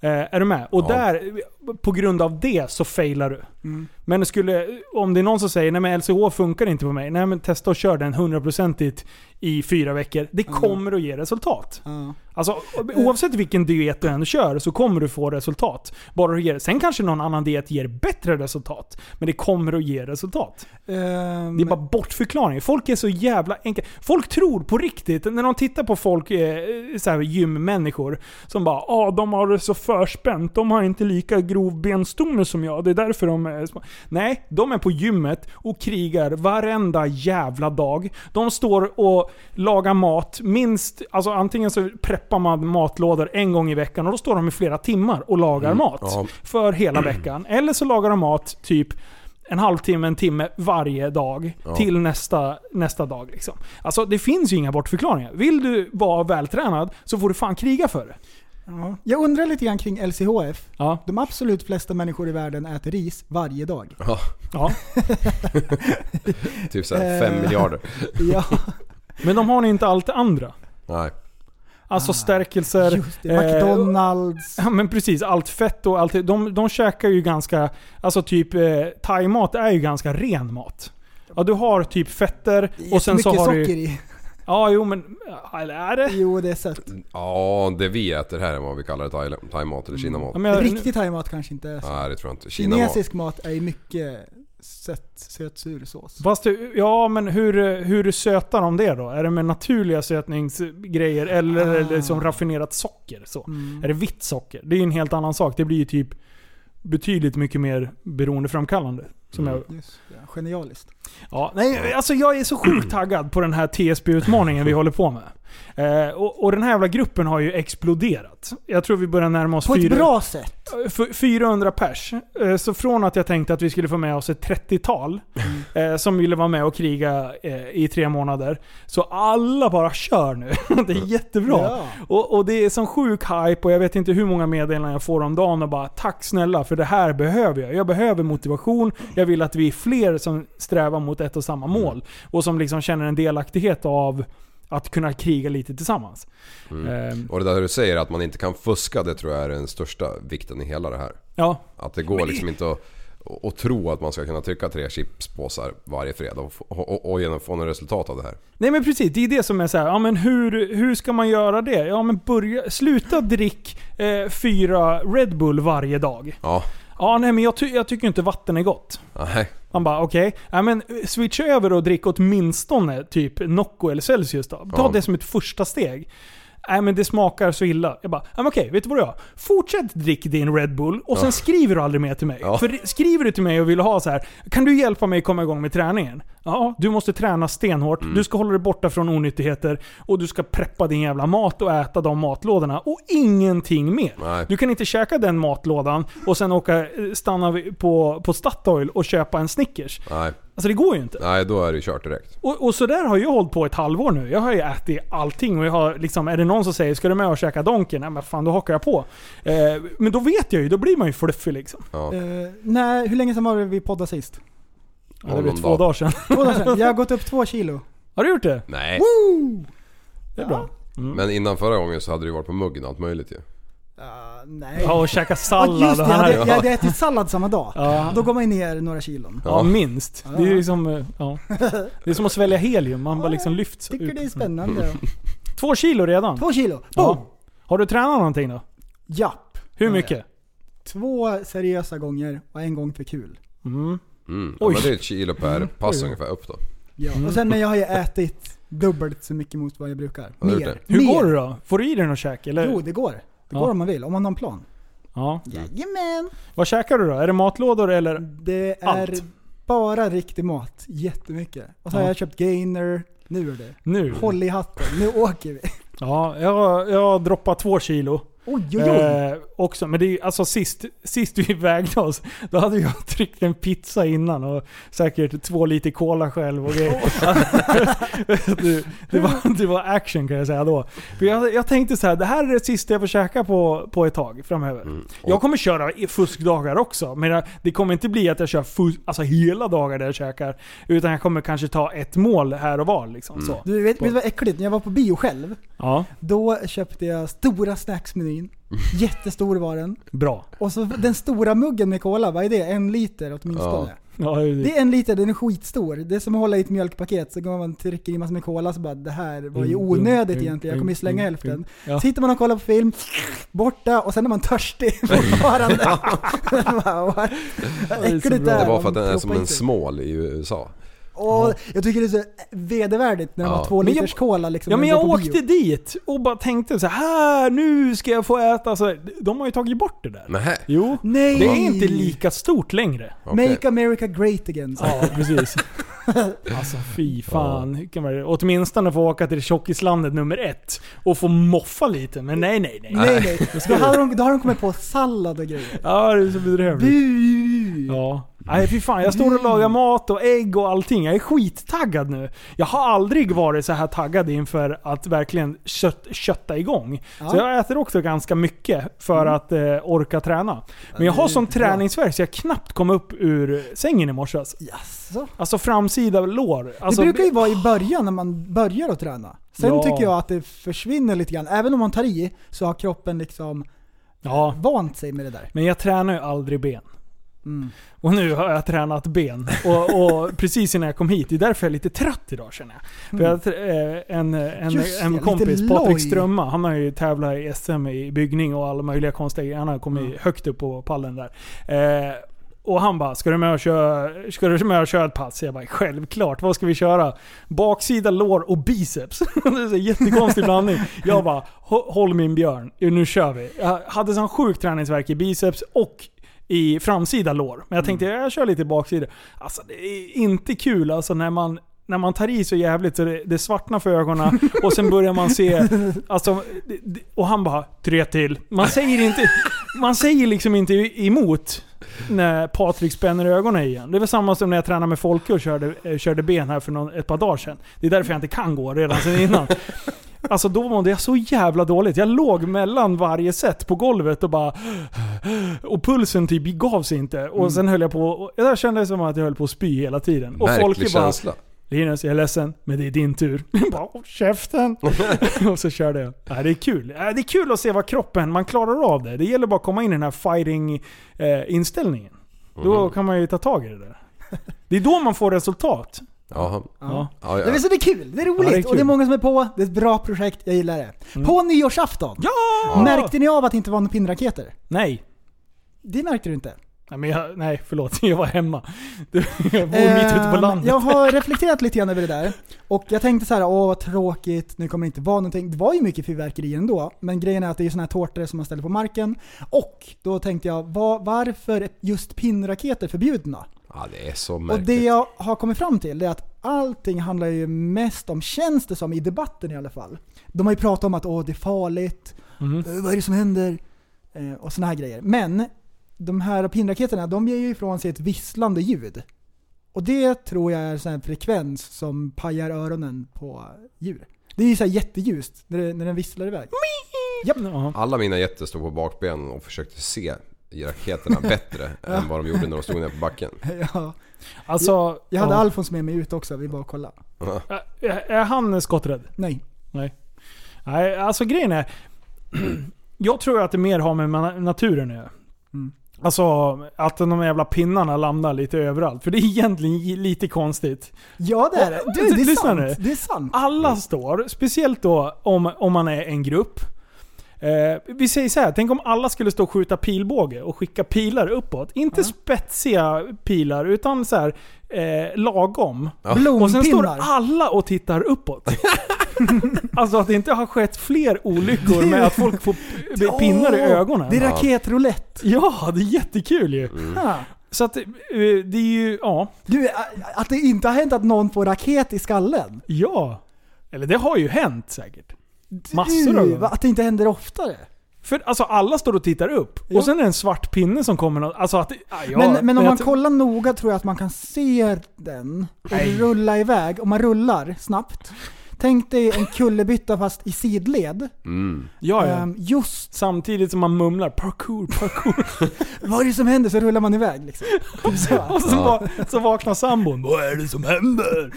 Speaker 2: Eh, är du med? Och
Speaker 3: Ja.
Speaker 2: där, på grund av det så failar du.
Speaker 4: Mm.
Speaker 2: Men skulle, om det är någon som säger nej men LCH funkar inte på mig. Nej men testa och kör den 100% i fyra veckor. Det
Speaker 4: Mm.
Speaker 2: kommer att ge resultat.
Speaker 4: Ja.
Speaker 2: Alltså oavsett vilken diet du än kör så kommer du få resultat. Bara du ger. Sen kanske någon annan diet ger bättre resultat. Men det kommer att ge resultat.
Speaker 4: Ehm,
Speaker 2: Det är bara bortförklaringar. Folk är så jävla enkla. Folk tror på riktigt, när de tittar på folk, eh, så här gymmänniskor, som bara ah, de har det så förspänt, de har inte lika grov benstomme som jag, det är därför de är små." Nej, de är på gymmet och krigar varenda jävla dag. De står och lagar mat minst, alltså antingen så preppar man matlådor en gång i veckan och då står de i flera timmar och lagar
Speaker 3: Mm,
Speaker 2: mat.
Speaker 3: ja.
Speaker 2: För hela veckan. Eller så lagar de mat typ en halvtimme, en timme varje dag
Speaker 3: Ja.
Speaker 2: till nästa, nästa dag. Liksom. Alltså det finns ju inga bortförklaringar. Vill du vara vältränad så får du fan kriga för det.
Speaker 4: Ja. Jag undrar lite grann kring LCHF.
Speaker 2: Ja.
Speaker 4: De absolut flesta människor i världen äter ris varje dag.
Speaker 3: Ja.
Speaker 2: Ja.
Speaker 3: Typ såhär 5
Speaker 2: Eh,
Speaker 3: miljarder.
Speaker 4: ja.
Speaker 2: Men de har ju inte allt det andra.
Speaker 3: Nej.
Speaker 4: Ah,
Speaker 2: Alltså stärkelser.
Speaker 4: det, Eh, McDonalds.
Speaker 2: Ja men precis, allt fett och allt. De, de käkar ju ganska, alltså typ eh, thaimat är ju ganska ren mat. Ja du har typ fetter och sen så
Speaker 4: Jättemycket
Speaker 2: har du...
Speaker 4: socker i.
Speaker 2: Ja jo men, eller är det?
Speaker 4: Jo det är sött.
Speaker 3: Ja, det vi äter här är vad vi kallar det. thai- Thaimat eller kinamat.
Speaker 2: Ja, men jag-
Speaker 4: Riktig thaimat kanske inte är så.
Speaker 3: Nej, det tror jag inte. Kinamat.
Speaker 4: Kinesisk mat är ju mycket sött, söt sur sås.
Speaker 2: Fast du, ja men hur, hur sötar de det då? Är det med naturliga sötningsgrejer eller är det
Speaker 4: Ah.
Speaker 2: som raffinerat socker? Så?
Speaker 4: Mm.
Speaker 2: Är det vitt socker? Det är ju en helt annan sak. Det blir ju typ betydligt mycket mer beroendeframkallande. Som jag
Speaker 4: Just det, genialiskt.
Speaker 2: Ja, nej, alltså jag är så sjukt taggad på den här TSB-utmaningen vi håller på med. Eh, och, och den här jävla gruppen har ju exploderat. Jag tror vi börjar närma oss
Speaker 4: På ett
Speaker 2: fyra-
Speaker 4: bra sätt.
Speaker 2: f- 400 pers. Eh, Så från att jag tänkte att vi skulle få med oss ett 30-tal eh, som ville vara med och kriga eh, i tre månader. Så alla bara kör nu. Det är jättebra.
Speaker 4: Ja.
Speaker 2: Och, och det är sån sjuk hype och jag vet inte hur många meddelanden jag får om dagen och bara tack snälla för det här behöver jag. Jag behöver motivation. Jag vill att vi är fler som strävar mot ett och samma mål. Och som liksom känner en delaktighet av att kunna kriga lite tillsammans.
Speaker 3: Mm.
Speaker 2: Ehm.
Speaker 3: Och det där du säger att man inte kan fuska, det tror jag är den största vikten i hela det här.
Speaker 2: Ja.
Speaker 3: Att det går liksom inte att, att tro att man ska kunna trycka tre chipspåsar varje fredag och, få- och, och, och få något resultat av det här.
Speaker 2: Nej men precis, det är det som är så här, ja men hur, hur ska man göra det? Ja men börja, sluta drick eh, fyra Red Bull varje dag.
Speaker 3: Ja,
Speaker 2: Ja nej men jag, ty- jag tycker inte vatten är gott.
Speaker 3: nej.
Speaker 2: Man bara okej, ja, men eh, switcha över och drick åtminstone typ Nocco eller Celsius då. Ta
Speaker 3: Ja.
Speaker 2: det som ett första steg. Nej men det smakar så illa. Jag bara, ja, men okej, vet du vad du gör? Fortsätt drick din Red Bull och sen
Speaker 3: Ja.
Speaker 2: skriver du aldrig mer till mig.
Speaker 3: Ja.
Speaker 2: För det- skriver du till mig och vill ha så här, kan du hjälpa mig komma igång med träningen? Ja, du måste träna stenhårt,
Speaker 3: Mm.
Speaker 2: du ska hålla dig borta från onyttigheter och du ska preppa din jävla mat och äta de matlådorna och ingenting mer. Du kan inte käka den matlådan och sen åka, eh, stanna vid- på, på Statoil och köpa en Snickers.
Speaker 3: Nej.
Speaker 2: Alltså det går ju inte.
Speaker 3: Nej, då är det ju kört direkt.
Speaker 2: Och, och sådär har jag hållit på ett halvår nu. Jag har ju ätit allting och jag har liksom, är det någon som säger ska du med och käka Donken? Nej men fan då hakar jag på. Eh, men då vet jag ju, då blir man ju fluffig liksom.
Speaker 4: Eh, nej, hur länge sedan var det vi poddade sist?
Speaker 2: Ja, det blir två dagar sedan.
Speaker 4: Två dagar sedan. Jag har gått upp två kilo.
Speaker 2: Har du gjort det?
Speaker 3: Nej.
Speaker 4: Woo!
Speaker 2: Det är bra.
Speaker 3: Men innan förra gången så hade du ju varit på muggen och allt möjligt ju.
Speaker 4: Nej.
Speaker 2: Ja, och käka sallad
Speaker 4: Ja, just det,
Speaker 2: och
Speaker 4: jag hade,
Speaker 2: här.
Speaker 4: jag hade ätit sallad samma dag.
Speaker 2: Ja.
Speaker 4: Då går man ju ner några kilon.
Speaker 2: Ja, minst. Det är ju liksom, eh, ja. Det är som att svälja helium, man bara liksom lyfts
Speaker 4: Tycker
Speaker 2: ut.
Speaker 4: det är spännande.
Speaker 2: Två kilo redan?
Speaker 4: Två kilo. Boom!
Speaker 2: Ja. Har du tränat någonting då?
Speaker 4: Japp.
Speaker 2: Hur mycket?
Speaker 4: Två seriösa gånger och en gång för kul.
Speaker 2: Mm.
Speaker 3: Mm. Ja,
Speaker 4: Oj.
Speaker 3: men det är ett kilo per pass
Speaker 4: Oj.
Speaker 3: ungefär upp då.
Speaker 4: Ja.
Speaker 2: Mm.
Speaker 4: Och sen när jag har ju ätit dubbelt så mycket mot vad jag brukar.
Speaker 3: Har du
Speaker 4: Mer.
Speaker 3: gjort det?
Speaker 2: Hur
Speaker 4: Mer.
Speaker 2: går det då? Får du i dig något käk eller?
Speaker 4: Jo, det går. Det
Speaker 2: Ja.
Speaker 4: går om man vill, om man har en plan.
Speaker 2: Ja.
Speaker 4: Jajamän!
Speaker 2: Vad käkar du då? Är det matlådor eller?
Speaker 4: Det är
Speaker 2: Allt.
Speaker 4: bara riktig mat. Jättemycket. Och så har
Speaker 2: Ja.
Speaker 4: jag köpt gainer. Nu är det.
Speaker 2: Nu?
Speaker 4: Håll i hatten. Nu åker vi.
Speaker 2: Ja, jag, jag har droppat två kilo.
Speaker 4: Oj, oj, oj.
Speaker 2: Eh, också. Men det är ju- alltså sist, sist vi vägde oss, då hade jag tryckt en pizza innan och säkert två liter cola själv och grejer. det, det, var, det var action kan jag säga då. För jag, jag tänkte så här, det här är det sista jag får käka på, på ett tag framöver.
Speaker 3: Mm.
Speaker 2: Jag kommer köra i- fuskdagar också, men jag- det kommer inte bli att jag kör fus, alltså hela dagar där jag käkar. Utan jag kommer kanske ta ett mål här och var liksom. Så.
Speaker 4: Du vet, vet du vad äckligt? När jag var på bio själv,
Speaker 2: Ja,
Speaker 4: då köpte jag stora snacksmenyn. Jättestor var den.
Speaker 2: bra.
Speaker 4: Och så den stora muggen med cola, vad är det? En liter åtminstone.
Speaker 2: Ja, det-
Speaker 4: Det är en liter, den är skitstor. Det är som att hålla i ett mjölkpaket, så går man och trycker i massor med cola så bara det här var ju
Speaker 2: Mm,
Speaker 4: onödigt egentligen,
Speaker 2: mm,
Speaker 4: jag
Speaker 2: mm,
Speaker 4: kommer ju slänga
Speaker 2: mm,
Speaker 4: hälften.
Speaker 2: mm. Ja.
Speaker 4: Sitter man och kollar på film, borta och sen är man törstig fortfarande. Bara, what?
Speaker 2: är så
Speaker 4: Äckligt
Speaker 2: bra.
Speaker 4: där.
Speaker 3: Det var för att
Speaker 4: man
Speaker 3: den är som
Speaker 4: proppar
Speaker 3: en
Speaker 4: i sig.
Speaker 3: smål i USA.
Speaker 4: Och Jag tycker det är så vedervärdigt när de
Speaker 2: Ja.
Speaker 4: har två
Speaker 2: Men jag-
Speaker 4: liters cola liksom.
Speaker 2: Ja men
Speaker 4: när de
Speaker 2: jag
Speaker 4: går på bio.
Speaker 2: åkte dit och bara tänkte så här nu ska jag få äta. Så, de har ju tagit bort det där.
Speaker 3: Nähä.
Speaker 2: Jo.
Speaker 4: Nej.
Speaker 2: Det är inte lika stort längre.
Speaker 4: Make America Great Again.
Speaker 2: Ja, precis. Alltså fy fan. Hur kan man, åtminstone få åka till tjockislandet nummer ett och få moffa lite. Men nej, nej, nej.
Speaker 4: Nej nej, då har, de, då har de kommit på sallad och grejer.
Speaker 2: Ja, det är så bedrövligt. Ja. Nej fy fan, jag står
Speaker 4: Mm.
Speaker 2: och lagar mat och ägg och allting. Jag är skittaggad nu. Jag har aldrig varit så här taggad inför att verkligen kött, kötta igång. Så
Speaker 4: Ja. Mm.
Speaker 2: jag äter också ganska mycket för att eh, orka träna. Men jag
Speaker 4: det är
Speaker 2: har sån
Speaker 4: bra.
Speaker 2: träningsvärk så jag knappt kom upp ur sängen i morse. Alltså,
Speaker 4: Jaså?
Speaker 2: alltså framsida lår. Alltså,
Speaker 4: det brukar ju vara i början när man börjar att träna. Sen
Speaker 2: Ja.
Speaker 4: tycker jag att det försvinner lite grann. Även om man tar i så har kroppen liksom
Speaker 2: ja.
Speaker 4: vant sig med det där.
Speaker 2: Men jag tränar ju aldrig ben.
Speaker 4: Mm.
Speaker 2: Och nu har jag tränat ben. Och, och precis innan jag kom hit. Det är därför jag är lite trött idag känner jag. För jag, trä- eh, en en,
Speaker 4: Mm. Just det,
Speaker 2: en
Speaker 4: lite
Speaker 2: kompis,
Speaker 4: loj.
Speaker 2: Patrik Strömma, han har ju tävlat i SM i byggning och alla möjliga konstiga grejer. Han har kommit
Speaker 4: Mm.
Speaker 2: högt upp på pallen där. Eh, och han bara, ska du med och köra, ska du med och köra ett pass? Jag bara, självklart. Vad ska vi köra? Baksida, lår och biceps. det är en jättekonstig blandning. Jag bara, "Hå- håll min björn. Nu kör vi. Jag hade sån sjuk träningsvärk i biceps och i framsida lår. Men jag tänkte, jag kör lite baksida. Alltså det är inte kul alltså när man när man tar i så jävligt så det, det svartnar för ögonen och sen börjar man se... Alltså, det- det- och han bara “tre till”. Man säger, inte, man säger liksom inte emot när Patrik spänner ögonen igen. Det var samma som när jag tränade med Folke och körde, eh, körde ben här för någon, ett par dagar sedan. Det är därför jag inte kan gå redan sedan innan. Alltså då mådde jag så jävla dåligt. Jag låg mellan varje set på golvet och bara... Och pulsen typ gav sig inte.
Speaker 3: Mm.
Speaker 2: Och sen höll jag på... och Jag kände som att jag höll på att spy hela tiden. Och
Speaker 3: Märklig
Speaker 2: Folke bara...
Speaker 3: känsla.
Speaker 2: Linus, jag är ledsen, men det är din tur. Jag bara, "Åh, käften! och så körde jag. Ja, det är kul. Ja, det är kul att se vad kroppen, man klarar av det. Det gäller bara att komma in i den här fighting-inställningen. Då
Speaker 3: Mhm.
Speaker 2: kan man ju ta tag i det där. Det är då man får resultat.
Speaker 3: Jaha.
Speaker 2: Ja.
Speaker 3: Ja,
Speaker 4: Det
Speaker 3: ja.
Speaker 4: är så det är kul, det är roligt
Speaker 2: Ja, det är kul. Mm.
Speaker 4: och det är många som är på. Det är ett bra projekt, jag gillar det. På nyårsafton!
Speaker 2: Ja!
Speaker 4: Märkte ni av att det inte var några pinnraketer?
Speaker 2: Nej.
Speaker 4: Det märkte du inte?
Speaker 2: Nej, men jag, nej, förlåt. Jag var hemma. Jag bor mitt ute på
Speaker 4: Ehm,
Speaker 2: landet.
Speaker 4: Jag har reflekterat lite grann över det där. Och jag tänkte så här, åh vad tråkigt, nu kommer det inte vara någonting. Det var ju mycket fyrverkeri ändå, men grejen är att det är såna här tårtor som man ställer på marken. Och då tänkte jag, va- varför är just pinnraketer förbjudna?
Speaker 3: ja, det är så
Speaker 4: Och
Speaker 3: märkligt.
Speaker 4: det jag har kommit fram till är att allting handlar ju mest om, känns det som, i debatten i alla fall. De har ju pratat om att åh, det är farligt,
Speaker 2: Mhm.
Speaker 4: eh, vad är det som händer? Eh, och såna här grejer. Men de här pinnraketerna, de ger ju ifrån sig ett visslande ljud. Och det tror jag är sån här frekvens som pajar öronen på djur. Det är ju så här jätteljust när, det, när den visslar iväg. Japp.
Speaker 3: Alla mina jätter stod på bakbenen och försökte se i raketerna bättre än vad de gjorde när de stod nere på backen.
Speaker 4: Ja.
Speaker 2: Alltså,
Speaker 4: Jag hade
Speaker 2: ja.
Speaker 4: Alfons med mig ut också, vi bara kolla.
Speaker 2: Är är han skotträdd?
Speaker 4: Nej.
Speaker 2: Nej. Nej, alltså grejen är... Jag tror att det mer har med na- naturen att göra.
Speaker 4: Mm.
Speaker 2: Alltså att de jävla pinnarna landar lite överallt. För det är egentligen j- lite konstigt.
Speaker 4: Ja det är det. Du, det är
Speaker 2: Lyssna
Speaker 4: sant.
Speaker 2: nu.
Speaker 4: Det är sant.
Speaker 2: Alla står, speciellt då om, om man är en grupp. Eh, vi säger så här, tänk om alla skulle stå och skjuta pilbåge och skicka pilar uppåt. Inte spetsiga pilar, utan så här eh, lagom. Och sen står
Speaker 4: Blompinnar.
Speaker 2: alla och tittar uppåt. alltså att det inte har skett fler olyckor med att folk får p- pinnar i
Speaker 4: Åh,
Speaker 2: ögonen.
Speaker 4: Det Mm. är raketroulette.
Speaker 2: Ja, det är jättekul ju.
Speaker 4: Ha.
Speaker 2: Så att eh, det är ju, ja.
Speaker 4: Du, a- att det inte har hänt att någon får raket i skallen.
Speaker 2: Ja. Eller det har ju hänt säkert. Massor av
Speaker 4: Du, va-
Speaker 2: gånger.
Speaker 4: Att det inte händer oftare.
Speaker 2: För alltså alla står och tittar upp.
Speaker 4: Ja.
Speaker 2: Och sen är det en svart pinne som kommer. nå- Alltså att, ja, ja,
Speaker 4: men, men om
Speaker 2: jag
Speaker 4: man
Speaker 2: tror-
Speaker 4: kollar noga tror jag att man kan se den och rulla iväg. Om man rullar snabbt. Tänk dig en kullerbytta fast i sidled.
Speaker 3: Mm.
Speaker 2: Ja, ja.
Speaker 4: Ehm, just
Speaker 2: Samtidigt som man mumlar parkour, parkour.
Speaker 4: vad är det som händer så rullar man iväg liksom.
Speaker 2: och sen bara, så vaknar sambon. Vad är det som händer?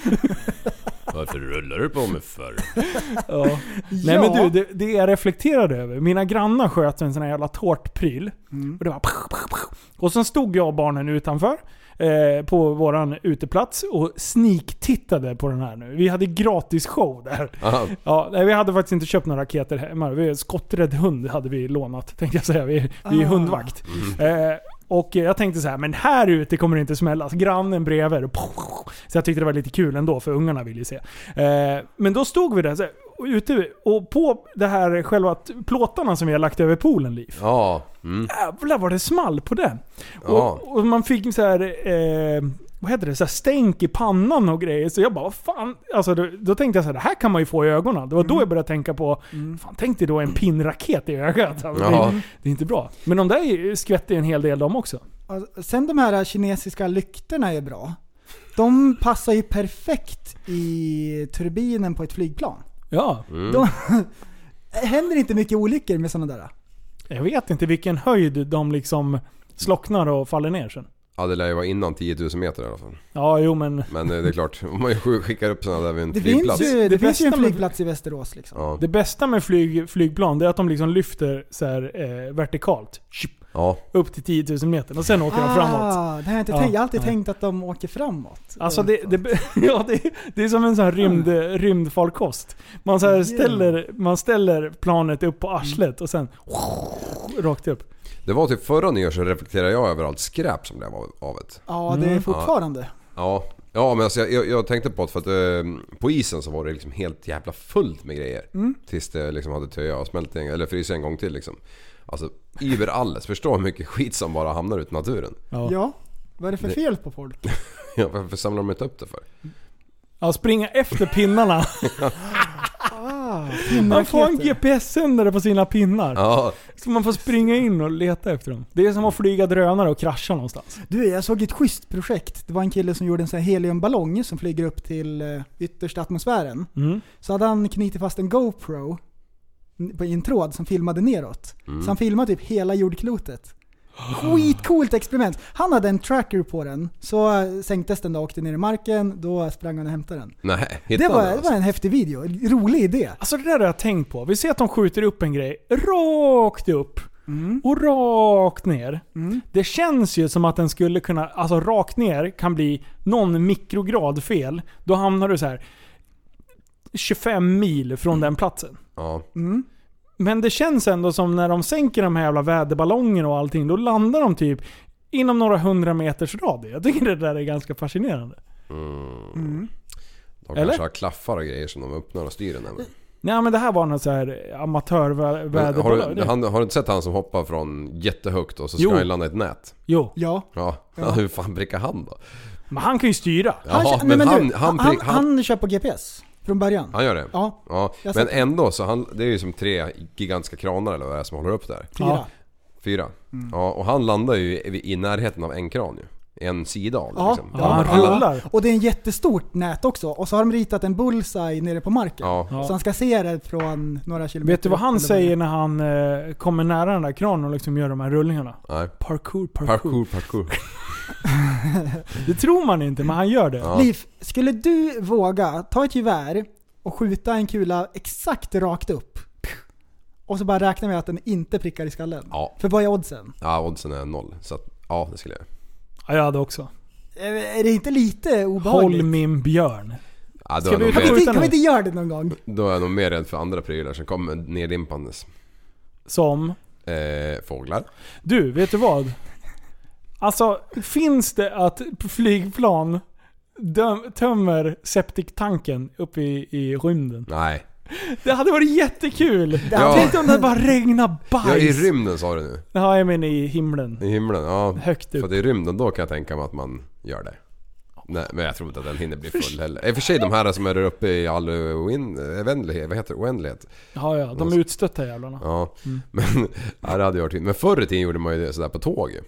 Speaker 3: Varför rullar du på mig för?
Speaker 2: Ja. Nej men du, det, det jag reflekterade över. Mina grannar sköt en sån här jävla tårtpryl.
Speaker 4: Mm.
Speaker 2: Och det var... Och sen stod jag och barnen utanför. Eh, på våran uteplats och sniktittade på den här nu. Vi hade gratis show där.
Speaker 3: Aha.
Speaker 2: Ja, nej, vi hade faktiskt inte köpt några raketer hemma. Vi, skotträdd hund hade vi lånat, tänkte jag säga. Vi, vi är
Speaker 4: Ah.
Speaker 2: hundvakt. Eh, Och eh, jag tänkte så här, men här ute kommer det inte smällas. Grannen bredvid. och poff. Så jag tyckte det var lite kul ändå, för ungarna ville ju se. Eh, Men då stod vi där så här, och ute och på det här själva t- plåtarna som vi har lagt över poolen, Liv.
Speaker 3: Ja. Mm.
Speaker 2: Jävlar vad det small på den.
Speaker 3: Ja.
Speaker 2: Och, och man fick så här, eh, vad heter det, så här stänk i pannan och grejer. Så jag bara, vad fan. Alltså, då, då tänkte jag så här, det här kan man ju få i ögonen. Det var
Speaker 3: Mm.
Speaker 2: då jag började tänka på, fan tänk dig då en pinnraket i ögat. Alltså,
Speaker 3: Ja.
Speaker 2: det, det är inte bra. Men de där ju- skvätter ju en hel del de också.
Speaker 4: Alltså, Sen de här kinesiska lyktorna är bra. De passar ju perfekt i turbinen på ett flygplan.
Speaker 2: Ja.
Speaker 3: Mm.
Speaker 4: De, händer inte mycket olyckor med sådana där.
Speaker 2: Jag vet inte vilken höjd de liksom slocknar och faller ner sen.
Speaker 3: ja, det lär ju vara innan 10 000 meter i alla fall.
Speaker 2: Ja, jo men...
Speaker 3: Men eh, det är klart, om man ju skickar upp sådana där vid en
Speaker 4: Det
Speaker 3: flygplats.
Speaker 4: finns ju, det
Speaker 2: Det
Speaker 4: finns ju en
Speaker 2: bästa med-
Speaker 4: flygplats i Västerås liksom.
Speaker 3: Ja.
Speaker 2: Det bästa med flyg, flygplan det är att de liksom lyfter så här, eh, vertikalt. Tjup,
Speaker 3: ja.
Speaker 2: Upp till 10 000 meter och sen åker
Speaker 4: Ah.
Speaker 2: de framåt.
Speaker 4: det har jag, inte
Speaker 2: Ja,
Speaker 4: tänkt. jag har alltid
Speaker 2: ja.
Speaker 4: tänkt att de åker framåt.
Speaker 2: Alltså det, det, ja, det, det är som en sån här rymd, rymdfarkost. Man, så här ställer, man ställer planet upp på arslet och sen rakt upp.
Speaker 3: Det var typ förra nyår så reflekterade jag över allt skräp som blev av havet.
Speaker 4: Ja, det är
Speaker 3: Mm.
Speaker 4: fortfarande.
Speaker 3: Ja, ja men alltså jag, jag, jag tänkte på det för att eh, på isen så var det liksom helt jävla fullt med grejer.
Speaker 4: Mm.
Speaker 3: Tills det liksom hade töat och smält en, eller frysit en gång till liksom. Alltså überalles, förstå hur mycket skit som bara hamnar ut i naturen.
Speaker 4: Ja. Vad är det för
Speaker 3: Det-
Speaker 4: fel på folk?
Speaker 3: Ja, varför samlar de inte upp det för?
Speaker 2: Ja, springa efter pinnarna.
Speaker 4: Ah,
Speaker 2: Man får en
Speaker 4: pinnraketer.
Speaker 2: GPS-sändare på sina pinnar.
Speaker 3: Ja,
Speaker 2: Så man får springa in och leta efter dem. Det är som att flyga drönare och krascha någonstans.
Speaker 4: Du, jag såg ett schysst projekt. Det var en kille som gjorde en sån här heliumballong som flyger upp till eh, yttersta atmosfären.
Speaker 2: Mm.
Speaker 4: Så hade han knutit fast en GoPro på- i en tråd som filmade neråt.
Speaker 3: Mm.
Speaker 4: Så han filmade typ hela jordklotet. Skitcoolt experiment. Han hade en tracker på den, så eh, sänktes den då och åkte ner i marken. Då sprang han och hämtade den.
Speaker 3: nej. alltså.
Speaker 4: Det
Speaker 3: Hittade
Speaker 4: var,
Speaker 3: han
Speaker 4: det var en häftig video. Rolig idé.
Speaker 2: Alltså det där har jag tänkt på. Vi ser att de skjuter upp en grej rakt upp och rakt ner. Det känns ju som att den skulle kunna, alltså rakt ner kan bli någon mikrograd fel. Då hamnar du så här 25 mil från
Speaker 3: Mm.
Speaker 2: den platsen.
Speaker 3: Ja.
Speaker 2: Men det känns ändå som när de sänker de här jävla väderballongerna och allting, då landar de typ inom några hundra meters radie. Jag tycker det där är ganska fascinerande.
Speaker 3: De
Speaker 2: Eller?
Speaker 3: kanske har klaffar och grejer som de öppnar och styr den där med.
Speaker 2: Nej men det här var någon så här
Speaker 3: Men
Speaker 2: amatörväderballong.
Speaker 3: Har du, han, har du inte sett han som hoppar från jättehögt och så ska
Speaker 2: Jo.
Speaker 3: han landa i ett nät?
Speaker 2: Jo,
Speaker 4: Ja.
Speaker 3: Ja, ja. hur fan prickar han då?
Speaker 2: men han kan ju styra.
Speaker 3: Jaha,
Speaker 4: kö-
Speaker 3: men,
Speaker 4: nej,
Speaker 3: han,
Speaker 4: du,
Speaker 3: han,
Speaker 4: han,
Speaker 3: prick-
Speaker 4: han, kör på GPS från början.
Speaker 3: Han gör det?
Speaker 4: Ja. Jag har
Speaker 3: Men
Speaker 4: sett
Speaker 3: ändå så han, det är ju som tre gigantiska kranar eller vad det är som håller upp där.
Speaker 4: Fyra. Mm.
Speaker 2: Ja.
Speaker 3: Fyra. Ja, och han landar ju i i närheten av en kran ju. En sida av den,
Speaker 4: Ja,
Speaker 3: liksom.
Speaker 4: ja,
Speaker 3: Alla-
Speaker 2: han
Speaker 3: alla-
Speaker 2: rullar.
Speaker 4: Och det är en jättestort nät också. Och så har de ritat en bullseye nere på marken.
Speaker 3: Ja.
Speaker 4: Så han ska se det från några kilometer.
Speaker 2: Vet du vad han
Speaker 4: upp, eller
Speaker 2: säger när han eh, kommer nära den där kranen och liksom gör de här rullningarna?
Speaker 3: Nej.
Speaker 2: Parkour, parkour.
Speaker 3: Parkour, parkour.
Speaker 2: Det tror man inte, men han gör det.
Speaker 3: Ja.
Speaker 4: vad det är. Liv, skulle du våga ta ett gevär och skjuta en kula exakt rakt upp? Och så bara räkna med att den inte prickar i skallen?
Speaker 3: Ja.
Speaker 4: För vad är oddsen?
Speaker 3: ja, oddsen är noll. Så att, ja, det skulle jag göra.
Speaker 2: Ja, jag hade också.
Speaker 4: Eh, Är det inte lite
Speaker 2: Håll
Speaker 4: obehagligt?
Speaker 2: min björn.
Speaker 3: Ja, då,
Speaker 2: Ska
Speaker 3: är jag
Speaker 2: vi
Speaker 3: nog
Speaker 2: ta
Speaker 3: mer,
Speaker 4: Kan vi,
Speaker 2: ut-
Speaker 4: inte- kan vi inte göra det någon gång?
Speaker 3: då är jag nog mer rädd för andra prylar som kommer neddimpandes.
Speaker 2: Som...
Speaker 3: Eh, fåglar.
Speaker 2: Du, vet du vad? Alltså, finns det att flygplan döm, tömmer septiktanken uppe i, i rymden?
Speaker 3: Nej.
Speaker 2: Det hade varit jättekul!
Speaker 3: Ja.
Speaker 2: Tänk om det bara regnar bajs!
Speaker 3: Ja, i rymden sa du nu.
Speaker 2: Ja, jag menar i himlen.
Speaker 3: I himlen, ja.
Speaker 2: Högt upp.
Speaker 3: För att i rymden då kan jag tänka mig att man gör det. Nej, men jag tror inte att den hinner bli full heller. I och för sig de här som är där uppe i all oin- oändlighet, vad heter det? Oändlighet.
Speaker 2: Ja, ja. De
Speaker 3: Alltså.
Speaker 2: utstötta jävlarna.
Speaker 3: Ja.
Speaker 4: Mm.
Speaker 3: Men, ja, det hade jag varit fint. Men förr i tiden gjorde man ju det sådär på tåg ju.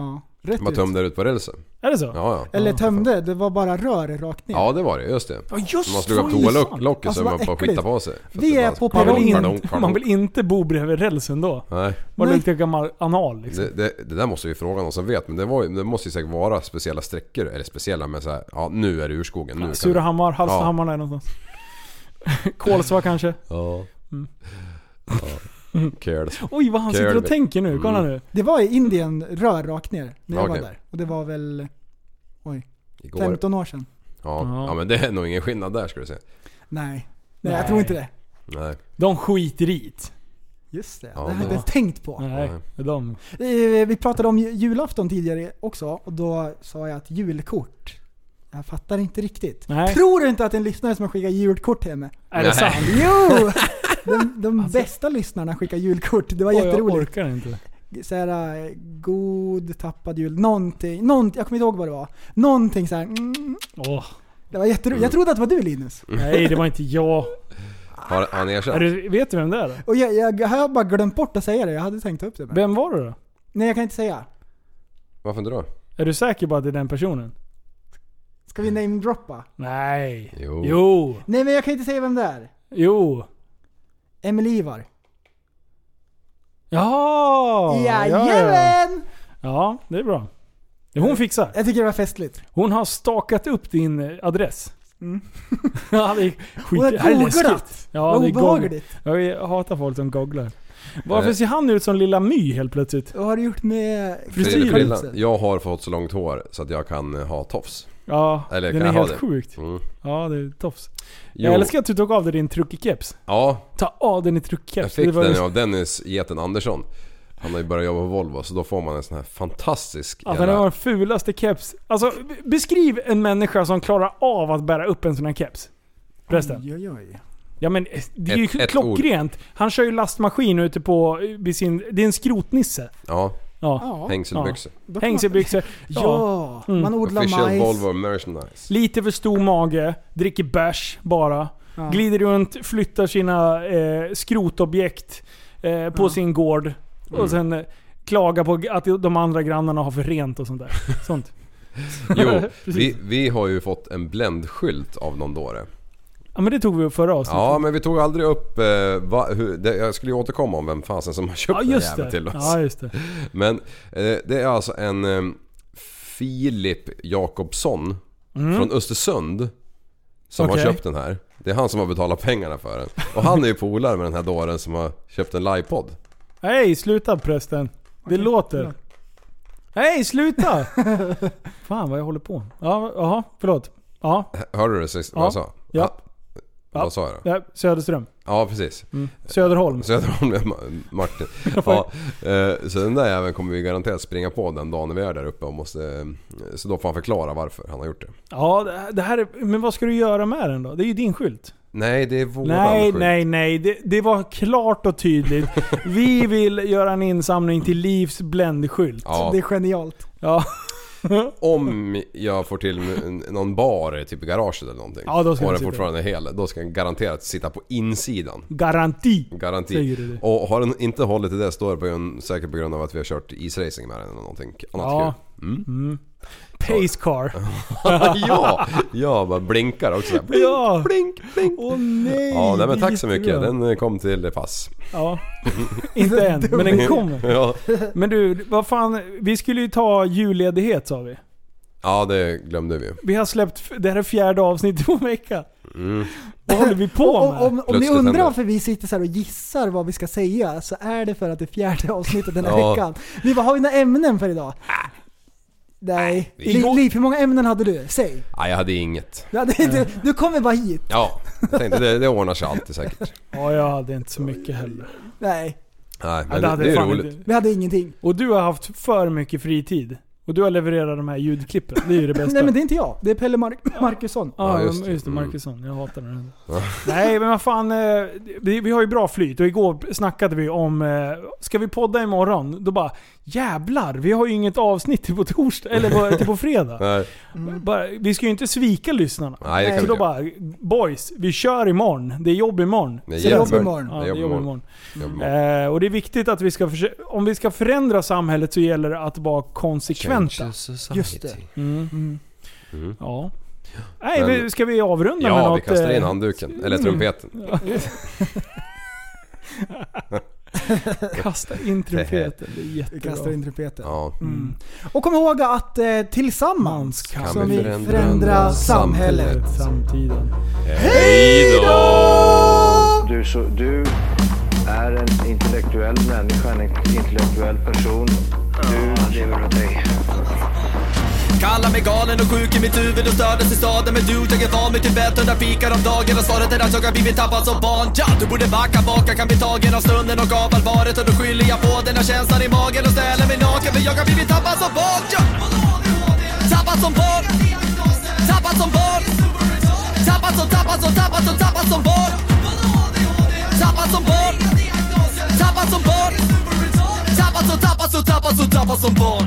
Speaker 4: Ja, rätt
Speaker 3: Man
Speaker 4: ut.
Speaker 3: tömde ut på rälsen.
Speaker 2: Är det så?
Speaker 3: Ja, ja.
Speaker 4: Eller tömde, det var bara rör rakt ner.
Speaker 3: Ja, det var det. Just det.
Speaker 2: Ja, just
Speaker 3: Man
Speaker 2: så
Speaker 3: slog upp
Speaker 2: är det sant.
Speaker 3: toalocket
Speaker 4: Alltså,
Speaker 3: så
Speaker 4: vad
Speaker 3: man bara
Speaker 4: äckligt.
Speaker 3: skitade på sig. För att
Speaker 4: Vi
Speaker 3: det
Speaker 4: är
Speaker 3: bara-
Speaker 4: på
Speaker 2: Man vill,
Speaker 4: Pardon,
Speaker 2: inte, man vill inte bo bredvid rälsen då.
Speaker 3: Nej,
Speaker 2: Man
Speaker 4: Nej.
Speaker 2: luktar gammal anal liksom.
Speaker 3: det, det, det där måste vi fråga någon som vet. Men det, var, ju- det måste ju säkert vara speciella sträckor. Eller speciella, men såhär, ja nu är det urskogen. Nu kan vi-
Speaker 2: Surahammar, Hallstahammar där någonstans. Kolsva kanske.
Speaker 3: Ja.
Speaker 2: Mm.
Speaker 3: ja. Kärls.
Speaker 2: Oj vad han sitter och
Speaker 3: Kärlby.
Speaker 2: tänker nu. Kolla
Speaker 3: Mm.
Speaker 2: nu.
Speaker 4: Det var i Indien rör rakt ner när jag
Speaker 3: Okej.
Speaker 4: var där. Och det var väl
Speaker 3: Igår.
Speaker 4: 15 år sedan.
Speaker 3: Ja.
Speaker 2: Ja.
Speaker 3: ja, men det är nog ingen skillnad där ska du se.
Speaker 4: Nej. Nej, jag
Speaker 2: Nej.
Speaker 4: tror inte det.
Speaker 3: Nej.
Speaker 2: De skiter i det.
Speaker 4: Just det,
Speaker 3: Ja,
Speaker 4: det har jag
Speaker 3: det-
Speaker 4: inte ens tänkt på.
Speaker 2: Nej, de.
Speaker 4: Eh, Vi pratade om ju- julafton tidigare också och då sa jag att julkort, jag fattar inte riktigt.
Speaker 2: Nej.
Speaker 4: Tror du inte att det är en lyssnare som har skickat julkort till mig?
Speaker 2: Är det sant?
Speaker 4: Jo! De, de
Speaker 3: Alltså.
Speaker 4: bästa lyssnarna skickar julkort, det var
Speaker 2: Oj, jag
Speaker 4: jätteroligt.
Speaker 2: orkar inte.
Speaker 4: så här, eh, god tappad jul, någonting, någonting, jag kommer inte ihåg vad det var. Någonting så här. Mm,
Speaker 2: Åh.
Speaker 4: det var jätteroligt.
Speaker 2: Mm.
Speaker 4: Jag trodde att det var du Linus.
Speaker 2: Nej, det var inte jag.
Speaker 3: Har har han erkänt?
Speaker 2: Är du, vet du vem det är? då?
Speaker 4: Och jag, jag, har bara glömt bort att säga det, jag hade tänkt ta upp det. Men.
Speaker 2: Vem var det då?
Speaker 4: Nej jag kan inte säga.
Speaker 3: Varför inte då?
Speaker 2: Är du säker på att det är den personen?
Speaker 4: Ska vi namedroppa?
Speaker 2: Nej.
Speaker 3: Jo.
Speaker 2: Jo.
Speaker 4: Nej men jag kan inte säga vem det är.
Speaker 2: Jo.
Speaker 4: Emil Ivar.
Speaker 2: Jaha! Ja, ja.
Speaker 4: Jajamän!
Speaker 2: ja, det är bra. Det hon fixar.
Speaker 4: Jag tycker det var festligt.
Speaker 2: Hon har stakat upp din eh, adress.
Speaker 4: Mm.
Speaker 2: ja, det är skit...
Speaker 4: Hon har
Speaker 2: det här är
Speaker 4: googlat.
Speaker 2: läskigt. Ja,
Speaker 4: Vad
Speaker 2: det är
Speaker 4: obehagligt.
Speaker 2: Ja, Jag hatar folk som googlar. Varför
Speaker 3: Eh.
Speaker 2: ser han ut som Lilla My helt plötsligt?
Speaker 4: Vad har du gjort med
Speaker 3: Fredrik Rillan,
Speaker 4: frisyren?
Speaker 3: jag har fått så långt hår så att jag kan eh, ha tofs.
Speaker 2: Ja,
Speaker 3: Eller
Speaker 2: den
Speaker 3: kan
Speaker 2: är
Speaker 3: jag ha
Speaker 2: helt
Speaker 3: det?
Speaker 2: sjukt.
Speaker 3: Mm.
Speaker 2: Ja, det är tofs.
Speaker 3: Jo.
Speaker 2: Jag älskar att du tog av dig din truckikeps.
Speaker 3: Ja,
Speaker 2: Ta av dig din
Speaker 3: jag
Speaker 2: truckikeps.
Speaker 3: fick
Speaker 2: var
Speaker 3: den
Speaker 2: ju-
Speaker 3: av Dennis Geten Andersson. Han har ju börjat jobba på Volvo så då får man en sån här fantastisk
Speaker 2: Alltså det var den fulaste keps. Alltså b- beskriv en människa som klarar av att bära upp en sån här keps. Förresten.
Speaker 4: Oj, oj, oj.
Speaker 2: Ja men eh, det är ju
Speaker 3: Mm. Ett- ett
Speaker 2: klockrent. Han kör ju lastmaskin ute på... eh, Vid sin, det är en skrotnisse.
Speaker 3: Ja,
Speaker 2: Ja.
Speaker 4: Ja.
Speaker 3: hängselbyxor.
Speaker 4: då kan man-
Speaker 2: Hängselbyxor. Ja.
Speaker 4: Ah, Ja, man odlar
Speaker 3: Official
Speaker 4: majs.
Speaker 3: Volvo merchandise.
Speaker 2: Lite för stor mage. Dricker bärs bara.
Speaker 4: Ja.
Speaker 2: Glider runt, flyttar sina eh, skrotobjekt eh, på sin gård. Och sen eh, klagar på g- att de andra grannarna har för rent och sånt där. Sånt.
Speaker 3: Jo,
Speaker 2: Precis.
Speaker 3: vi, vi har ju fått en bländskylt av någon dåre.
Speaker 2: Ja men det tog vi upp förra avsnittet.
Speaker 3: Ja, men vi tog aldrig upp... Eh, va, hur, det, jag skulle ju återkomma om vem fasen som har köpt
Speaker 2: Ja,
Speaker 3: den
Speaker 2: just
Speaker 3: jäveln
Speaker 2: det.
Speaker 3: till oss.
Speaker 2: Ja, just det.
Speaker 3: Men eh, det är alltså en eh, Filip Jakobsson från Östersund som
Speaker 2: Mm. Okej.
Speaker 3: har köpt den här. Det är han som har betalat pengarna för den. Och han är ju polare med den här dåren som har köpt en livepod.
Speaker 2: Nej, sluta prästen. Det låter.
Speaker 4: förlåt.
Speaker 2: Nej, sluta! Fan vad jag håller på. Ja, jaha, förlåt. Ja,
Speaker 3: Hörde du det sist,
Speaker 2: Ja.
Speaker 3: vad jag sa?
Speaker 2: Ja.
Speaker 3: Ha- Vad sa jag då?
Speaker 2: ja, Söderström.
Speaker 3: Ja, precis.
Speaker 2: Söderholm.
Speaker 3: Söderholm är Ma- Martin. Ja, eh, så den där jäveln kommer vi garanterat springa på den dagen vi är där uppe och måste... eh, Så då får han förklara varför han har gjort det.
Speaker 2: Ja, det- det här är, Men vad ska du göra med den då? Det är ju din skylt.
Speaker 3: Nej, det är våran
Speaker 2: nej,
Speaker 3: skylt.
Speaker 2: nej, nej. Det, det var klart och tydligt. Vi vill göra en insamling till Livs bländskylt.
Speaker 3: Ja.
Speaker 4: Det är genialt.
Speaker 2: Ja.
Speaker 3: Om jag får till en- någon bar typ i garaget eller någonting.
Speaker 2: Ja, då ska
Speaker 3: och
Speaker 2: den
Speaker 3: den
Speaker 2: sitta.
Speaker 3: fortfarande är hel. Då ska den garanterat sitta på insidan.
Speaker 2: Garanti. Säger
Speaker 3: Garanti.
Speaker 2: du det?
Speaker 3: Och har den inte hållit i det står det på grund, säkert på grund av att vi har kört isracing med den eller någonting annat
Speaker 2: Ja.
Speaker 3: kul.
Speaker 2: Pace car.
Speaker 3: ja! Ja, bara blinkar också. Blink,
Speaker 2: Ja.
Speaker 3: blink, blink.
Speaker 2: Åh nej.
Speaker 3: ja, nej, men
Speaker 2: det är
Speaker 3: tack så mycket.
Speaker 2: jättebra.
Speaker 3: Den eh, kom till pass.
Speaker 2: Ja. Inte än, men den kommer.
Speaker 3: Ja,
Speaker 2: Men du, vad fan. Vi skulle ju ta julledighet sa vi.
Speaker 3: ja det glömde vi ju.
Speaker 2: Vi har släppt, det här är fjärde avsnittet på en vecka.
Speaker 3: Mm.
Speaker 2: Vad håller vi på
Speaker 4: Och,
Speaker 2: med?
Speaker 4: om, om ni
Speaker 3: Plötsligt
Speaker 4: undrar
Speaker 3: händer.
Speaker 4: varför vi sitter så här och gissar vad vi ska säga så är det för att det är fjärde avsnittet den här
Speaker 3: Ja.
Speaker 4: veckan. Vi bara, har vi några ämnen för idag? Nej.
Speaker 3: vi-
Speaker 4: Li- Liv, hur många ämnen hade du? Säg.
Speaker 3: Nej, jag hade inget.
Speaker 4: Du, hade inte, du kommer bara hit.
Speaker 3: Ja, jag tänkte det, det ordnar sig alltid säkert.
Speaker 2: Ja, jag hade inte så mycket heller.
Speaker 4: Nej,
Speaker 3: Nej,
Speaker 2: Ja,
Speaker 3: men det,
Speaker 2: hade
Speaker 3: det är
Speaker 2: fan
Speaker 3: roligt.
Speaker 2: inte-
Speaker 4: vi hade ingenting.
Speaker 2: Och du har haft för mycket fritid. Och du har levererat de här ljudklippen. Det är ju det bästa.
Speaker 4: Nej men det är inte jag. Det är Pelle Mar- Markusson.
Speaker 2: Ja,
Speaker 3: Ja,
Speaker 2: just
Speaker 3: just
Speaker 2: det.
Speaker 3: det.
Speaker 2: Just det
Speaker 3: Mm.
Speaker 2: Marcusson. Jag hatar den. Nej, men vad fan. eh, Vi, vi har ju bra flyt och igår snackade vi om... eh, Ska vi podda imorgon? Då bara jävlar, vi har ju inget avsnitt till på torsdag, eller på, till på fredag.
Speaker 3: Nej,
Speaker 2: Bara, vi ska ju inte svika lyssnarna.
Speaker 3: Mm. nej, det kan
Speaker 2: Så
Speaker 3: vi
Speaker 2: då
Speaker 3: inte göra.
Speaker 2: bara, boys, vi kör imorgon. Det är jobb imorgon.
Speaker 3: Nej,
Speaker 4: Så det är jobb
Speaker 3: jävlar.
Speaker 4: imorgon.
Speaker 2: Ja,
Speaker 3: Det
Speaker 2: det
Speaker 3: är
Speaker 2: är jobb imorgon.
Speaker 3: Jobb imorgon.
Speaker 2: Eh, och det är viktigt att vi ska försö- om vi ska förändra samhället så gäller det att vara konsekventa.
Speaker 4: Just det.
Speaker 2: Mm.
Speaker 3: Mm.
Speaker 2: Ja. Nej,
Speaker 3: Men-
Speaker 2: vi- ska vi avrunda med
Speaker 3: Ja,
Speaker 2: något?
Speaker 3: vi kastar in
Speaker 2: eh, Mm.
Speaker 3: handduken. Eller trumpeten.
Speaker 2: Kasta in trumpeten, det är
Speaker 4: Vi
Speaker 2: jättebra.
Speaker 4: kastar in trumpeten.
Speaker 3: Ja.
Speaker 2: Mm.
Speaker 4: Och kom ihåg att eh, tillsammans
Speaker 2: Kan
Speaker 4: kan
Speaker 3: vi
Speaker 4: vi
Speaker 3: förändra
Speaker 4: förändra samhället.
Speaker 2: Samtiden.
Speaker 11: Du, så, du är en intellektuell människa, en intellektuell person. Du lever åt dig.
Speaker 12: Kallar mig galen och sjuk i mitt huvud och stördes i staden Men du, jag är van vid Tibet och där fikar om dagen Och svaret är att jag har blivit tappad som barn ja, Du borde backa bak, jag kan bli tagen av stunden och av allvaret Och då skyller jag på den här känslan i magen och ställer mig naken För jag har blivit tappad som barn ja. Tappad som barn Tappad som barn Tappad som, tappad som, tappad som, tappad som barn Tappad som barn Tappad som barn Tappad som, tappad som, tappad som, tappad som barn